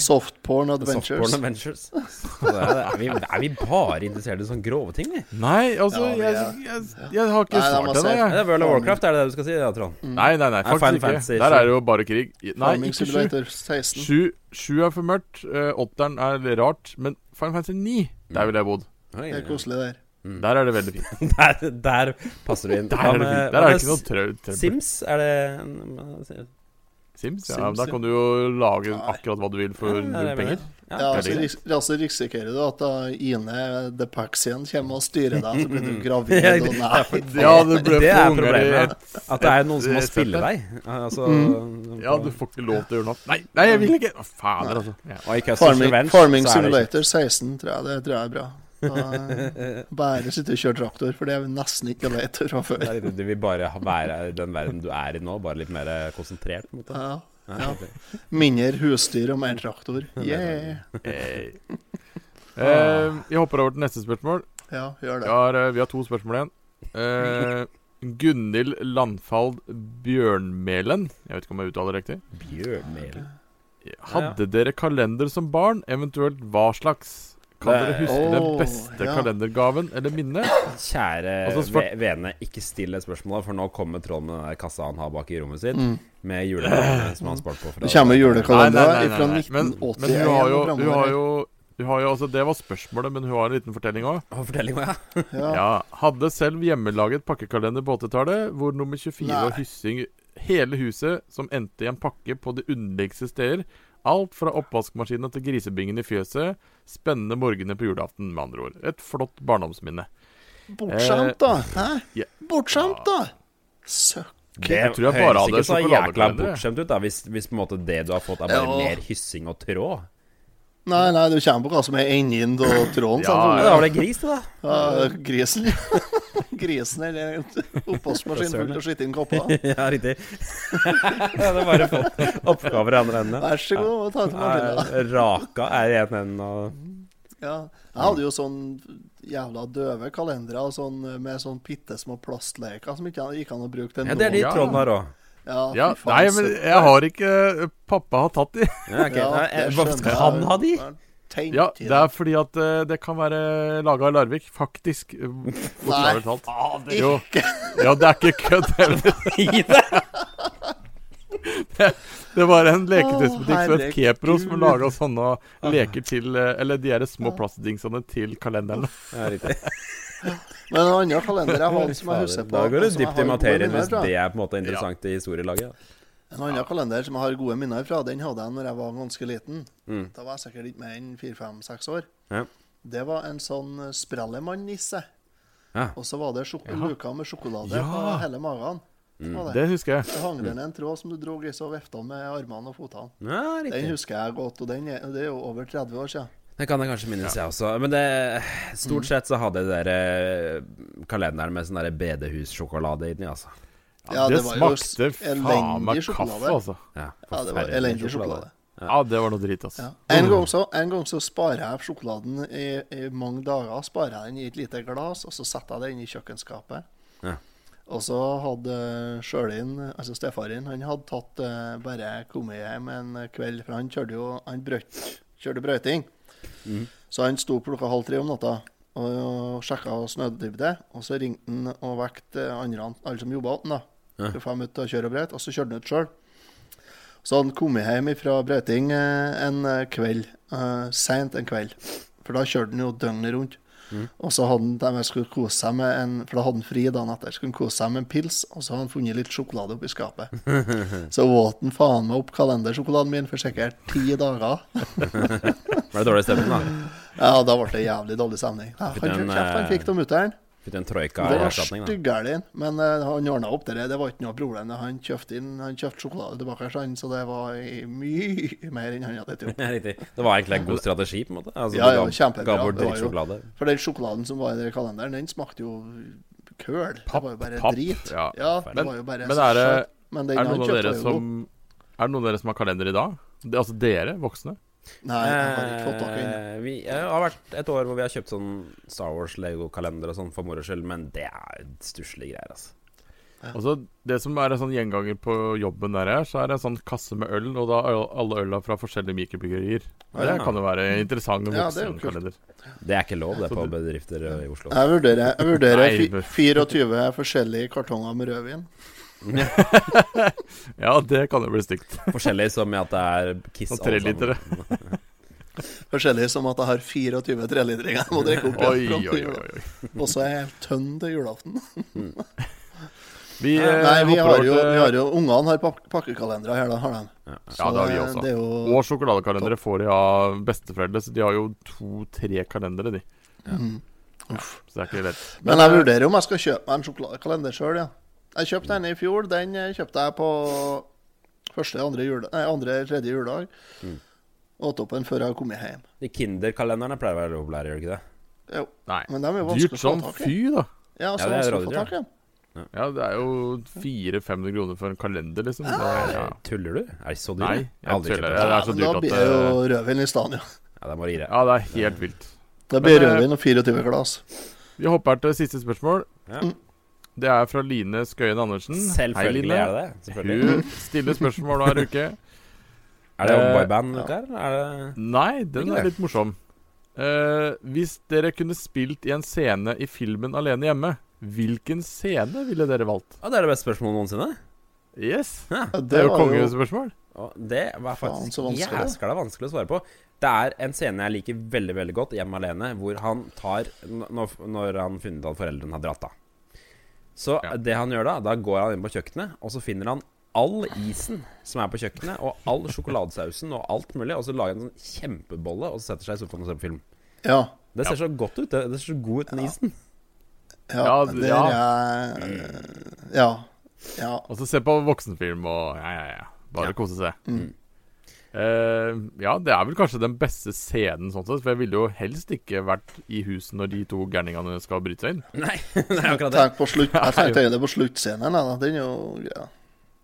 Softborn softporn Adventures. Adventures. Det er, det. Er, vi, er vi bare interessert i sånne grove ting, vi? Nei, altså, Ja, vi jeg, er- jeg, jeg har ikke Nei, da må svart ennå, jeg- Er jeg. det World of Warcraft, er det det du skal si? Ja, Trond. Nei, nei, nei, Nei, Final faktisk Fantasy, ikke. Der sju. er det jo bare krig. Nei, Mm. Farming ikke sju. Simulator 16. Sju, sju er for mørkt. eh, Åtteren er rart. Men Final Fantasy 9, der ville jeg bodd. Oi, Det er koselig, der. Der er det veldig fint. Der, der passer du inn. Der Hva er det med- hva fint Der er det med ikke noe trøbbel. Sims, er det Sims? Sims, Ja, men da ja. kan du jo lage akkurat hva du vil for Ja, det er penger. Ja, veldig altså, greit. ris altså risikerer du at da Ine The Paxian kommer og styrer deg, så blir du gravid Ja, og nei. Ja, det ble Det er for unger i problemet. et At det er noen som må et spille setter. deg. Altså Mhm. Ja, du får ikke lov til å gjøre noe. Nei, nei, jeg vil ikke! Å, Fader, altså. Ja. Og i Custer's Farming, Revenge farming så er det Simulator 16 tror jeg det tror jeg er bra. Da, bare sitte og kjøre traktor, for det er vi nesten ikke leit fra før. ikke- Nei, Du vil bare ha- være i den verden du er i nå, bare litt mer eh, konsentrert. på en måte. Ja. Ja, ok. Mindre husdyr og mer traktor. Yeah. Hey. Eh, jeg hopper over til neste spørsmål. Ja, Vi gjør det. har, eh, vi har to spørsmål igjen. Eh, Gunhild Landfald Bjørnmelen. Jeg vet ikke om jeg uttaler det riktig. Bjørnmel. Hadde dere kalender som barn, eventuelt hva slags? Kan dere Det- huske den Åh, beste ja. kalendergaven eller minnet? Kjære Altså, for- ve- vene, ikke still det spørsmålet, for nå kommer Trond med den der kassa han har bak i rommet sitt, Mm. med julegavene som han spart på. fra- Det kommer Nei, nei, nei, julekalender nei, fra nei. Men, 1981 men hun har jo, og hun har fremover. jo, hun har jo altså, Det var spørsmålet, men hun har en liten fortelling òg. Å, fortelling meg, ja. Ja. Ja. Hadde selv hjemmelaget pakkekalender på 80-tallet, hvor nummer 24 Nei. var hyssing hele huset, som endte i en pakke på de underligste steder. Alt fra oppvaskmaskina til grisebingen i fjøset. Spennende morgener på julaften, med andre ord. Et flott barndomsminne. Bortskjemt, da. Hæ? ja. Bortskjemt, da! Søkk. Jeg tror jeg bare høres hadde ikke så jækla sjokoladekalender, jeg. bortskjemt ut, da, hvis, hvis på en måte det du har fått, er bare Ja. mer hyssing og tråd. Nei, nei, du kommer på hva som er enden av tråden. Ja, Ja, sant? da var det gris, det, da. Ja, grisen. grisen eller oppvaskmaskinen full av skitne kopper. Ja, riktig. Jeg hadde bare fått oppgaver i andre enden. Vær så god, ta til Martina. Ja, Raka er i ene enden og Ja. Jeg hadde jo sånn jævla døve kalendere og sånn, med sånn bitte små plastleker som ikke gikk an å bruke til Ja, det er de Ja. Trond har òg. Ja, Ja, fy faen, nei, men søtt. jeg har ikke Pappa har tatt de. Ja, eh, ok. Ja, Nei, det jeg- Hva skjønner skal jeg. han ha de? Tenk Ja, i det er fordi at eh, det kan være laga i Larvik, faktisk. eh, Bokstavelig talt. Jo. Ja, det er ikke kødd. heller. Gi deg! Det var en leketøysbutikk som het herregud. Kepro, som laga sånne leker til eh, Eller de her små plastdingsene til kalenderen. Ja, riktig. Men en annen kalender jeg har som jeg husker på Da går du som dypt jeg i har gode materien minner hvis fra. det er på en måte interessant i historielaget. da. En annen kalender som jeg har gode minner fra, den hadde jeg når jeg var ganske liten. Da var jeg sikkert ikke mer enn fire-fem-seks år. Mm. Ja. Det var en sånn eh, Sprellemann-nisse. Ja. Og så var det sjok luka med sjokolade Ja. på hele magen. Mm. Så var det. Det husker jeg. det hang den en tråd som du dro i så vifta med armene og føttene. Ja, Den riktig. husker jeg godt, og den er, det er jo over 30 år siden. Det kan jeg kanskje minnes, jeg også. Men det, stort sett så hadde jeg der eh, kalenderen med sånn der bedehussjokolade i den, altså. Ja, det det var jo smakte faen elendig meg sjokolade. kaffe, altså. Ja, Ja, det var forferdelig elendig sjokolade. Ja, det var noe dritt, altså. Ja. En, gang så, en gang så sparer jeg sjokoladen i, i mange dager. Sparer jeg den i et lite glass, og så setter jeg det inn i kjøkkenskapet. Ja. Og så hadde Sjølin, altså stefaren, han hadde tatt eh, bare kommet hjem en kveld, for han kjørte jo han brøt, kjørte brøyting. Mhm. Så han sto klokka halv tre om natta og, og sjekka snødybde. Og så ringte han og vekte andre, alle som jobba åtten da. Ja. For fem minutter å kjøre og brøyte, og så kjørte han ut sjøl. Så hadde han kommet hjem fra brøyting eh, en eh, kveld, eh, seint en kveld. For da kjørte han jo døgnet rundt. Mm. Og så hadde han, de skulle kose seg med en, for da hadde han fri dagen etter, skulle han kose seg med en pils, og så hadde han funnet litt sjokolade oppi skapet. Så åt han faen meg opp kalendersjokoladen min for sikkert ti dager. Var det dårlig stemning, da? Ja, da ble det jævlig dårlig stemning. Ja, han Den, fikk kjeft, han fikk det av mutter'n. Fikk du en troika Det i var erstatning, da? styggæren, men eh, han ordna opp det. der. Det var ikke noe problem. Han kjøpte inn, han kjøpte sjokolade tilbake, så han- så det var i- mye mer enn han hadde spist. Ja, riktig. Det var egentlig en god strategi, på en måte? Altså, Ja, du ja, ga- kjempebra. Ga bort Det var jo- drittsjokolade. For den sjokoladen som var i den kalenderen, den smakte jo køl. Det var jo bare papp, drit. ja. det Men- var jo bare men er det- skjønt. Men den Er det han noen av kjøpte dere var jo som god. Er det noen av dere som har kalender i dag? Det, altså dere voksne? Nei, jeg har ikke fått tak i den. Eh, Vi jeg har vært et år hvor vi har kjøpt sånn Star Wars Lego-kalender og sånn for moro skyld, men det er stusslige greier, altså. Altså, det som er en sånn gjenganger på jobben der her, så er det en sånn kasse med øl, og da er øl- alle øla fra forskjellige mikrobryggerier. Ja. Det kan jo være interessant Ja, det er jo kult. voksenkalender. Det er ikke lov, det, på bedrifter eh, i Oslo. Jeg vurderer, jeg vurderer Nei, fi- men- 24 forskjellige kartonger med rødvin. Ja, det kan jo bli stygt. Forskjellig som i at det er Kiss altså. Sånn trelitere. Forskjellig som at jeg har 24 treliteringer jeg må drikke opp. Oi, igjen for å oi, gjøre oi. oi. det. Og så er jeg helt tønn til julaften. Vi, eh, Nei, vi hopper har over jo, til- vi har jo Ungene har pak pakkekalendere her, da har de. eh, Ja, det har vi også. Det er jo Og sjokoladekalendere får de av besteforeldre, så de har jo to-tre kalendere, de. Mm. Uff. Så det er ikke lett. Men Eh, jeg vurderer om jeg skal kjøpe meg en sjokoladekalender sjøl, ja. Jeg kjøpte en i fjor. Den eh, kjøpte jeg på første, andre, jule, nei, andre tredje juledag. Mm. Og åt opp den før jeg kom hjem. De Kinderkalenderne pleier å være populære, gjør de ikke det? Jo. Nei. Men de er jo Dyrt sånn vanskelig å få som tak i. fy, da. Ja, så Ja, det er vanskelig å få rådyr, tak i. Ja, det er jo 400-500 kroner for en kalender, liksom. Det er, ja. Tuller du? Er de så dyre? Nei, Jeg har jeg aldri kjøpt tuller. det. Det er så men dyrt da at blir det det jo rødvin i stedet, ja. Ja, det er bare å gi det. Ja, det er helt vilt. Da blir Men, eh, rødvin og 24 glass. Vi hopper til siste spørsmål. Ja. Det er fra Line Skøyen Andersen. Selvfølgelig er det det. Selvfølgelig. Hun stiller spørsmål hver uke. Er det Eh, boyband ute her? eller Er det Nei, den Ikke er det. litt morsom. Eh, hvis dere kunne spilt i en scene i filmen Alene hjemme, hvilken scene ville dere valgt? Å, det er det beste spørsmålet noensinne. Yes! Ja. Ja, Det er jo var kongespørsmål. Og det var faktisk så vanskelig. jæskla vanskelig å svare på. Det er en scene jeg liker veldig veldig godt, 'Hjemme alene', hvor han tar n- Når, når han funnet at foreldrene har dratt, da. Så Ja. det han gjør da, da går han inn på kjøkkenet, og så finner han all isen som er på kjøkkenet, og all sjokoladesausen og alt mulig, og så lager han en sånn kjempebolle og så setter seg i sofaen og ser på film. Ja. Det ser så godt ut. Det, det ser så god ut, den isen. Ja. Ja, det d- er ja. jeg- Ja. Ja. Og så Altså, se på voksenfilm og ja, ja, ja. Bare Ja. kose seg. Mm. Eh, ja, det er vel kanskje den beste scenen, sånn sett. For jeg ville jo helst ikke vært i huset når de to gærningene skal bryte seg inn. Nei, det er akkurat det. Tenk på slutt, jeg tenkte egentlig på sluttscenen. Da. Den er jo ja.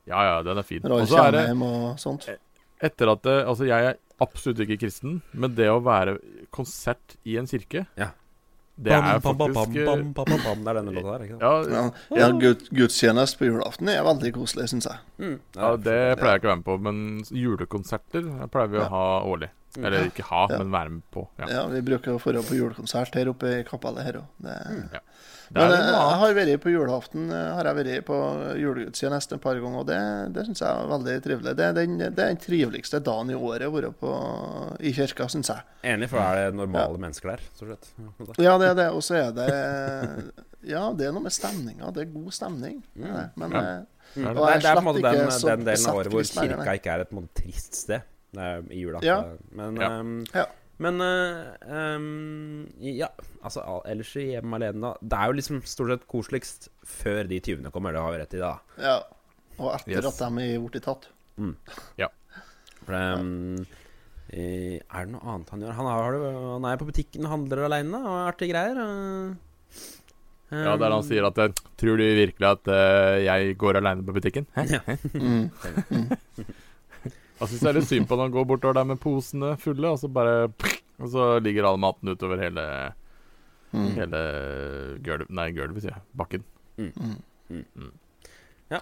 Ja, ja, den er fin. Når Og alle så er det kommer hjem og sånt. etter at det, Altså, jeg er absolutt ikke kristen, men det å være konsert i en kirke Ja. Det er Bam, bam, faktisk eh, bam, bam, bam, bam. Det er denne låta der, ikke sant? Ja, Ja, ja gud, gudstjeneste på julaften er veldig koselig, syns jeg. Mm, ja, det det pleier jeg ikke å være med på, men julekonserter pleier vi å Ja. ha årlig. Eller ikke ha, Ja. men være med på. Ja. Ja, Vi bruker å dra på julekonsert her oppe i kapellet her òg. Men Det er eh, noe jeg annet. har vært på julaften eh, Har jeg vært på julegudstjeneste et par ganger, og det, det syns jeg er veldig trivelig. Det er, den, det er den triveligste dagen i året å være på i kirka, syns jeg. Enig, for da er det normale mennesker der, stort sett. Ja, det er det. Og så er det Ja, det er noe med stemninga. Det er god stemning. det er det. Men Ja. eh, Det, Og jeg er- Mm. det er på en slapp måte ikke den, så den delen av besatt året hvor pris på det, kirka nei. ikke er et måte, trist sted det er i jula. Ja. Men, Ja. ehm, Ja. men eh, ehm, ja, altså al- ellers i hjemme alene, da. Det er jo liksom stort sett koseligst før de tyvene kommer, det har vi rett i, da. ja. Og etter Yes. at de er blitt tatt. For, ehm, eh, er det noe annet han gjør? Han, har, har det- han er på butikken og handler aleine og artige greier. eh. Ja, der han Ehm, sier at eh, Tror du virkelig at eh, jeg går aleine på butikken? Hæ? Ehm, Ja. Mm. Jeg syns det er litt synd på når han går bortover der med posene fulle, og så bare Og så ligger all maten utover hele, Mm. hele gulvet Nei, gulvet, sier jeg. Bakken. Mm. Nei,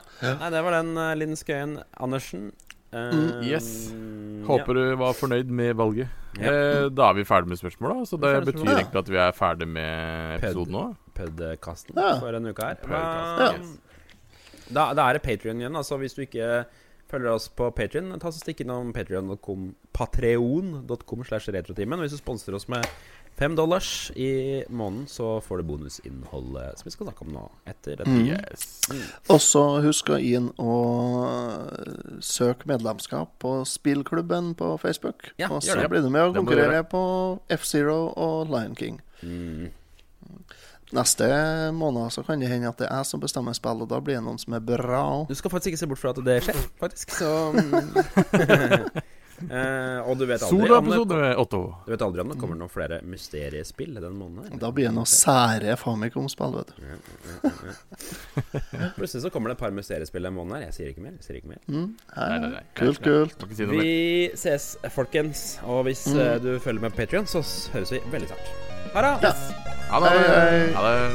det var den, uh, Linn Skøyen Andersen. Mm, yes. Ehm, ja. Håper du var fornøyd med valget. Ja. Eh, da er vi ferdig med spørsmåla, så Vi det er ferdig med betyr spørsmålet. egentlig at vi er ferdig med episoden nå. podkasten Ja. for denne uka her. Podcasten, Um, da, da er det Patrion igjen. Altså Hvis du ikke følger oss på Patrion, ta så stikk innom patreon.com patreon.com slash retrotimen. Hvis du sponser oss med fem dollars i måneden, så får du bonusinnholdet som vi skal snakke om nå. Etter dette. Mm. Yes. Og så husk å inn og søke medlemskap på spillklubben på Facebook. Ja, og gjør så det. blir du med og Det må du konkurrere på F-Zero og Lion King. Mm. Neste måned så kan det hende at det er jeg som bestemmer spillet, og da blir det noen som er bra. Du skal faktisk ikke se bort fra at det skjer, faktisk. Så mm. Eh, Og du vet aldri om det Soloepisode med Otto. Du vet aldri om det kommer noen flere mysteriespill den måneden. eller? Da blir det noe sære Famicom-spill, vet du. Plutselig så kommer det et par mysteriespill den måneden her. Jeg sier ikke mer. Jeg sier ikke mer. Mm, ja, Nei, ja. nei, nei. Kult, kult. Må ikke si noe mer. Vi ses, folkens. Og hvis Mm. eh, du følger med på Patrion, så s- høres vi veldig snart. Ha det! Ja. Ha det. Hei, hei. Ha det.